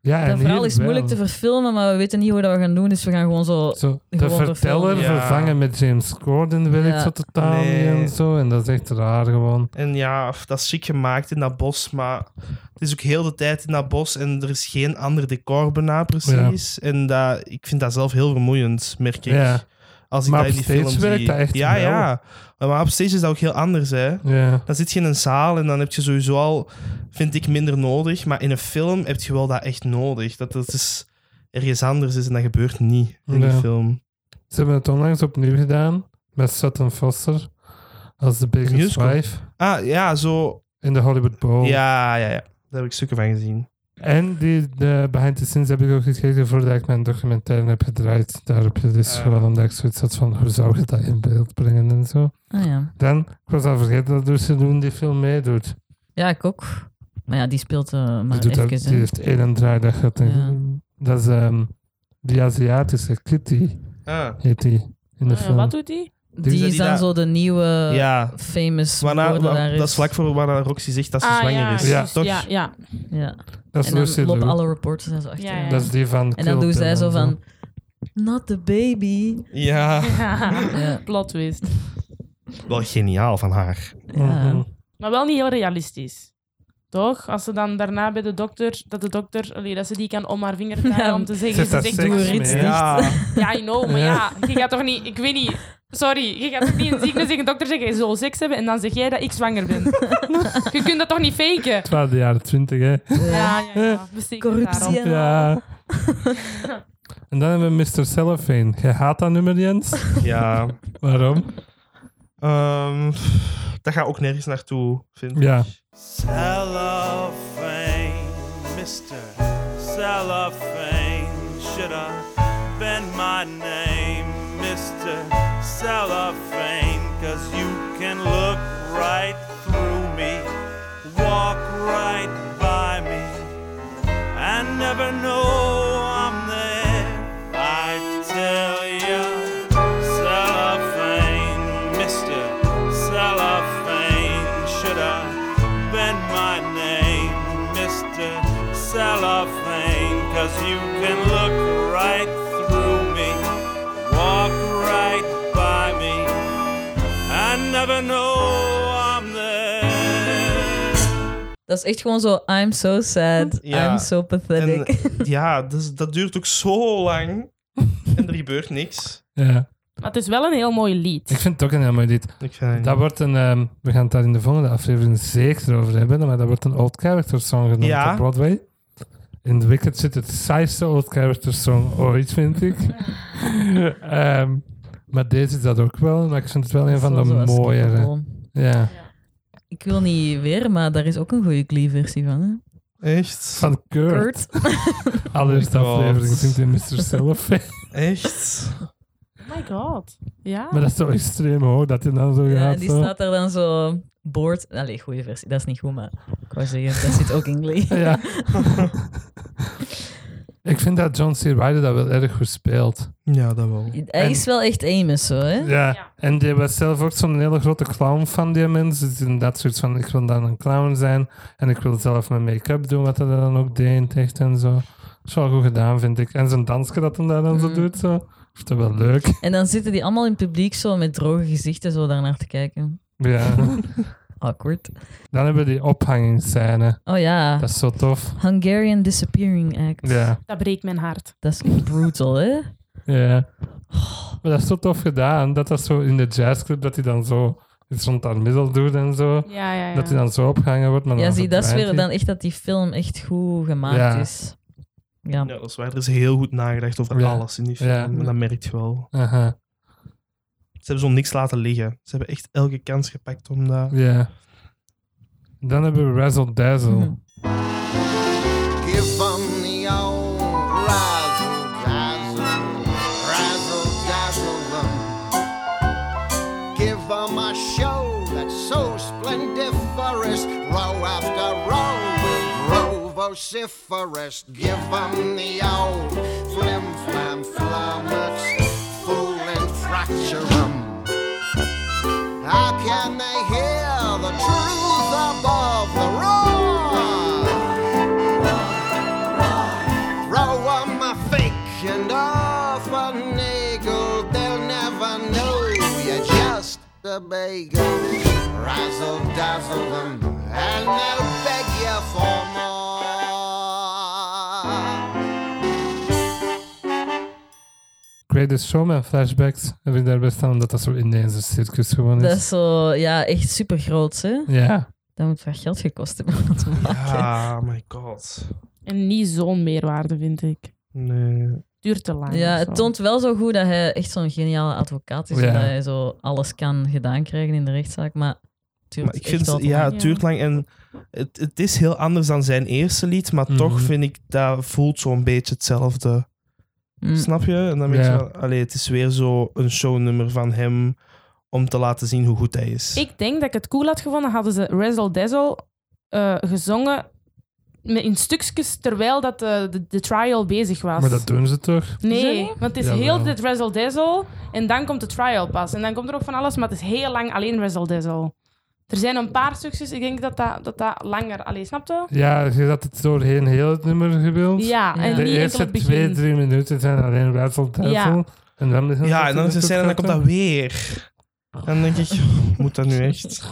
[SPEAKER 1] Ja, en
[SPEAKER 2] dat verhaal
[SPEAKER 1] hier
[SPEAKER 2] is moeilijk
[SPEAKER 1] wel.
[SPEAKER 2] te verfilmen, maar we weten niet hoe dat we gaan doen, dus we gaan gewoon zo...
[SPEAKER 1] Zo, de
[SPEAKER 2] Gewoon de
[SPEAKER 1] verteller
[SPEAKER 2] film.
[SPEAKER 4] Ja.
[SPEAKER 1] vervangen met James Corden werkt
[SPEAKER 2] Ja.
[SPEAKER 1] zo totaal niet
[SPEAKER 4] Nee.
[SPEAKER 1] en zo. En dat is echt raar gewoon.
[SPEAKER 4] En ja, f- dat is chic gemaakt in dat bos, maar het is ook heel de tijd in dat bos en er is geen ander decor bijna precies. En dat, ik vind dat zelf heel vermoeiend, merk ik.
[SPEAKER 1] Ja.
[SPEAKER 4] Als ik
[SPEAKER 1] Maar
[SPEAKER 4] dat in die
[SPEAKER 1] upstage
[SPEAKER 4] film zie.
[SPEAKER 1] werkt dat echt
[SPEAKER 4] ja,
[SPEAKER 1] wel.
[SPEAKER 4] ja. Maar upstage is dat ook heel anders, hè.
[SPEAKER 1] Ja,
[SPEAKER 4] Dan zit je in een zaal en dan heb je sowieso al, vind ik, minder nodig. Maar in een film heb je wel dat echt nodig. Dat het is ergens anders is en dat gebeurt niet in
[SPEAKER 1] Ja.
[SPEAKER 4] die film.
[SPEAKER 1] ze hebben het onlangs opnieuw gedaan met Sutton Foster als de biggest
[SPEAKER 4] Musical.
[SPEAKER 1] wife
[SPEAKER 4] Ah, ja, zo.
[SPEAKER 1] in de Hollywood Bowl.
[SPEAKER 4] Ja, ja, ja. Daar heb ik stukken van gezien.
[SPEAKER 1] En die de behind the scenes heb ik ook gekeken voordat ik mijn documentaire heb gedraaid. Daarop dus
[SPEAKER 4] Ah.
[SPEAKER 1] gewoon omdat ik zoiets had van hoe zou je dat in beeld brengen en zo.
[SPEAKER 2] Ah ja.
[SPEAKER 1] Dan, ik was al vergeten dat Lucy Loon die film meedoet.
[SPEAKER 2] Ja, ik ook. Maar ja, die speelt eh,
[SPEAKER 1] Die,
[SPEAKER 2] maar
[SPEAKER 1] doet dat,
[SPEAKER 2] even,
[SPEAKER 1] die
[SPEAKER 2] hè.
[SPEAKER 1] heeft één draaidag gehad. en-
[SPEAKER 2] Ja.
[SPEAKER 1] Dat is ehm, die Aziatische Kitty,
[SPEAKER 4] Ah.
[SPEAKER 1] heet die in de
[SPEAKER 3] Eh,
[SPEAKER 1] film.
[SPEAKER 3] wat doet hij?
[SPEAKER 4] Dus
[SPEAKER 2] Die
[SPEAKER 4] dat
[SPEAKER 2] is
[SPEAKER 4] die
[SPEAKER 2] dan
[SPEAKER 4] daar-
[SPEAKER 2] zo de nieuwe
[SPEAKER 4] ja,
[SPEAKER 2] famous
[SPEAKER 4] Waarna,
[SPEAKER 2] moordenaar
[SPEAKER 4] wa-
[SPEAKER 2] is.
[SPEAKER 4] dat is vlak voor waarna Roxy zegt dat ze
[SPEAKER 3] Ah,
[SPEAKER 4] zwanger
[SPEAKER 3] ja,
[SPEAKER 4] is.
[SPEAKER 1] Ja.
[SPEAKER 3] juist.
[SPEAKER 4] toch?
[SPEAKER 3] Ja, ja.
[SPEAKER 2] Ja.
[SPEAKER 1] dat is
[SPEAKER 2] En
[SPEAKER 1] Lucy
[SPEAKER 2] dan lopen
[SPEAKER 1] Liu.
[SPEAKER 2] alle reporters en zo achter.
[SPEAKER 3] Ja, ja.
[SPEAKER 1] Dat is die van
[SPEAKER 2] En
[SPEAKER 1] Kill
[SPEAKER 2] dan doen
[SPEAKER 1] Bill
[SPEAKER 2] zij zo
[SPEAKER 1] en
[SPEAKER 2] van... Not the baby.
[SPEAKER 4] Ja.
[SPEAKER 2] Ja.
[SPEAKER 3] Plot twist.
[SPEAKER 4] Wel geniaal van haar.
[SPEAKER 2] Ja.
[SPEAKER 1] Mhm.
[SPEAKER 3] Maar wel niet heel realistisch. Toch? Als ze dan daarna bij de dokter, dat de dokter, allee, dat ze die kan om haar vinger draaien
[SPEAKER 2] Ja,
[SPEAKER 3] om te
[SPEAKER 1] zet
[SPEAKER 3] zeggen, ze
[SPEAKER 1] daar
[SPEAKER 3] zegt,
[SPEAKER 1] seks
[SPEAKER 3] doe
[SPEAKER 1] mee,
[SPEAKER 3] er iets.
[SPEAKER 1] hè?
[SPEAKER 4] Ja.
[SPEAKER 3] Ja, I know, maar ja. je gaat toch niet, ik weet niet, sorry, je gaat toch niet in ziekte tegen de dokter zeggen, je zal seks hebben en dan zeg jij dat ik zwanger ben. je kunt dat toch niet faken?
[SPEAKER 1] Het waren de jaren twintig, hè.
[SPEAKER 3] Ja, ja, ja. We steken het
[SPEAKER 2] Corruptie.
[SPEAKER 3] daarop.
[SPEAKER 2] Ja.
[SPEAKER 1] Ja. en dan hebben we Mr. Cellophane. Jij haat dat nummer, Jens?
[SPEAKER 4] ja.
[SPEAKER 1] Waarom?
[SPEAKER 4] Ehm, dat gaat ook nergens naartoe, vind ik.
[SPEAKER 1] Ja.
[SPEAKER 9] Cellophane, Mr. Cellophane, should have been my name, Mr. Cellophane, cause you can look right through me, walk right by me, and never know I'm there. I tell you, cellophane, Mr. Cellophane, should have been my name, Mr. Cellophane, cause you can look right through me, walk right by me, and never know I'm there.
[SPEAKER 2] Dat is echt gewoon zo... I'm so sad.
[SPEAKER 4] Ja.
[SPEAKER 2] I'm so
[SPEAKER 4] En,
[SPEAKER 2] pathetic.
[SPEAKER 4] ja, dus, dat duurt ook zo lang. En er gebeurt niks.
[SPEAKER 1] ja.
[SPEAKER 3] Maar het is wel een heel mooi
[SPEAKER 1] Ik
[SPEAKER 3] lied.
[SPEAKER 1] vind het ook een heel mooi lied.
[SPEAKER 4] Ik vind
[SPEAKER 1] Dat
[SPEAKER 4] het niet.
[SPEAKER 1] wordt een, ehm, we gaan het daar in de volgende aflevering zeker over hebben, maar dat wordt een old character song genoemd
[SPEAKER 4] Ja.
[SPEAKER 1] op Broadway. In The Wicked zit het saaiste old character song ooit, vind ik. Ehm, maar deze is dat ook wel, maar ik vind het wel een van de
[SPEAKER 2] Zoals
[SPEAKER 1] mooiere.
[SPEAKER 2] Skippable.
[SPEAKER 1] Ja.
[SPEAKER 2] Ik wil niet weer, maar daar is ook een goede Glee-versie van. Hè?
[SPEAKER 4] Echt?
[SPEAKER 1] Van Kurt.
[SPEAKER 2] Kurt.
[SPEAKER 1] Allereerste
[SPEAKER 4] Oh my God.
[SPEAKER 1] aflevering zingt hij Mr. Cellophane.
[SPEAKER 4] Echt?
[SPEAKER 3] Oh my god. Ja.
[SPEAKER 1] Maar dat is zo extreem hoor, dat hij dan zo
[SPEAKER 2] Ja,
[SPEAKER 1] gaat.
[SPEAKER 2] die
[SPEAKER 1] zo.
[SPEAKER 2] staat daar dan zo boord. Allee, goede versie. Dat is niet goed, maar ik wou zeggen, dat zit ook in Glee.
[SPEAKER 1] Ja. ik vind dat John C. Ryder dat wel erg goed speelt.
[SPEAKER 4] Ja, dat wel.
[SPEAKER 2] Hij is wel echt Amos, zo, hè?
[SPEAKER 1] Ja.
[SPEAKER 3] Ja.
[SPEAKER 1] en die was zelf ook zo'n hele grote clown van die mensen. Dus inderdaad, soort van: ik wil dan een clown zijn en ik wil zelf mijn make-up doen, wat hij dan ook deed in het echt en zo. Dat is wel goed gedaan, vind ik. En zijn dansje dat hij daar dan zo
[SPEAKER 2] Mm.
[SPEAKER 1] doet, zo. Is dat wel leuk?
[SPEAKER 2] En dan zitten die allemaal in het publiek zo met droge gezichten zo daarnaar te kijken.
[SPEAKER 1] Ja.
[SPEAKER 2] Awkward.
[SPEAKER 1] dan hebben we die ophangingsscène.
[SPEAKER 2] Oh ja,
[SPEAKER 1] Dat is zo tof.
[SPEAKER 2] Hungarian Disappearing Act.
[SPEAKER 1] Ja.
[SPEAKER 3] Dat breekt mijn hart.
[SPEAKER 2] Dat is brutal, hè?
[SPEAKER 1] Ja. Maar dat is zo tof gedaan. Dat dat zo in de jazzclub, dat hij dan zo iets rond haar middel doet en zo.
[SPEAKER 3] Ja, ja, ja.
[SPEAKER 1] Dat hij dan zo opgehangen wordt. Maar
[SPEAKER 2] Ja,
[SPEAKER 1] dan
[SPEAKER 2] zie, dat is
[SPEAKER 1] verdwijnt
[SPEAKER 2] weer
[SPEAKER 1] hij.
[SPEAKER 2] dan echt dat die film echt goed gemaakt
[SPEAKER 1] Ja.
[SPEAKER 2] is. Ja.
[SPEAKER 4] Ja, dat is waar. Er is heel goed nagedacht over
[SPEAKER 1] Ja.
[SPEAKER 4] alles in die film.
[SPEAKER 1] Ja.
[SPEAKER 4] En dat merk je wel.
[SPEAKER 1] Aha,
[SPEAKER 4] Ze hebben zo niks laten liggen. Ze hebben echt elke kans gepakt om dat...
[SPEAKER 1] ja. Dan hebben we Razzle Dazzle.
[SPEAKER 3] Mhm.
[SPEAKER 7] Give 'em the old razzle dazzle, razzle dazzle them. Give 'em a show that's so splendiferous, row after row with row vociferous. Give 'em the old flim flam flummox, fool and fracture 'em. How can they hear the truth above the roar? Row on my fake and off a nagel, they'll never know you're just a bagel. Razzle dazzle them, and they'll beg you for more.
[SPEAKER 1] Greatest Showman flashbacks heb ik daarbij staan, omdat dat zo ineens een circus gewoon is.
[SPEAKER 2] Dat is zo, ja, echt super groot. Hè?
[SPEAKER 1] Ja.
[SPEAKER 2] Dat moet wel geld gekost hebben om dat te maken.
[SPEAKER 4] Ah, my god.
[SPEAKER 3] En niet zo'n meerwaarde, vind ik.
[SPEAKER 4] Nee.
[SPEAKER 3] Duurt te lang.
[SPEAKER 2] Ja,
[SPEAKER 3] of zo.
[SPEAKER 2] het toont wel zo goed dat hij echt zo'n geniale advocaat is.
[SPEAKER 1] Ja.
[SPEAKER 2] en Dat hij zo alles kan gedaan krijgen in de rechtszaak. Maar het duurt
[SPEAKER 4] Maar ik
[SPEAKER 2] echt
[SPEAKER 4] vind,
[SPEAKER 2] wel te
[SPEAKER 4] ja,
[SPEAKER 2] lang.
[SPEAKER 4] het duurt lang en het, het is heel anders dan zijn eerste lied, maar
[SPEAKER 1] Mhm.
[SPEAKER 4] toch vind ik dat voelt zo'n beetje hetzelfde.
[SPEAKER 2] Mm.
[SPEAKER 4] Snap je? En dan weet
[SPEAKER 1] Ja.
[SPEAKER 4] je wel, allee, het is weer zo een shownummer van hem om te laten zien hoe goed hij is.
[SPEAKER 3] Ik denk dat ik het cool had gevonden, hadden ze Razzle Dazzle eh, gezongen met- in stukjes terwijl dat de, de, de trial bezig was.
[SPEAKER 1] Maar dat doen ze toch?
[SPEAKER 3] Nee, want het is
[SPEAKER 1] Jawel.
[SPEAKER 3] heel dit Razzle Dazzle en dan komt de trial pas. En dan komt er ook van alles, maar het is heel lang alleen Razzle Dazzle. Er zijn een paar stukjes, ik denk dat dat, dat, dat langer... Allee, snapte?
[SPEAKER 1] Ja, je had het doorheen heel het nummer gewild.
[SPEAKER 3] Ja,
[SPEAKER 2] De
[SPEAKER 3] en
[SPEAKER 1] De
[SPEAKER 3] niet enkel
[SPEAKER 1] eerste
[SPEAKER 3] het begin.
[SPEAKER 1] twee, drie minuten zijn alleen Razzle Dazzle.
[SPEAKER 3] Ja.
[SPEAKER 1] En dan is het
[SPEAKER 4] ja, en dan
[SPEAKER 1] natuurlijk
[SPEAKER 4] is het scène en dan
[SPEAKER 1] ook
[SPEAKER 4] komt dat
[SPEAKER 1] zo.
[SPEAKER 4] weer. En dan denk ik, moet dat nu echt?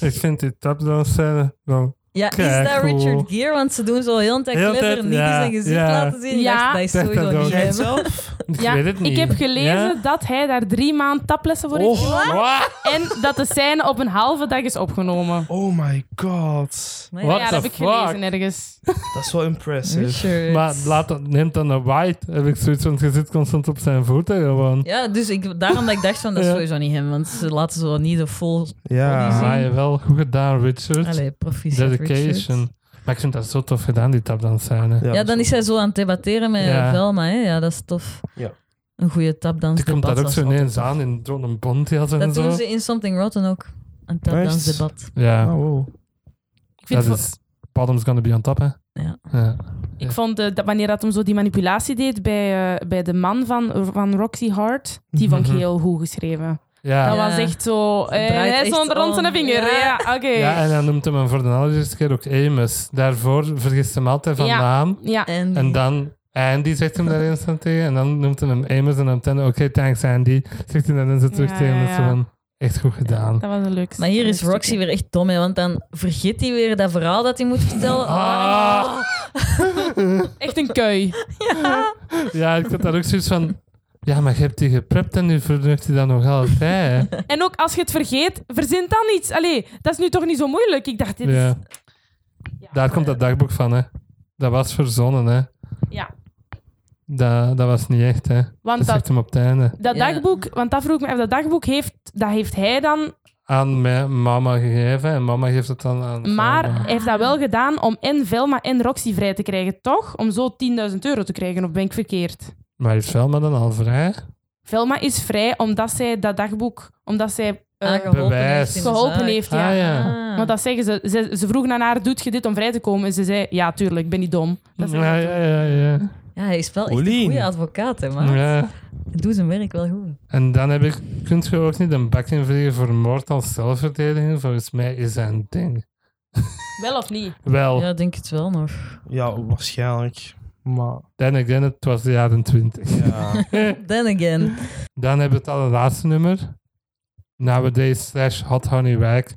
[SPEAKER 1] Ik vind die tapdance scène wel...
[SPEAKER 2] Ja,
[SPEAKER 1] Kijk,
[SPEAKER 2] is dat Richard
[SPEAKER 1] cool.
[SPEAKER 2] Gere? Want ze doen zo heel een tijd
[SPEAKER 1] Heel de
[SPEAKER 2] clever
[SPEAKER 1] tijd,
[SPEAKER 2] niet
[SPEAKER 1] ja,
[SPEAKER 2] zijn gezicht
[SPEAKER 1] ja.
[SPEAKER 2] laten zien.
[SPEAKER 3] Ja.
[SPEAKER 2] Ja, dat is
[SPEAKER 1] Zeg dat
[SPEAKER 2] sowieso
[SPEAKER 1] ook. Jij
[SPEAKER 2] niet
[SPEAKER 4] Jij
[SPEAKER 2] hem.
[SPEAKER 4] het zelf?
[SPEAKER 1] Ik
[SPEAKER 3] Ja,
[SPEAKER 1] weet het niet.
[SPEAKER 3] ik heb gelezen
[SPEAKER 1] Ja?
[SPEAKER 3] dat hij daar drie maand taplessen voor heeft
[SPEAKER 4] Oh, what?
[SPEAKER 3] en dat de scène op een halve dag is opgenomen.
[SPEAKER 4] oh my god.
[SPEAKER 2] Maar
[SPEAKER 1] What
[SPEAKER 3] ja,
[SPEAKER 1] the
[SPEAKER 3] dat heb ik
[SPEAKER 1] fuck?
[SPEAKER 3] gelezen ergens.
[SPEAKER 4] Dat is wel impressive.
[SPEAKER 2] Richard.
[SPEAKER 1] Maar laat, dat- neem dan een white. Heb ik zoiets van, je zit constant op zijn voeten gewoon.
[SPEAKER 2] Ja, dus ik, daarom dat ik dacht van, dat is
[SPEAKER 1] Ja.
[SPEAKER 2] sowieso niet hem. Want ze laten zo niet de full...
[SPEAKER 4] Ja.
[SPEAKER 1] Maar je wel goed gedaan, Richard.
[SPEAKER 2] Mhm. Allee, proficiat
[SPEAKER 1] Dedication.
[SPEAKER 2] Richard.
[SPEAKER 1] Maar ik vind dat zo tof gedaan, die tapdance scène.
[SPEAKER 2] Ja, dan is hij zo aan het debatteren met
[SPEAKER 1] Ja.
[SPEAKER 2] Velma. Hè? Ja, dat is tof.
[SPEAKER 4] Ja.
[SPEAKER 2] Een goede tapdans
[SPEAKER 1] Die komt
[SPEAKER 2] debat.
[SPEAKER 1] daar ook zo
[SPEAKER 2] is
[SPEAKER 1] ineens
[SPEAKER 2] altijd
[SPEAKER 1] aan in zo'n bondjas en
[SPEAKER 2] tof. Dat
[SPEAKER 1] zo.
[SPEAKER 2] doen ze in Something Rotten ook. Een tapdans
[SPEAKER 4] Echt?
[SPEAKER 2] debat.
[SPEAKER 1] Ja,
[SPEAKER 4] Oh, wow.
[SPEAKER 3] Ik, vind
[SPEAKER 1] dat
[SPEAKER 3] vo-
[SPEAKER 1] is... Bottom's gonna be on top, hè?
[SPEAKER 2] Ja.
[SPEAKER 1] Ja.
[SPEAKER 3] ik vond eh, dat wanneer dat hem zo die manipulatie deed bij, eh, bij de man van, van Roxy Hart, die vond ik
[SPEAKER 1] Mhm.
[SPEAKER 3] heel goed geschreven.
[SPEAKER 1] Ja.
[SPEAKER 3] Dat
[SPEAKER 1] Ja.
[SPEAKER 2] Ah, Ja.
[SPEAKER 3] was echt zo... eh,
[SPEAKER 2] draait
[SPEAKER 3] hij
[SPEAKER 2] echt
[SPEAKER 3] stond rond
[SPEAKER 2] om.
[SPEAKER 3] zijn vinger. Ja,
[SPEAKER 2] Ja.
[SPEAKER 3] oké.
[SPEAKER 1] en dan noemt hem voor de allereerste keer ook Amos. Daarvoor vergist hem altijd van
[SPEAKER 3] Ja.
[SPEAKER 1] naam.
[SPEAKER 2] Mm.
[SPEAKER 3] Ja.
[SPEAKER 2] En,
[SPEAKER 1] En dan Andy zegt hem daar eens aan tegen. En dan noemt hij hem Amos en dan meteen, oké, thanks Andy. Zegt hij dan eens terug
[SPEAKER 3] Ja,
[SPEAKER 1] tegen
[SPEAKER 3] ja,
[SPEAKER 1] hem. Dat is
[SPEAKER 3] ja.
[SPEAKER 1] van, echt goed gedaan.
[SPEAKER 3] Dat was een leuk
[SPEAKER 2] maar hier
[SPEAKER 3] leuk
[SPEAKER 2] is Roxy
[SPEAKER 3] stukje.
[SPEAKER 2] weer echt dom, hè, want dan vergeet hij weer dat verhaal Oh, dat hij moet vertellen.
[SPEAKER 1] Ah.
[SPEAKER 3] Echt een kui.
[SPEAKER 1] Ja, ik had daar ook zoiets van... Ja, maar je hebt die geprept en nu vernuft hij dat nog altijd. hè.
[SPEAKER 3] En ook als je het vergeet, verzin dan iets. Allee, dat is nu toch niet zo moeilijk? Ik dacht, dit is-
[SPEAKER 1] Ja. Daar komt dat dagboek van, hè. Dat was verzonnen, hè.
[SPEAKER 3] Ja.
[SPEAKER 1] Dat, dat was niet echt, hè. Dat
[SPEAKER 3] Want dat,
[SPEAKER 1] zegt hem op het einde.
[SPEAKER 3] dat
[SPEAKER 2] Ja.
[SPEAKER 3] dagboek, want dat vroeg ik me af, dat dagboek heeft, dat heeft hij dan,
[SPEAKER 1] Aan mijn mama gegeven en mama geeft het dan aan
[SPEAKER 3] maar
[SPEAKER 1] Velma.
[SPEAKER 3] hij heeft dat wel gedaan om en Velma en Roxy vrij te krijgen, toch? Om zo 10.000 euro te krijgen, of ben ik verkeerd?
[SPEAKER 1] Maar is Velma dan al vrij?
[SPEAKER 3] Velma is vrij omdat zij dat dagboek, omdat zij eh,
[SPEAKER 2] Ah,
[SPEAKER 1] Ah, bewijs.
[SPEAKER 3] geholpen heeft. Ja.
[SPEAKER 1] Ah, ja.
[SPEAKER 3] Want dat zeggen ze, ze. Ze vroegen aan haar, doet je dit om vrij te komen? En ze zei, ja, tuurlijk, ik ben niet dom. Dat zei
[SPEAKER 1] ja,
[SPEAKER 3] ze.
[SPEAKER 1] ja, ja, ja.
[SPEAKER 2] Ja, hij is wel echt een
[SPEAKER 4] Oelien.
[SPEAKER 2] goede advocaat, hè, maar
[SPEAKER 1] Ja.
[SPEAKER 2] hij doet zijn werk wel goed.
[SPEAKER 1] En dan heb ik... Kunt je ook niet een bak invliegen voor moord als zelfverdediging? Volgens mij is dat een ding.
[SPEAKER 3] Wel of niet?
[SPEAKER 1] Wel,
[SPEAKER 2] Ja, ik denk het wel nog.
[SPEAKER 4] Ja, waarschijnlijk. Maar
[SPEAKER 1] then again, het was de jaren twintig.
[SPEAKER 4] ja.
[SPEAKER 2] Then again.
[SPEAKER 1] Dan hebben we het allerlaatste nummer. Nowadays slash Hot Honey Wack.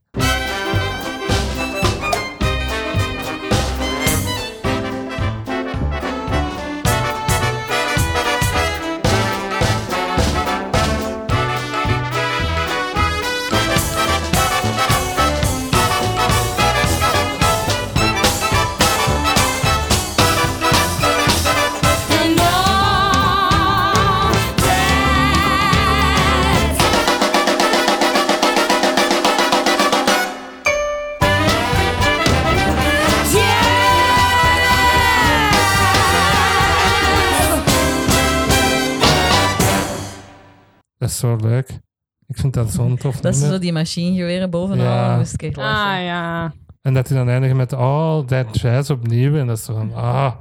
[SPEAKER 1] Dat is zo leuk. Ik vind dat zo'n tof
[SPEAKER 2] Dat ze
[SPEAKER 1] nummer.
[SPEAKER 2] zo die machinegeweren bovenal.
[SPEAKER 1] Ja.
[SPEAKER 2] Ja. Moest ik echt lachen.
[SPEAKER 3] Ah ja.
[SPEAKER 1] En dat hij dan eindigt met oh, that jazz opnieuw. En dat is zo van, ah,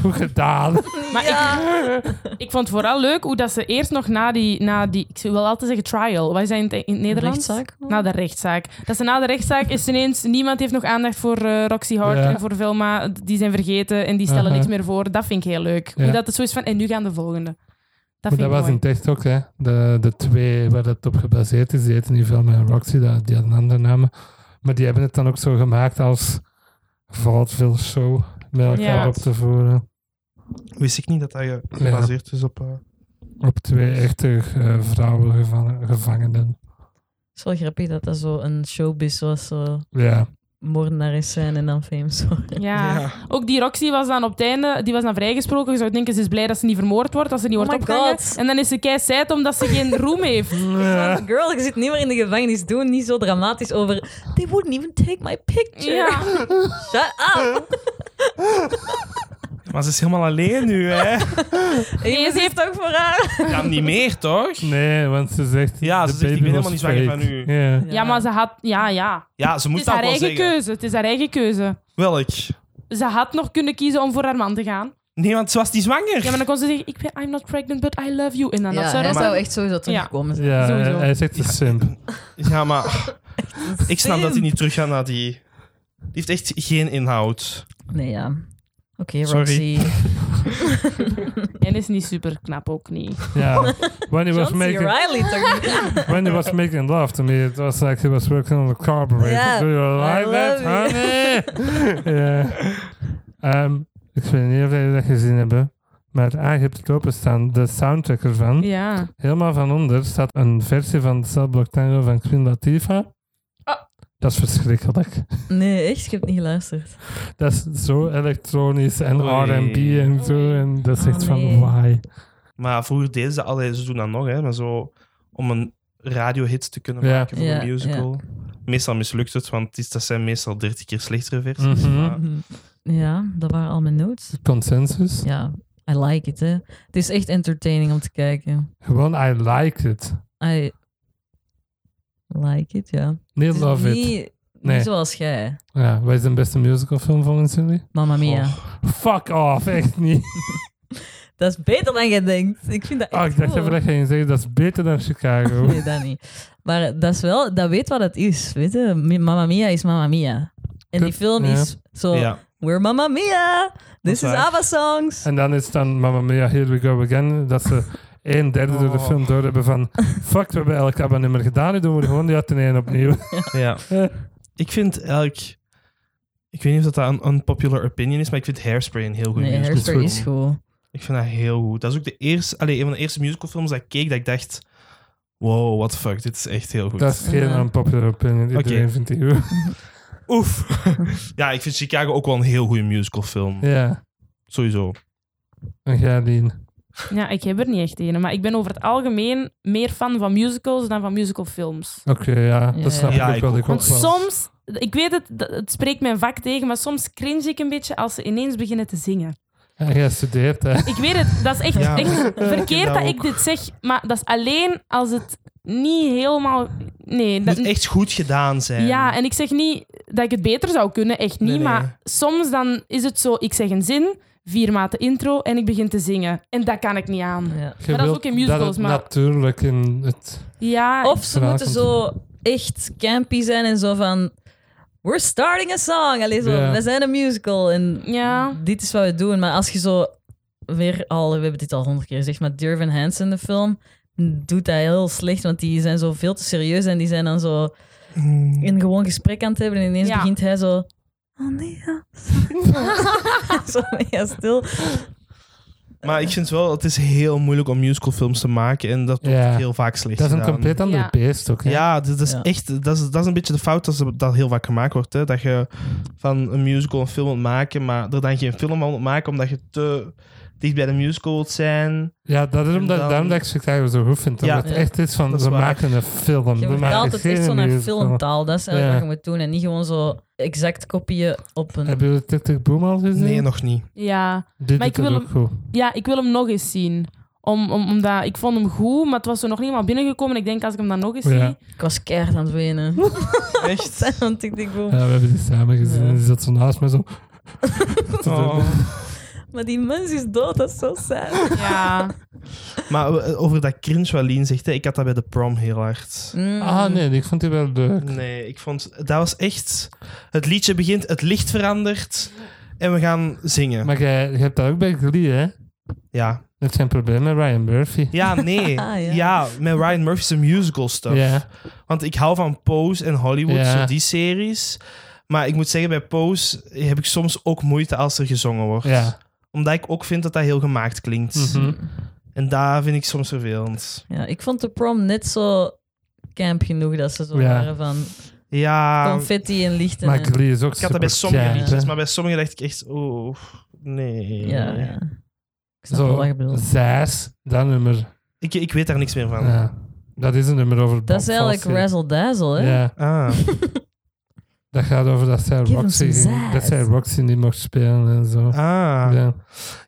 [SPEAKER 1] goed gedaan.
[SPEAKER 3] Maar ik, ik vond het vooral leuk hoe dat ze eerst nog na die, na die ik wil altijd zeggen trial, wat is dat in het, in het Nederlands?
[SPEAKER 2] rechtszaak?
[SPEAKER 3] Na de rechtszaak. Dat ze na de rechtszaak is ineens, niemand heeft nog aandacht voor eh, Roxy Hart
[SPEAKER 1] Ja.
[SPEAKER 3] en voor Vilma. Die zijn vergeten en die stellen
[SPEAKER 1] Aha.
[SPEAKER 3] niks meer voor. Dat vind ik heel leuk.
[SPEAKER 1] Ja.
[SPEAKER 3] Hoe dat het zo is van, en nu gaan de volgende. Dat
[SPEAKER 1] Maar dat
[SPEAKER 3] vind ik
[SPEAKER 1] was
[SPEAKER 3] mooi.
[SPEAKER 1] in TikTok ook, hè. De, de twee waar dat op gebaseerd is, die heten niet veel en Roxy, dat- die hadden andere namen. Maar die hebben het dan ook zo gemaakt als vaudeville show met elkaar
[SPEAKER 3] Ja.
[SPEAKER 1] op te voeren.
[SPEAKER 4] Wist ik niet dat dat ge- gebaseerd is op... eh,
[SPEAKER 1] Op twee echte eh vrouwen gevangen- gevangenen.
[SPEAKER 2] Het is wel grappig dat dat zo een showbiz was. Zo
[SPEAKER 1] Ja.
[SPEAKER 2] moordenares zijn en dan famous worden.
[SPEAKER 3] Ja. Ook die Roxy was dan op het einde, die was dan vrijgesproken. Je zou denken, ze is blij dat ze niet vermoord wordt, als ze niet
[SPEAKER 2] Oh
[SPEAKER 3] wordt
[SPEAKER 2] my
[SPEAKER 3] opgehangen.
[SPEAKER 2] God.
[SPEAKER 3] En dan is ze kei sad omdat ze geen roem heeft.
[SPEAKER 1] Ja.
[SPEAKER 2] Girl, ik zit niet meer in de gevangenis. Doe niet zo dramatisch over... They wouldn't even take my picture.
[SPEAKER 3] Ja.
[SPEAKER 2] Shut up.
[SPEAKER 4] Maar ze is helemaal alleen nu, hè?
[SPEAKER 2] Iemand heeft toch voor haar.
[SPEAKER 4] Ja, niet meer, toch?
[SPEAKER 1] Nee, want ze zegt...
[SPEAKER 4] Ja, ze
[SPEAKER 1] de
[SPEAKER 4] zegt, ik
[SPEAKER 1] baby
[SPEAKER 4] ben
[SPEAKER 1] was
[SPEAKER 4] helemaal niet zwanger
[SPEAKER 1] fake.
[SPEAKER 4] van
[SPEAKER 1] Ja.
[SPEAKER 3] Ja, maar ze had... Ja, ja.
[SPEAKER 4] Ja, ze
[SPEAKER 3] Het
[SPEAKER 4] moet
[SPEAKER 3] is
[SPEAKER 4] dat
[SPEAKER 3] haar
[SPEAKER 4] wel
[SPEAKER 3] eigen
[SPEAKER 4] zeggen.
[SPEAKER 3] keuze. Het is haar eigen keuze.
[SPEAKER 4] Welk?
[SPEAKER 3] Ze had nog kunnen kiezen om voor haar man te gaan.
[SPEAKER 4] Nee, want ze was niet zwanger.
[SPEAKER 3] Ja, maar dan kon ze zeggen, ik ben, I'm not pregnant, but I love you. En dan dat
[SPEAKER 2] Ja,
[SPEAKER 3] zou
[SPEAKER 2] hij
[SPEAKER 3] dat-
[SPEAKER 2] zou echt sowieso terugkomen. zijn.
[SPEAKER 1] Ja,
[SPEAKER 3] Sowieso.
[SPEAKER 1] hij zegt de simp.
[SPEAKER 4] Ja, maar ik snap dat hij niet terug gaat naar die... Die heeft echt geen inhoud.
[SPEAKER 2] Nee, ja. Oké,
[SPEAKER 4] Sorry.
[SPEAKER 2] Roxy.
[SPEAKER 3] En is niet super knap ook niet.
[SPEAKER 1] Ja. When he was
[SPEAKER 2] John C.
[SPEAKER 1] making
[SPEAKER 2] Reilly toch niet?
[SPEAKER 1] when he was making love to me, it was like he was working on the carburetor.
[SPEAKER 2] Yeah,
[SPEAKER 1] Do you
[SPEAKER 2] I
[SPEAKER 1] like that,
[SPEAKER 2] love
[SPEAKER 1] honey? ja. Ehm, ik weet niet of jullie dat gezien hebben, maar ah, je hebt het openstaan, de soundtrack ervan.
[SPEAKER 3] Ja.
[SPEAKER 1] Helemaal van onder staat een versie van Cellblock Tango van Queen Latifah.
[SPEAKER 3] Ah.
[SPEAKER 1] Dat is verschrikkelijk.
[SPEAKER 2] Nee, echt, ik heb niet geluisterd.
[SPEAKER 1] Dat is zo elektronisch en
[SPEAKER 4] Oei.
[SPEAKER 1] R&B en zo. En dat is
[SPEAKER 2] Oh,
[SPEAKER 1] echt
[SPEAKER 2] nee.
[SPEAKER 1] van, why?
[SPEAKER 4] Maar vroeger deden ze al, ze doen dat nog, hè, maar zo om een radiohit te kunnen
[SPEAKER 1] Ja.
[SPEAKER 4] maken voor
[SPEAKER 2] Ja,
[SPEAKER 4] een musical. Meestal mislukt het, want het is- dat zijn meestal 30 keer slechtere versies.
[SPEAKER 1] Mhm.
[SPEAKER 4] maar-
[SPEAKER 2] Ja, dat waren al mijn notes.
[SPEAKER 1] Consensus?
[SPEAKER 2] Ja, I like it, hè. Het is echt entertaining om te kijken.
[SPEAKER 1] Gewoon, I liked it.
[SPEAKER 2] I like it, ja.
[SPEAKER 1] Nee,
[SPEAKER 2] Het is
[SPEAKER 1] love it.
[SPEAKER 2] niet,
[SPEAKER 1] Nee.
[SPEAKER 2] niet zoals jij,
[SPEAKER 1] Ja, wat is de beste musicalfilm volgens jullie?
[SPEAKER 2] Mamma Mia.
[SPEAKER 1] Fuck off, echt niet.
[SPEAKER 2] Dat is beter dan jij denkt. Ik vind dat echt
[SPEAKER 1] Oh, ik dacht
[SPEAKER 2] cool.
[SPEAKER 1] even dat je ging zeggen, dat is beter dan Chicago.
[SPEAKER 2] Nee, dat niet. Maar dat is wel... Dat weet wat het is, weet je. Mi- Mamma Mia is Mamma Mia. En die
[SPEAKER 1] Kut,
[SPEAKER 2] film
[SPEAKER 1] ja.
[SPEAKER 2] is zo...
[SPEAKER 4] Ja.
[SPEAKER 2] We're Mamma Mia! This is
[SPEAKER 4] waar.
[SPEAKER 2] ABBA songs!
[SPEAKER 1] En dan is dan Mamma Mia, Here We Go Again, dat ze een derde door de
[SPEAKER 4] Oh.
[SPEAKER 1] film door hebben van fuck, we hebben elk ABBA-nummer gedaan, nu doen we er gewoon die uit en één opnieuw.
[SPEAKER 4] Ja. Ik vind elk... Ik weet niet of dat een unpopular opinion is, maar ik vind Hairspray een heel goed
[SPEAKER 2] Nee,
[SPEAKER 4] musical.
[SPEAKER 2] Hairspray is goed.
[SPEAKER 4] Ik vind dat heel goed. Dat is ook de eerste, allee, een van de eerste musicalfilms dat ik keek dat ik dacht... Wow, what the fuck, dit is echt heel goed.
[SPEAKER 1] Dat is geen
[SPEAKER 2] Ja.
[SPEAKER 1] unpopular opinion, iedereen
[SPEAKER 4] Oké.
[SPEAKER 1] vindt die goed.
[SPEAKER 4] Oef. ja, ik vind Chicago ook wel een heel goede musicalfilm.
[SPEAKER 1] Ja,
[SPEAKER 4] Sowieso.
[SPEAKER 1] en jij, Lien?
[SPEAKER 3] Ja, ik heb er niet echt een. Maar ik ben over het algemeen meer fan van musicals dan van musicalfilms.
[SPEAKER 1] Oké, ja,
[SPEAKER 2] Ja,
[SPEAKER 1] dat snap
[SPEAKER 4] ja.
[SPEAKER 1] ik ook wel. Ik ook
[SPEAKER 3] Want
[SPEAKER 1] wel.
[SPEAKER 3] soms... Ik weet het, d- het spreekt mijn vak tegen, maar soms cringe ik een beetje als ze ineens beginnen te zingen.
[SPEAKER 1] En jij studeert, hè.
[SPEAKER 3] Ik weet het, dat is echt,
[SPEAKER 4] Ja.
[SPEAKER 3] echt
[SPEAKER 4] Ja,
[SPEAKER 3] verkeerd
[SPEAKER 4] dat
[SPEAKER 3] dat ik dit zeg, maar dat is alleen als het niet helemaal... Nee,
[SPEAKER 4] Het
[SPEAKER 3] dat,
[SPEAKER 4] moet echt goed gedaan zijn.
[SPEAKER 3] Ja, en ik zeg niet dat ik het beter zou kunnen, echt niet.
[SPEAKER 4] Nee, nee.
[SPEAKER 3] Maar soms dan is het zo, ik zeg een zin, vier maten intro en ik begin te zingen. En dat kan ik niet aan.
[SPEAKER 2] Ja.
[SPEAKER 1] Je
[SPEAKER 3] dat is
[SPEAKER 1] wilt
[SPEAKER 3] ook in musicals,
[SPEAKER 1] dat het
[SPEAKER 3] maar-
[SPEAKER 1] natuurlijk in het...
[SPEAKER 3] Ja,
[SPEAKER 2] Of ze
[SPEAKER 1] Vraag
[SPEAKER 2] moeten
[SPEAKER 1] om te-
[SPEAKER 2] zo echt campy zijn en zo van... We're starting a song! Allee, zo,
[SPEAKER 1] Ja.
[SPEAKER 2] we zijn een musical en
[SPEAKER 3] Ja.
[SPEAKER 2] dit is wat we doen. Maar als je zo weer al... We hebben dit al honderd keer gezegd, maar Durvan Hansen, de film, doet dat heel slecht. Want die zijn zo veel te serieus en die zijn dan zo een gewoon gesprek aan het hebben. En ineens
[SPEAKER 3] Ja.
[SPEAKER 2] begint hij zo... Oh nee, ja. zo mega stil.
[SPEAKER 4] Maar ik vind wel, het is heel moeilijk om musicalfilms te maken. En dat wordt
[SPEAKER 1] Ja.
[SPEAKER 4] heel vaak slecht
[SPEAKER 1] Dat is een
[SPEAKER 4] gedaan.
[SPEAKER 1] compleet ander
[SPEAKER 3] Ja.
[SPEAKER 1] beest ook, hè.
[SPEAKER 4] Ja, dat dat is
[SPEAKER 2] Ja.
[SPEAKER 4] echt. Dat is, dat is een beetje de fout dat, ze- dat heel vaak gemaakt wordt. Hè? Dat je van een musical een film wilt maken, maar er dan geen film van wilt maken omdat je te dicht bij de musical wilt zijn.
[SPEAKER 1] Ja, dat is
[SPEAKER 4] En
[SPEAKER 1] omdat,
[SPEAKER 4] dan-
[SPEAKER 1] daarom dat ik Chicago zo goed vind. Omdat
[SPEAKER 4] Ja.
[SPEAKER 1] het echt is van,
[SPEAKER 4] Dat is
[SPEAKER 1] we
[SPEAKER 4] waar.
[SPEAKER 1] maken een film.
[SPEAKER 2] Je
[SPEAKER 1] we
[SPEAKER 2] moet
[SPEAKER 1] maken
[SPEAKER 2] altijd echt
[SPEAKER 1] geen
[SPEAKER 2] zo naar
[SPEAKER 1] musical.
[SPEAKER 2] filmtaal. Dat is eigenlijk
[SPEAKER 1] Ja.
[SPEAKER 2] wat je moet doen. En niet gewoon zo exact kopieën op een...
[SPEAKER 1] Hebben jullie TikTok Boom al gezien?
[SPEAKER 4] Nee, nog niet.
[SPEAKER 3] ja.
[SPEAKER 1] Die doet
[SPEAKER 3] Maar ik
[SPEAKER 1] dat
[SPEAKER 3] wil
[SPEAKER 1] ook goed.
[SPEAKER 3] ja, ik wil hem nog eens zien. Om, om, omdat ik vond hem goed, maar het was er nog niet helemaal binnengekomen. Ik denk als ik hem dan nog eens
[SPEAKER 1] Ja.
[SPEAKER 3] zie.
[SPEAKER 2] Ik was keihard aan het wenen.
[SPEAKER 4] Echt?
[SPEAKER 2] Want ik denk, wow.
[SPEAKER 1] Ja, we hebben die samen gezien en die zat zo naast me zo. Te doen.
[SPEAKER 4] Oh.
[SPEAKER 2] Maar die mens is dood, dat is zo saai.
[SPEAKER 3] Ja.
[SPEAKER 2] Oh.
[SPEAKER 4] Maar eh, over dat cringe wat Lien zegt, hè, ik had dat bij de prom heel hard.
[SPEAKER 2] Mm.
[SPEAKER 1] Ah nee, ik vond die wel leuk.
[SPEAKER 4] Nee, ik vond... Dat was echt... Het liedje begint, het licht verandert en we gaan zingen.
[SPEAKER 1] Maar jij, jij hebt dat ook bij Glee, hè?
[SPEAKER 4] Ja.
[SPEAKER 1] Dat zijn problemen met Ryan Murphy.
[SPEAKER 4] Ja, nee.
[SPEAKER 2] Ah, ja.
[SPEAKER 4] ja. met Ryan Murphy's musical stuff.
[SPEAKER 1] Ja,
[SPEAKER 4] Want ik hou van Pose en Hollywood,
[SPEAKER 1] Ja.
[SPEAKER 4] zo die series. Maar ik moet zeggen, bij Pose heb ik soms ook moeite als er gezongen wordt.
[SPEAKER 1] ja.
[SPEAKER 4] Omdat ik ook vind dat dat heel gemaakt klinkt.
[SPEAKER 1] Mhm.
[SPEAKER 4] En daar vind ik soms vervelend.
[SPEAKER 2] ja. Ik vond de prom net zo camp genoeg dat ze zo
[SPEAKER 1] Ja. Ah,
[SPEAKER 2] waren van
[SPEAKER 4] Ja,
[SPEAKER 2] confetti en lichten.
[SPEAKER 1] Maar
[SPEAKER 2] en-
[SPEAKER 1] Glee is ook
[SPEAKER 4] ik had dat bij sommige
[SPEAKER 1] supercamp,
[SPEAKER 4] liedjes.
[SPEAKER 1] hè.
[SPEAKER 4] Maar bij sommige dacht ik echt, oh, nee.
[SPEAKER 2] ja, ja. Ik snap wel
[SPEAKER 1] Zo,
[SPEAKER 2] wat je bedoelt.
[SPEAKER 1] Zes, dat nummer.
[SPEAKER 4] Ik, ik weet daar niks meer van.
[SPEAKER 1] Ja. Dat is een nummer over
[SPEAKER 2] Dat is
[SPEAKER 1] Bob
[SPEAKER 2] eigenlijk
[SPEAKER 1] Fosse.
[SPEAKER 2] razzle dazzle, hè?
[SPEAKER 1] Ja,
[SPEAKER 4] Ah,
[SPEAKER 1] dat gaat over dat zij
[SPEAKER 2] Give him
[SPEAKER 1] Roxy,
[SPEAKER 2] some
[SPEAKER 1] ging- dat
[SPEAKER 2] zest.
[SPEAKER 1] zij Roxy niet mocht spelen en zo.
[SPEAKER 4] ah.
[SPEAKER 1] Ja.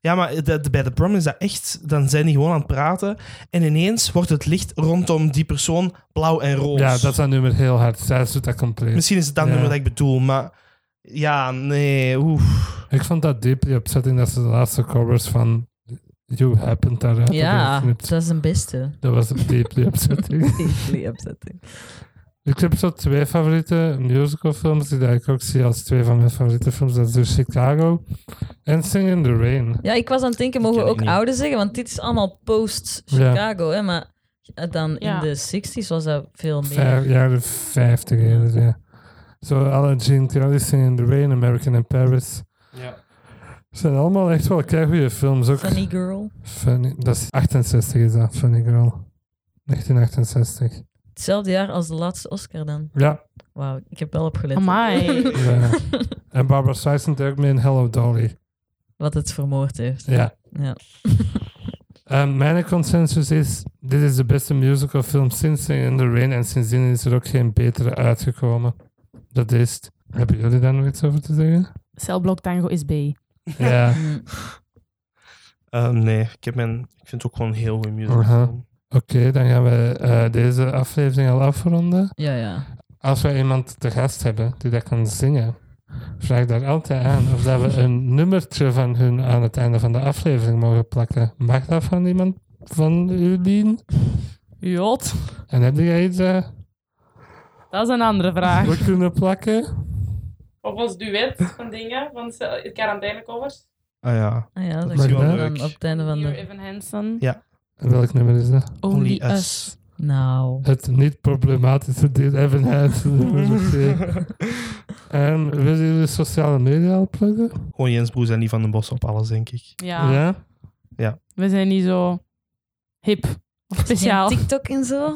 [SPEAKER 4] Ja, maar dat- bij de prom is dat echt... Dan zijn die gewoon aan het praten. En ineens wordt het licht rondom die persoon blauw en roze.
[SPEAKER 1] ja, dat is dat nummer heel hard. Zij doet dat compleet.
[SPEAKER 4] Misschien is het dat
[SPEAKER 1] Ja.
[SPEAKER 4] nummer dat ik bedoel, maar... Ja, nee, oef.
[SPEAKER 1] Ik vond dat deeply upsetting dat ze de laatste covers van You Happen daaruit hebben
[SPEAKER 2] Ja,
[SPEAKER 1] geknipt.
[SPEAKER 2] dat is een beste.
[SPEAKER 1] Dat was deeply upsetting.
[SPEAKER 2] Deeply upsetting.
[SPEAKER 1] ik heb zo twee favoriete musicalfilms die dat ik ook zie als twee van mijn favoriete films. Dat is dus Chicago en Sing in the Rain.
[SPEAKER 2] Ja, ik was aan het denken, mogen we
[SPEAKER 4] ken ik
[SPEAKER 2] ook
[SPEAKER 4] niet.
[SPEAKER 2] oude zeggen? Want dit is allemaal post-Chicago, hè? Maar dan
[SPEAKER 3] Ja.
[SPEAKER 2] in de 60s was dat veel meer.
[SPEAKER 1] Vijf, jaren 50 eerder, ja. Zo alle Gene Kelly, Sing in the Rain, American in Paris.
[SPEAKER 4] Ja.
[SPEAKER 1] zijn allemaal echt wel goede films. Ook
[SPEAKER 2] Funny Girl.
[SPEAKER 1] Funny- dat is 68 is dat, Funny Girl. 1968.
[SPEAKER 2] Hetzelfde jaar als de laatste Oscar dan.
[SPEAKER 1] Ja.
[SPEAKER 2] Wauw, ik heb wel opgelet.
[SPEAKER 3] Amai.
[SPEAKER 1] ja. en Barbara Streisand deed ook mee in Hello Dolly.
[SPEAKER 2] Wat het vermoord heeft.
[SPEAKER 1] Ja.
[SPEAKER 2] Ja.
[SPEAKER 1] Ehm, mijn consensus is, dit is de beste musical film sinds Singing in the Rain en sindsdien is er ook geen betere uitgekomen. Dat is het. Hebben jullie daar nog iets over te zeggen?
[SPEAKER 3] Celblok Tango is B.
[SPEAKER 1] Ja.
[SPEAKER 2] Mm.
[SPEAKER 4] Ehm, nee, ik, heb mijn, ik vind het ook gewoon een heel goede musical.
[SPEAKER 1] Aha. Oké, dan gaan we eh, deze aflevering al afronden.
[SPEAKER 2] ja, ja.
[SPEAKER 1] Als we iemand te gast hebben die dat kan zingen, vraag daar altijd aan of dat we een nummertje van hun aan het einde van de aflevering mogen plakken. Mag dat van iemand van jullie?
[SPEAKER 3] Jot.
[SPEAKER 1] En heb jij iets eh,
[SPEAKER 3] Dat is een andere vraag.
[SPEAKER 1] we kunnen plakken?
[SPEAKER 3] Of ons duet van dingen, van de quarantainecovers.
[SPEAKER 4] Ah ja.
[SPEAKER 2] Ah, ja, dat
[SPEAKER 1] is
[SPEAKER 2] kan
[SPEAKER 1] wel
[SPEAKER 2] dan
[SPEAKER 4] leuk.
[SPEAKER 2] op het einde van de...
[SPEAKER 3] Evan Hansen.
[SPEAKER 4] Ja.
[SPEAKER 1] En welk nummer is dat?
[SPEAKER 4] Only Us.
[SPEAKER 2] Nou,
[SPEAKER 1] Het niet problematische deel Evan Hansen nummer. oké. En willen jullie sociale media al pluggen?
[SPEAKER 4] Gewoon Jens Broes en die van den Bos op alles, denk ik.
[SPEAKER 3] Ja. We zijn niet zo hip. Of
[SPEAKER 2] ja.
[SPEAKER 3] speciaal.
[SPEAKER 2] TikTok en zo.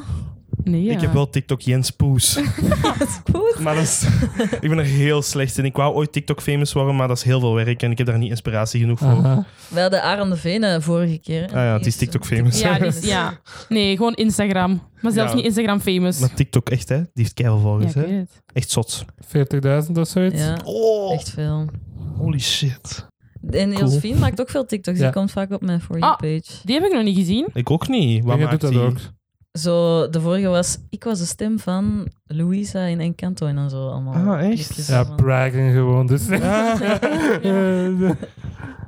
[SPEAKER 3] Nee, ja.
[SPEAKER 4] Ik heb wel TikTok Jens Poes.
[SPEAKER 2] dat is goed.
[SPEAKER 4] Maar dat is, ik ben er heel slecht in. Ik wou ooit TikTok famous worden, maar dat is heel veel werk en ik heb daar niet inspiratie genoeg voor.
[SPEAKER 1] Aha.
[SPEAKER 2] We hadden Aaron de Venen vorige keer.
[SPEAKER 4] Ah ja, het is TikTok famous.
[SPEAKER 3] Ja, die is- ja. Nee, gewoon Instagram. Maar zelfs
[SPEAKER 4] Ja.
[SPEAKER 3] niet Instagram famous.
[SPEAKER 4] Maar TikTok echt, hè? Die heeft keihard
[SPEAKER 3] ja,
[SPEAKER 4] volgers,
[SPEAKER 3] ik weet
[SPEAKER 4] hè?
[SPEAKER 3] het.
[SPEAKER 4] Echt zot.
[SPEAKER 1] 40.000 of zoiets?
[SPEAKER 2] Ja,
[SPEAKER 4] Oh,
[SPEAKER 2] echt veel.
[SPEAKER 4] holy shit.
[SPEAKER 2] En Josfien maakt ook veel TikToks.
[SPEAKER 1] Ja.
[SPEAKER 2] Die komt vaak op mijn For You
[SPEAKER 3] Ah.
[SPEAKER 2] page.
[SPEAKER 3] Die heb ik nog niet gezien.
[SPEAKER 4] Ik ook niet. Wat
[SPEAKER 1] Maar jij
[SPEAKER 4] maakt
[SPEAKER 1] doet dat
[SPEAKER 4] die?
[SPEAKER 1] ook.
[SPEAKER 2] Zo, de vorige was... Ik was de stem van Louisa in Encanto en dan zo allemaal.
[SPEAKER 4] Ah, echt?
[SPEAKER 2] liedjes
[SPEAKER 1] Ja,
[SPEAKER 2] van- bragging gewoon. Dus.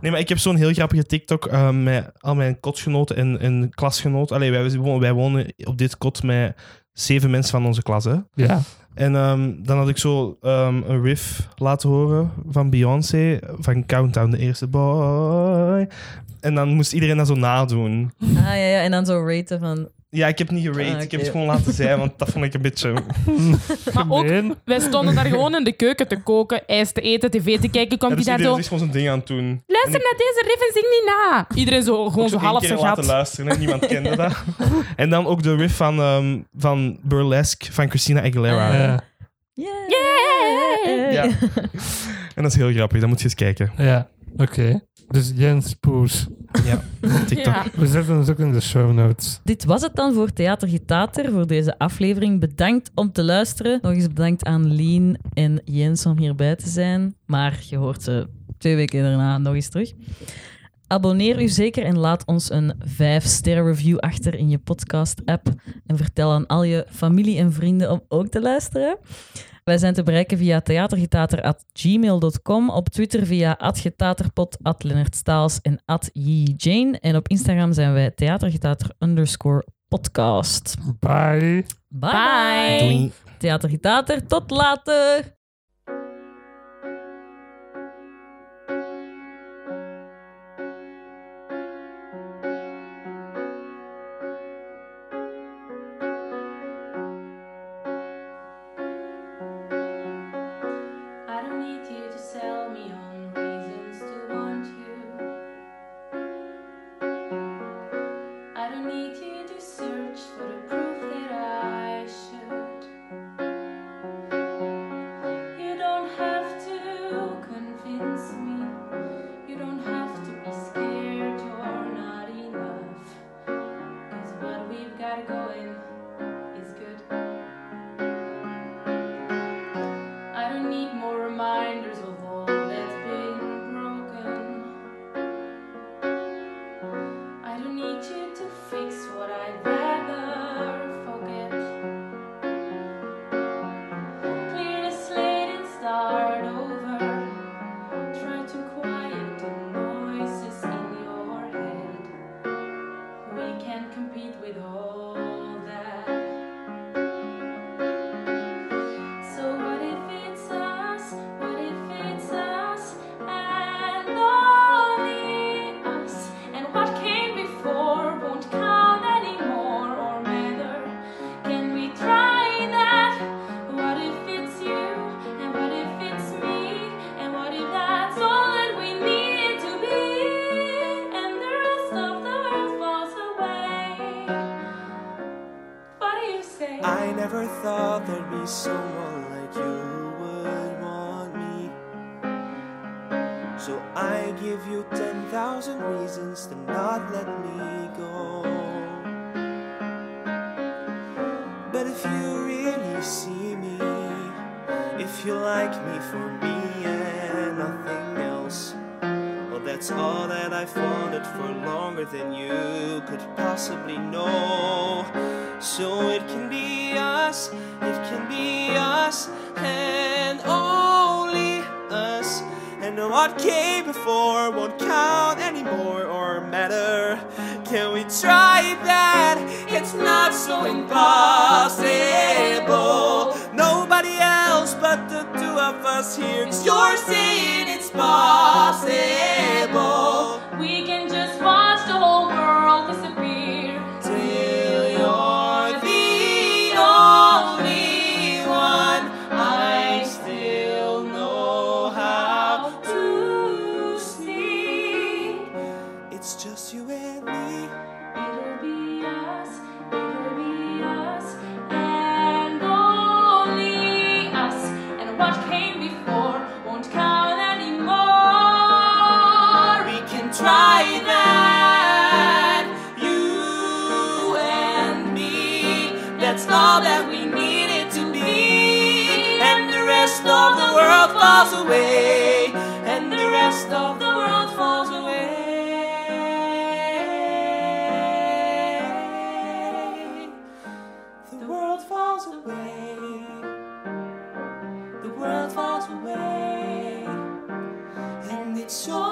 [SPEAKER 4] Nee, maar ik heb zo'n heel grappige TikTok eh, met al mijn kotgenoten en, en klasgenoten. Allee, wij, wo- wij wonen op dit kot met zeven mensen van onze klas, hè?
[SPEAKER 1] ja.
[SPEAKER 4] En ehm, dan had ik zo ehm, een riff laten horen van Beyoncé, van Countdown, de eerste boy. En dan moest iedereen dat zo nadoen.
[SPEAKER 2] Ah, ja, ja. En dan zo raten van...
[SPEAKER 4] Ja, ik heb niet gerate,
[SPEAKER 2] Ah, oké.
[SPEAKER 4] ik heb het gewoon laten zijn, want dat vond ik een beetje... dus
[SPEAKER 3] Maar ook,
[SPEAKER 1] Gemeen.
[SPEAKER 3] wij stonden daar gewoon in de keuken te koken, ijs te eten, tv te kijken. Komt
[SPEAKER 4] Ja,
[SPEAKER 3] die
[SPEAKER 4] dus
[SPEAKER 3] daar
[SPEAKER 4] iedereen
[SPEAKER 3] zo...
[SPEAKER 4] is gewoon zijn ding aan het doen.
[SPEAKER 3] Luister naar deze riff en zing niet na. Iedereen zo, gewoon zo
[SPEAKER 4] één
[SPEAKER 3] half
[SPEAKER 4] keer
[SPEAKER 3] vergat.
[SPEAKER 4] laten luisteren en niemand kende dat. En dan ook de riff van, ehm, van Burlesque van Christina Aguilera.
[SPEAKER 2] Ah,
[SPEAKER 1] Ja.
[SPEAKER 2] Yeah!
[SPEAKER 4] Ja. En dat is heel grappig, dat moet je eens kijken.
[SPEAKER 1] Ja, oké. Dus Jens Poers.
[SPEAKER 4] TikTok.
[SPEAKER 3] Ja.
[SPEAKER 1] We zetten ons ook in de show notes.
[SPEAKER 2] Dit was het dan voor Theater Getater voor deze aflevering. Bedankt om te luisteren. Nog eens bedankt aan Lien en Jens om hierbij te zijn. Maar je hoort ze twee weken daarna nog eens terug. Abonneer u zeker en laat ons een 5-sterren review achter in je podcast-app. En vertel aan al je familie en vrienden om ook te luisteren. Wij zijn te bereiken via theatergetater.gmail.com, op Twitter via atgetaterpot, atlennertstaals en atjjane. En op Instagram zijn wij theatergetater underscore podcast.
[SPEAKER 1] Bye.
[SPEAKER 2] Bye!
[SPEAKER 3] Bye.
[SPEAKER 4] Doei.
[SPEAKER 2] Theatergetater, tot later!
[SPEAKER 5] I don't need you to sell me on reasons to want you. I don't need you to search for the proof that I should. You don't have to convince me. You don't have to be scared you're not enough. 'Cause what we've got going is good. I don't need more reminders of all that's been broken. I don't need you to fix what I'd rather forget. Clear the slate and start over. Try to quiet the noises in your head. We can't compete with all that. So what if it's us? What if it's us and only us? And what came before won't count anymore or matter. Can we try that? What if it's you? And what if it's me? And what if that's all that we need to be? And the rest of the world falls away. What do you say?
[SPEAKER 10] I never thought there'd be someone like you would want me. So I give you 10,000 reasons to not let me go. But if you really see me, if you like me for me and nothing else, well, that's all that I've wanted for longer than you could possibly know. So it can be us, it can be us, and only us. And what came before won't count anymore or matter. Can we try that? It's not so impossible. Nobody else but the two of us here. Cause you're saying it's possible.
[SPEAKER 5] We can just watch the whole world disappear.
[SPEAKER 10] Till you're the only one, I still know how to see. It's just you and me.
[SPEAKER 5] It'll be us, it'll be us, and only us. And what came before won't count anymore.
[SPEAKER 10] We can try that. You and me. That's all that we needed to be. And the rest of the world falls away. And the rest of the world falls away. The world falls away. The world falls away. And it's all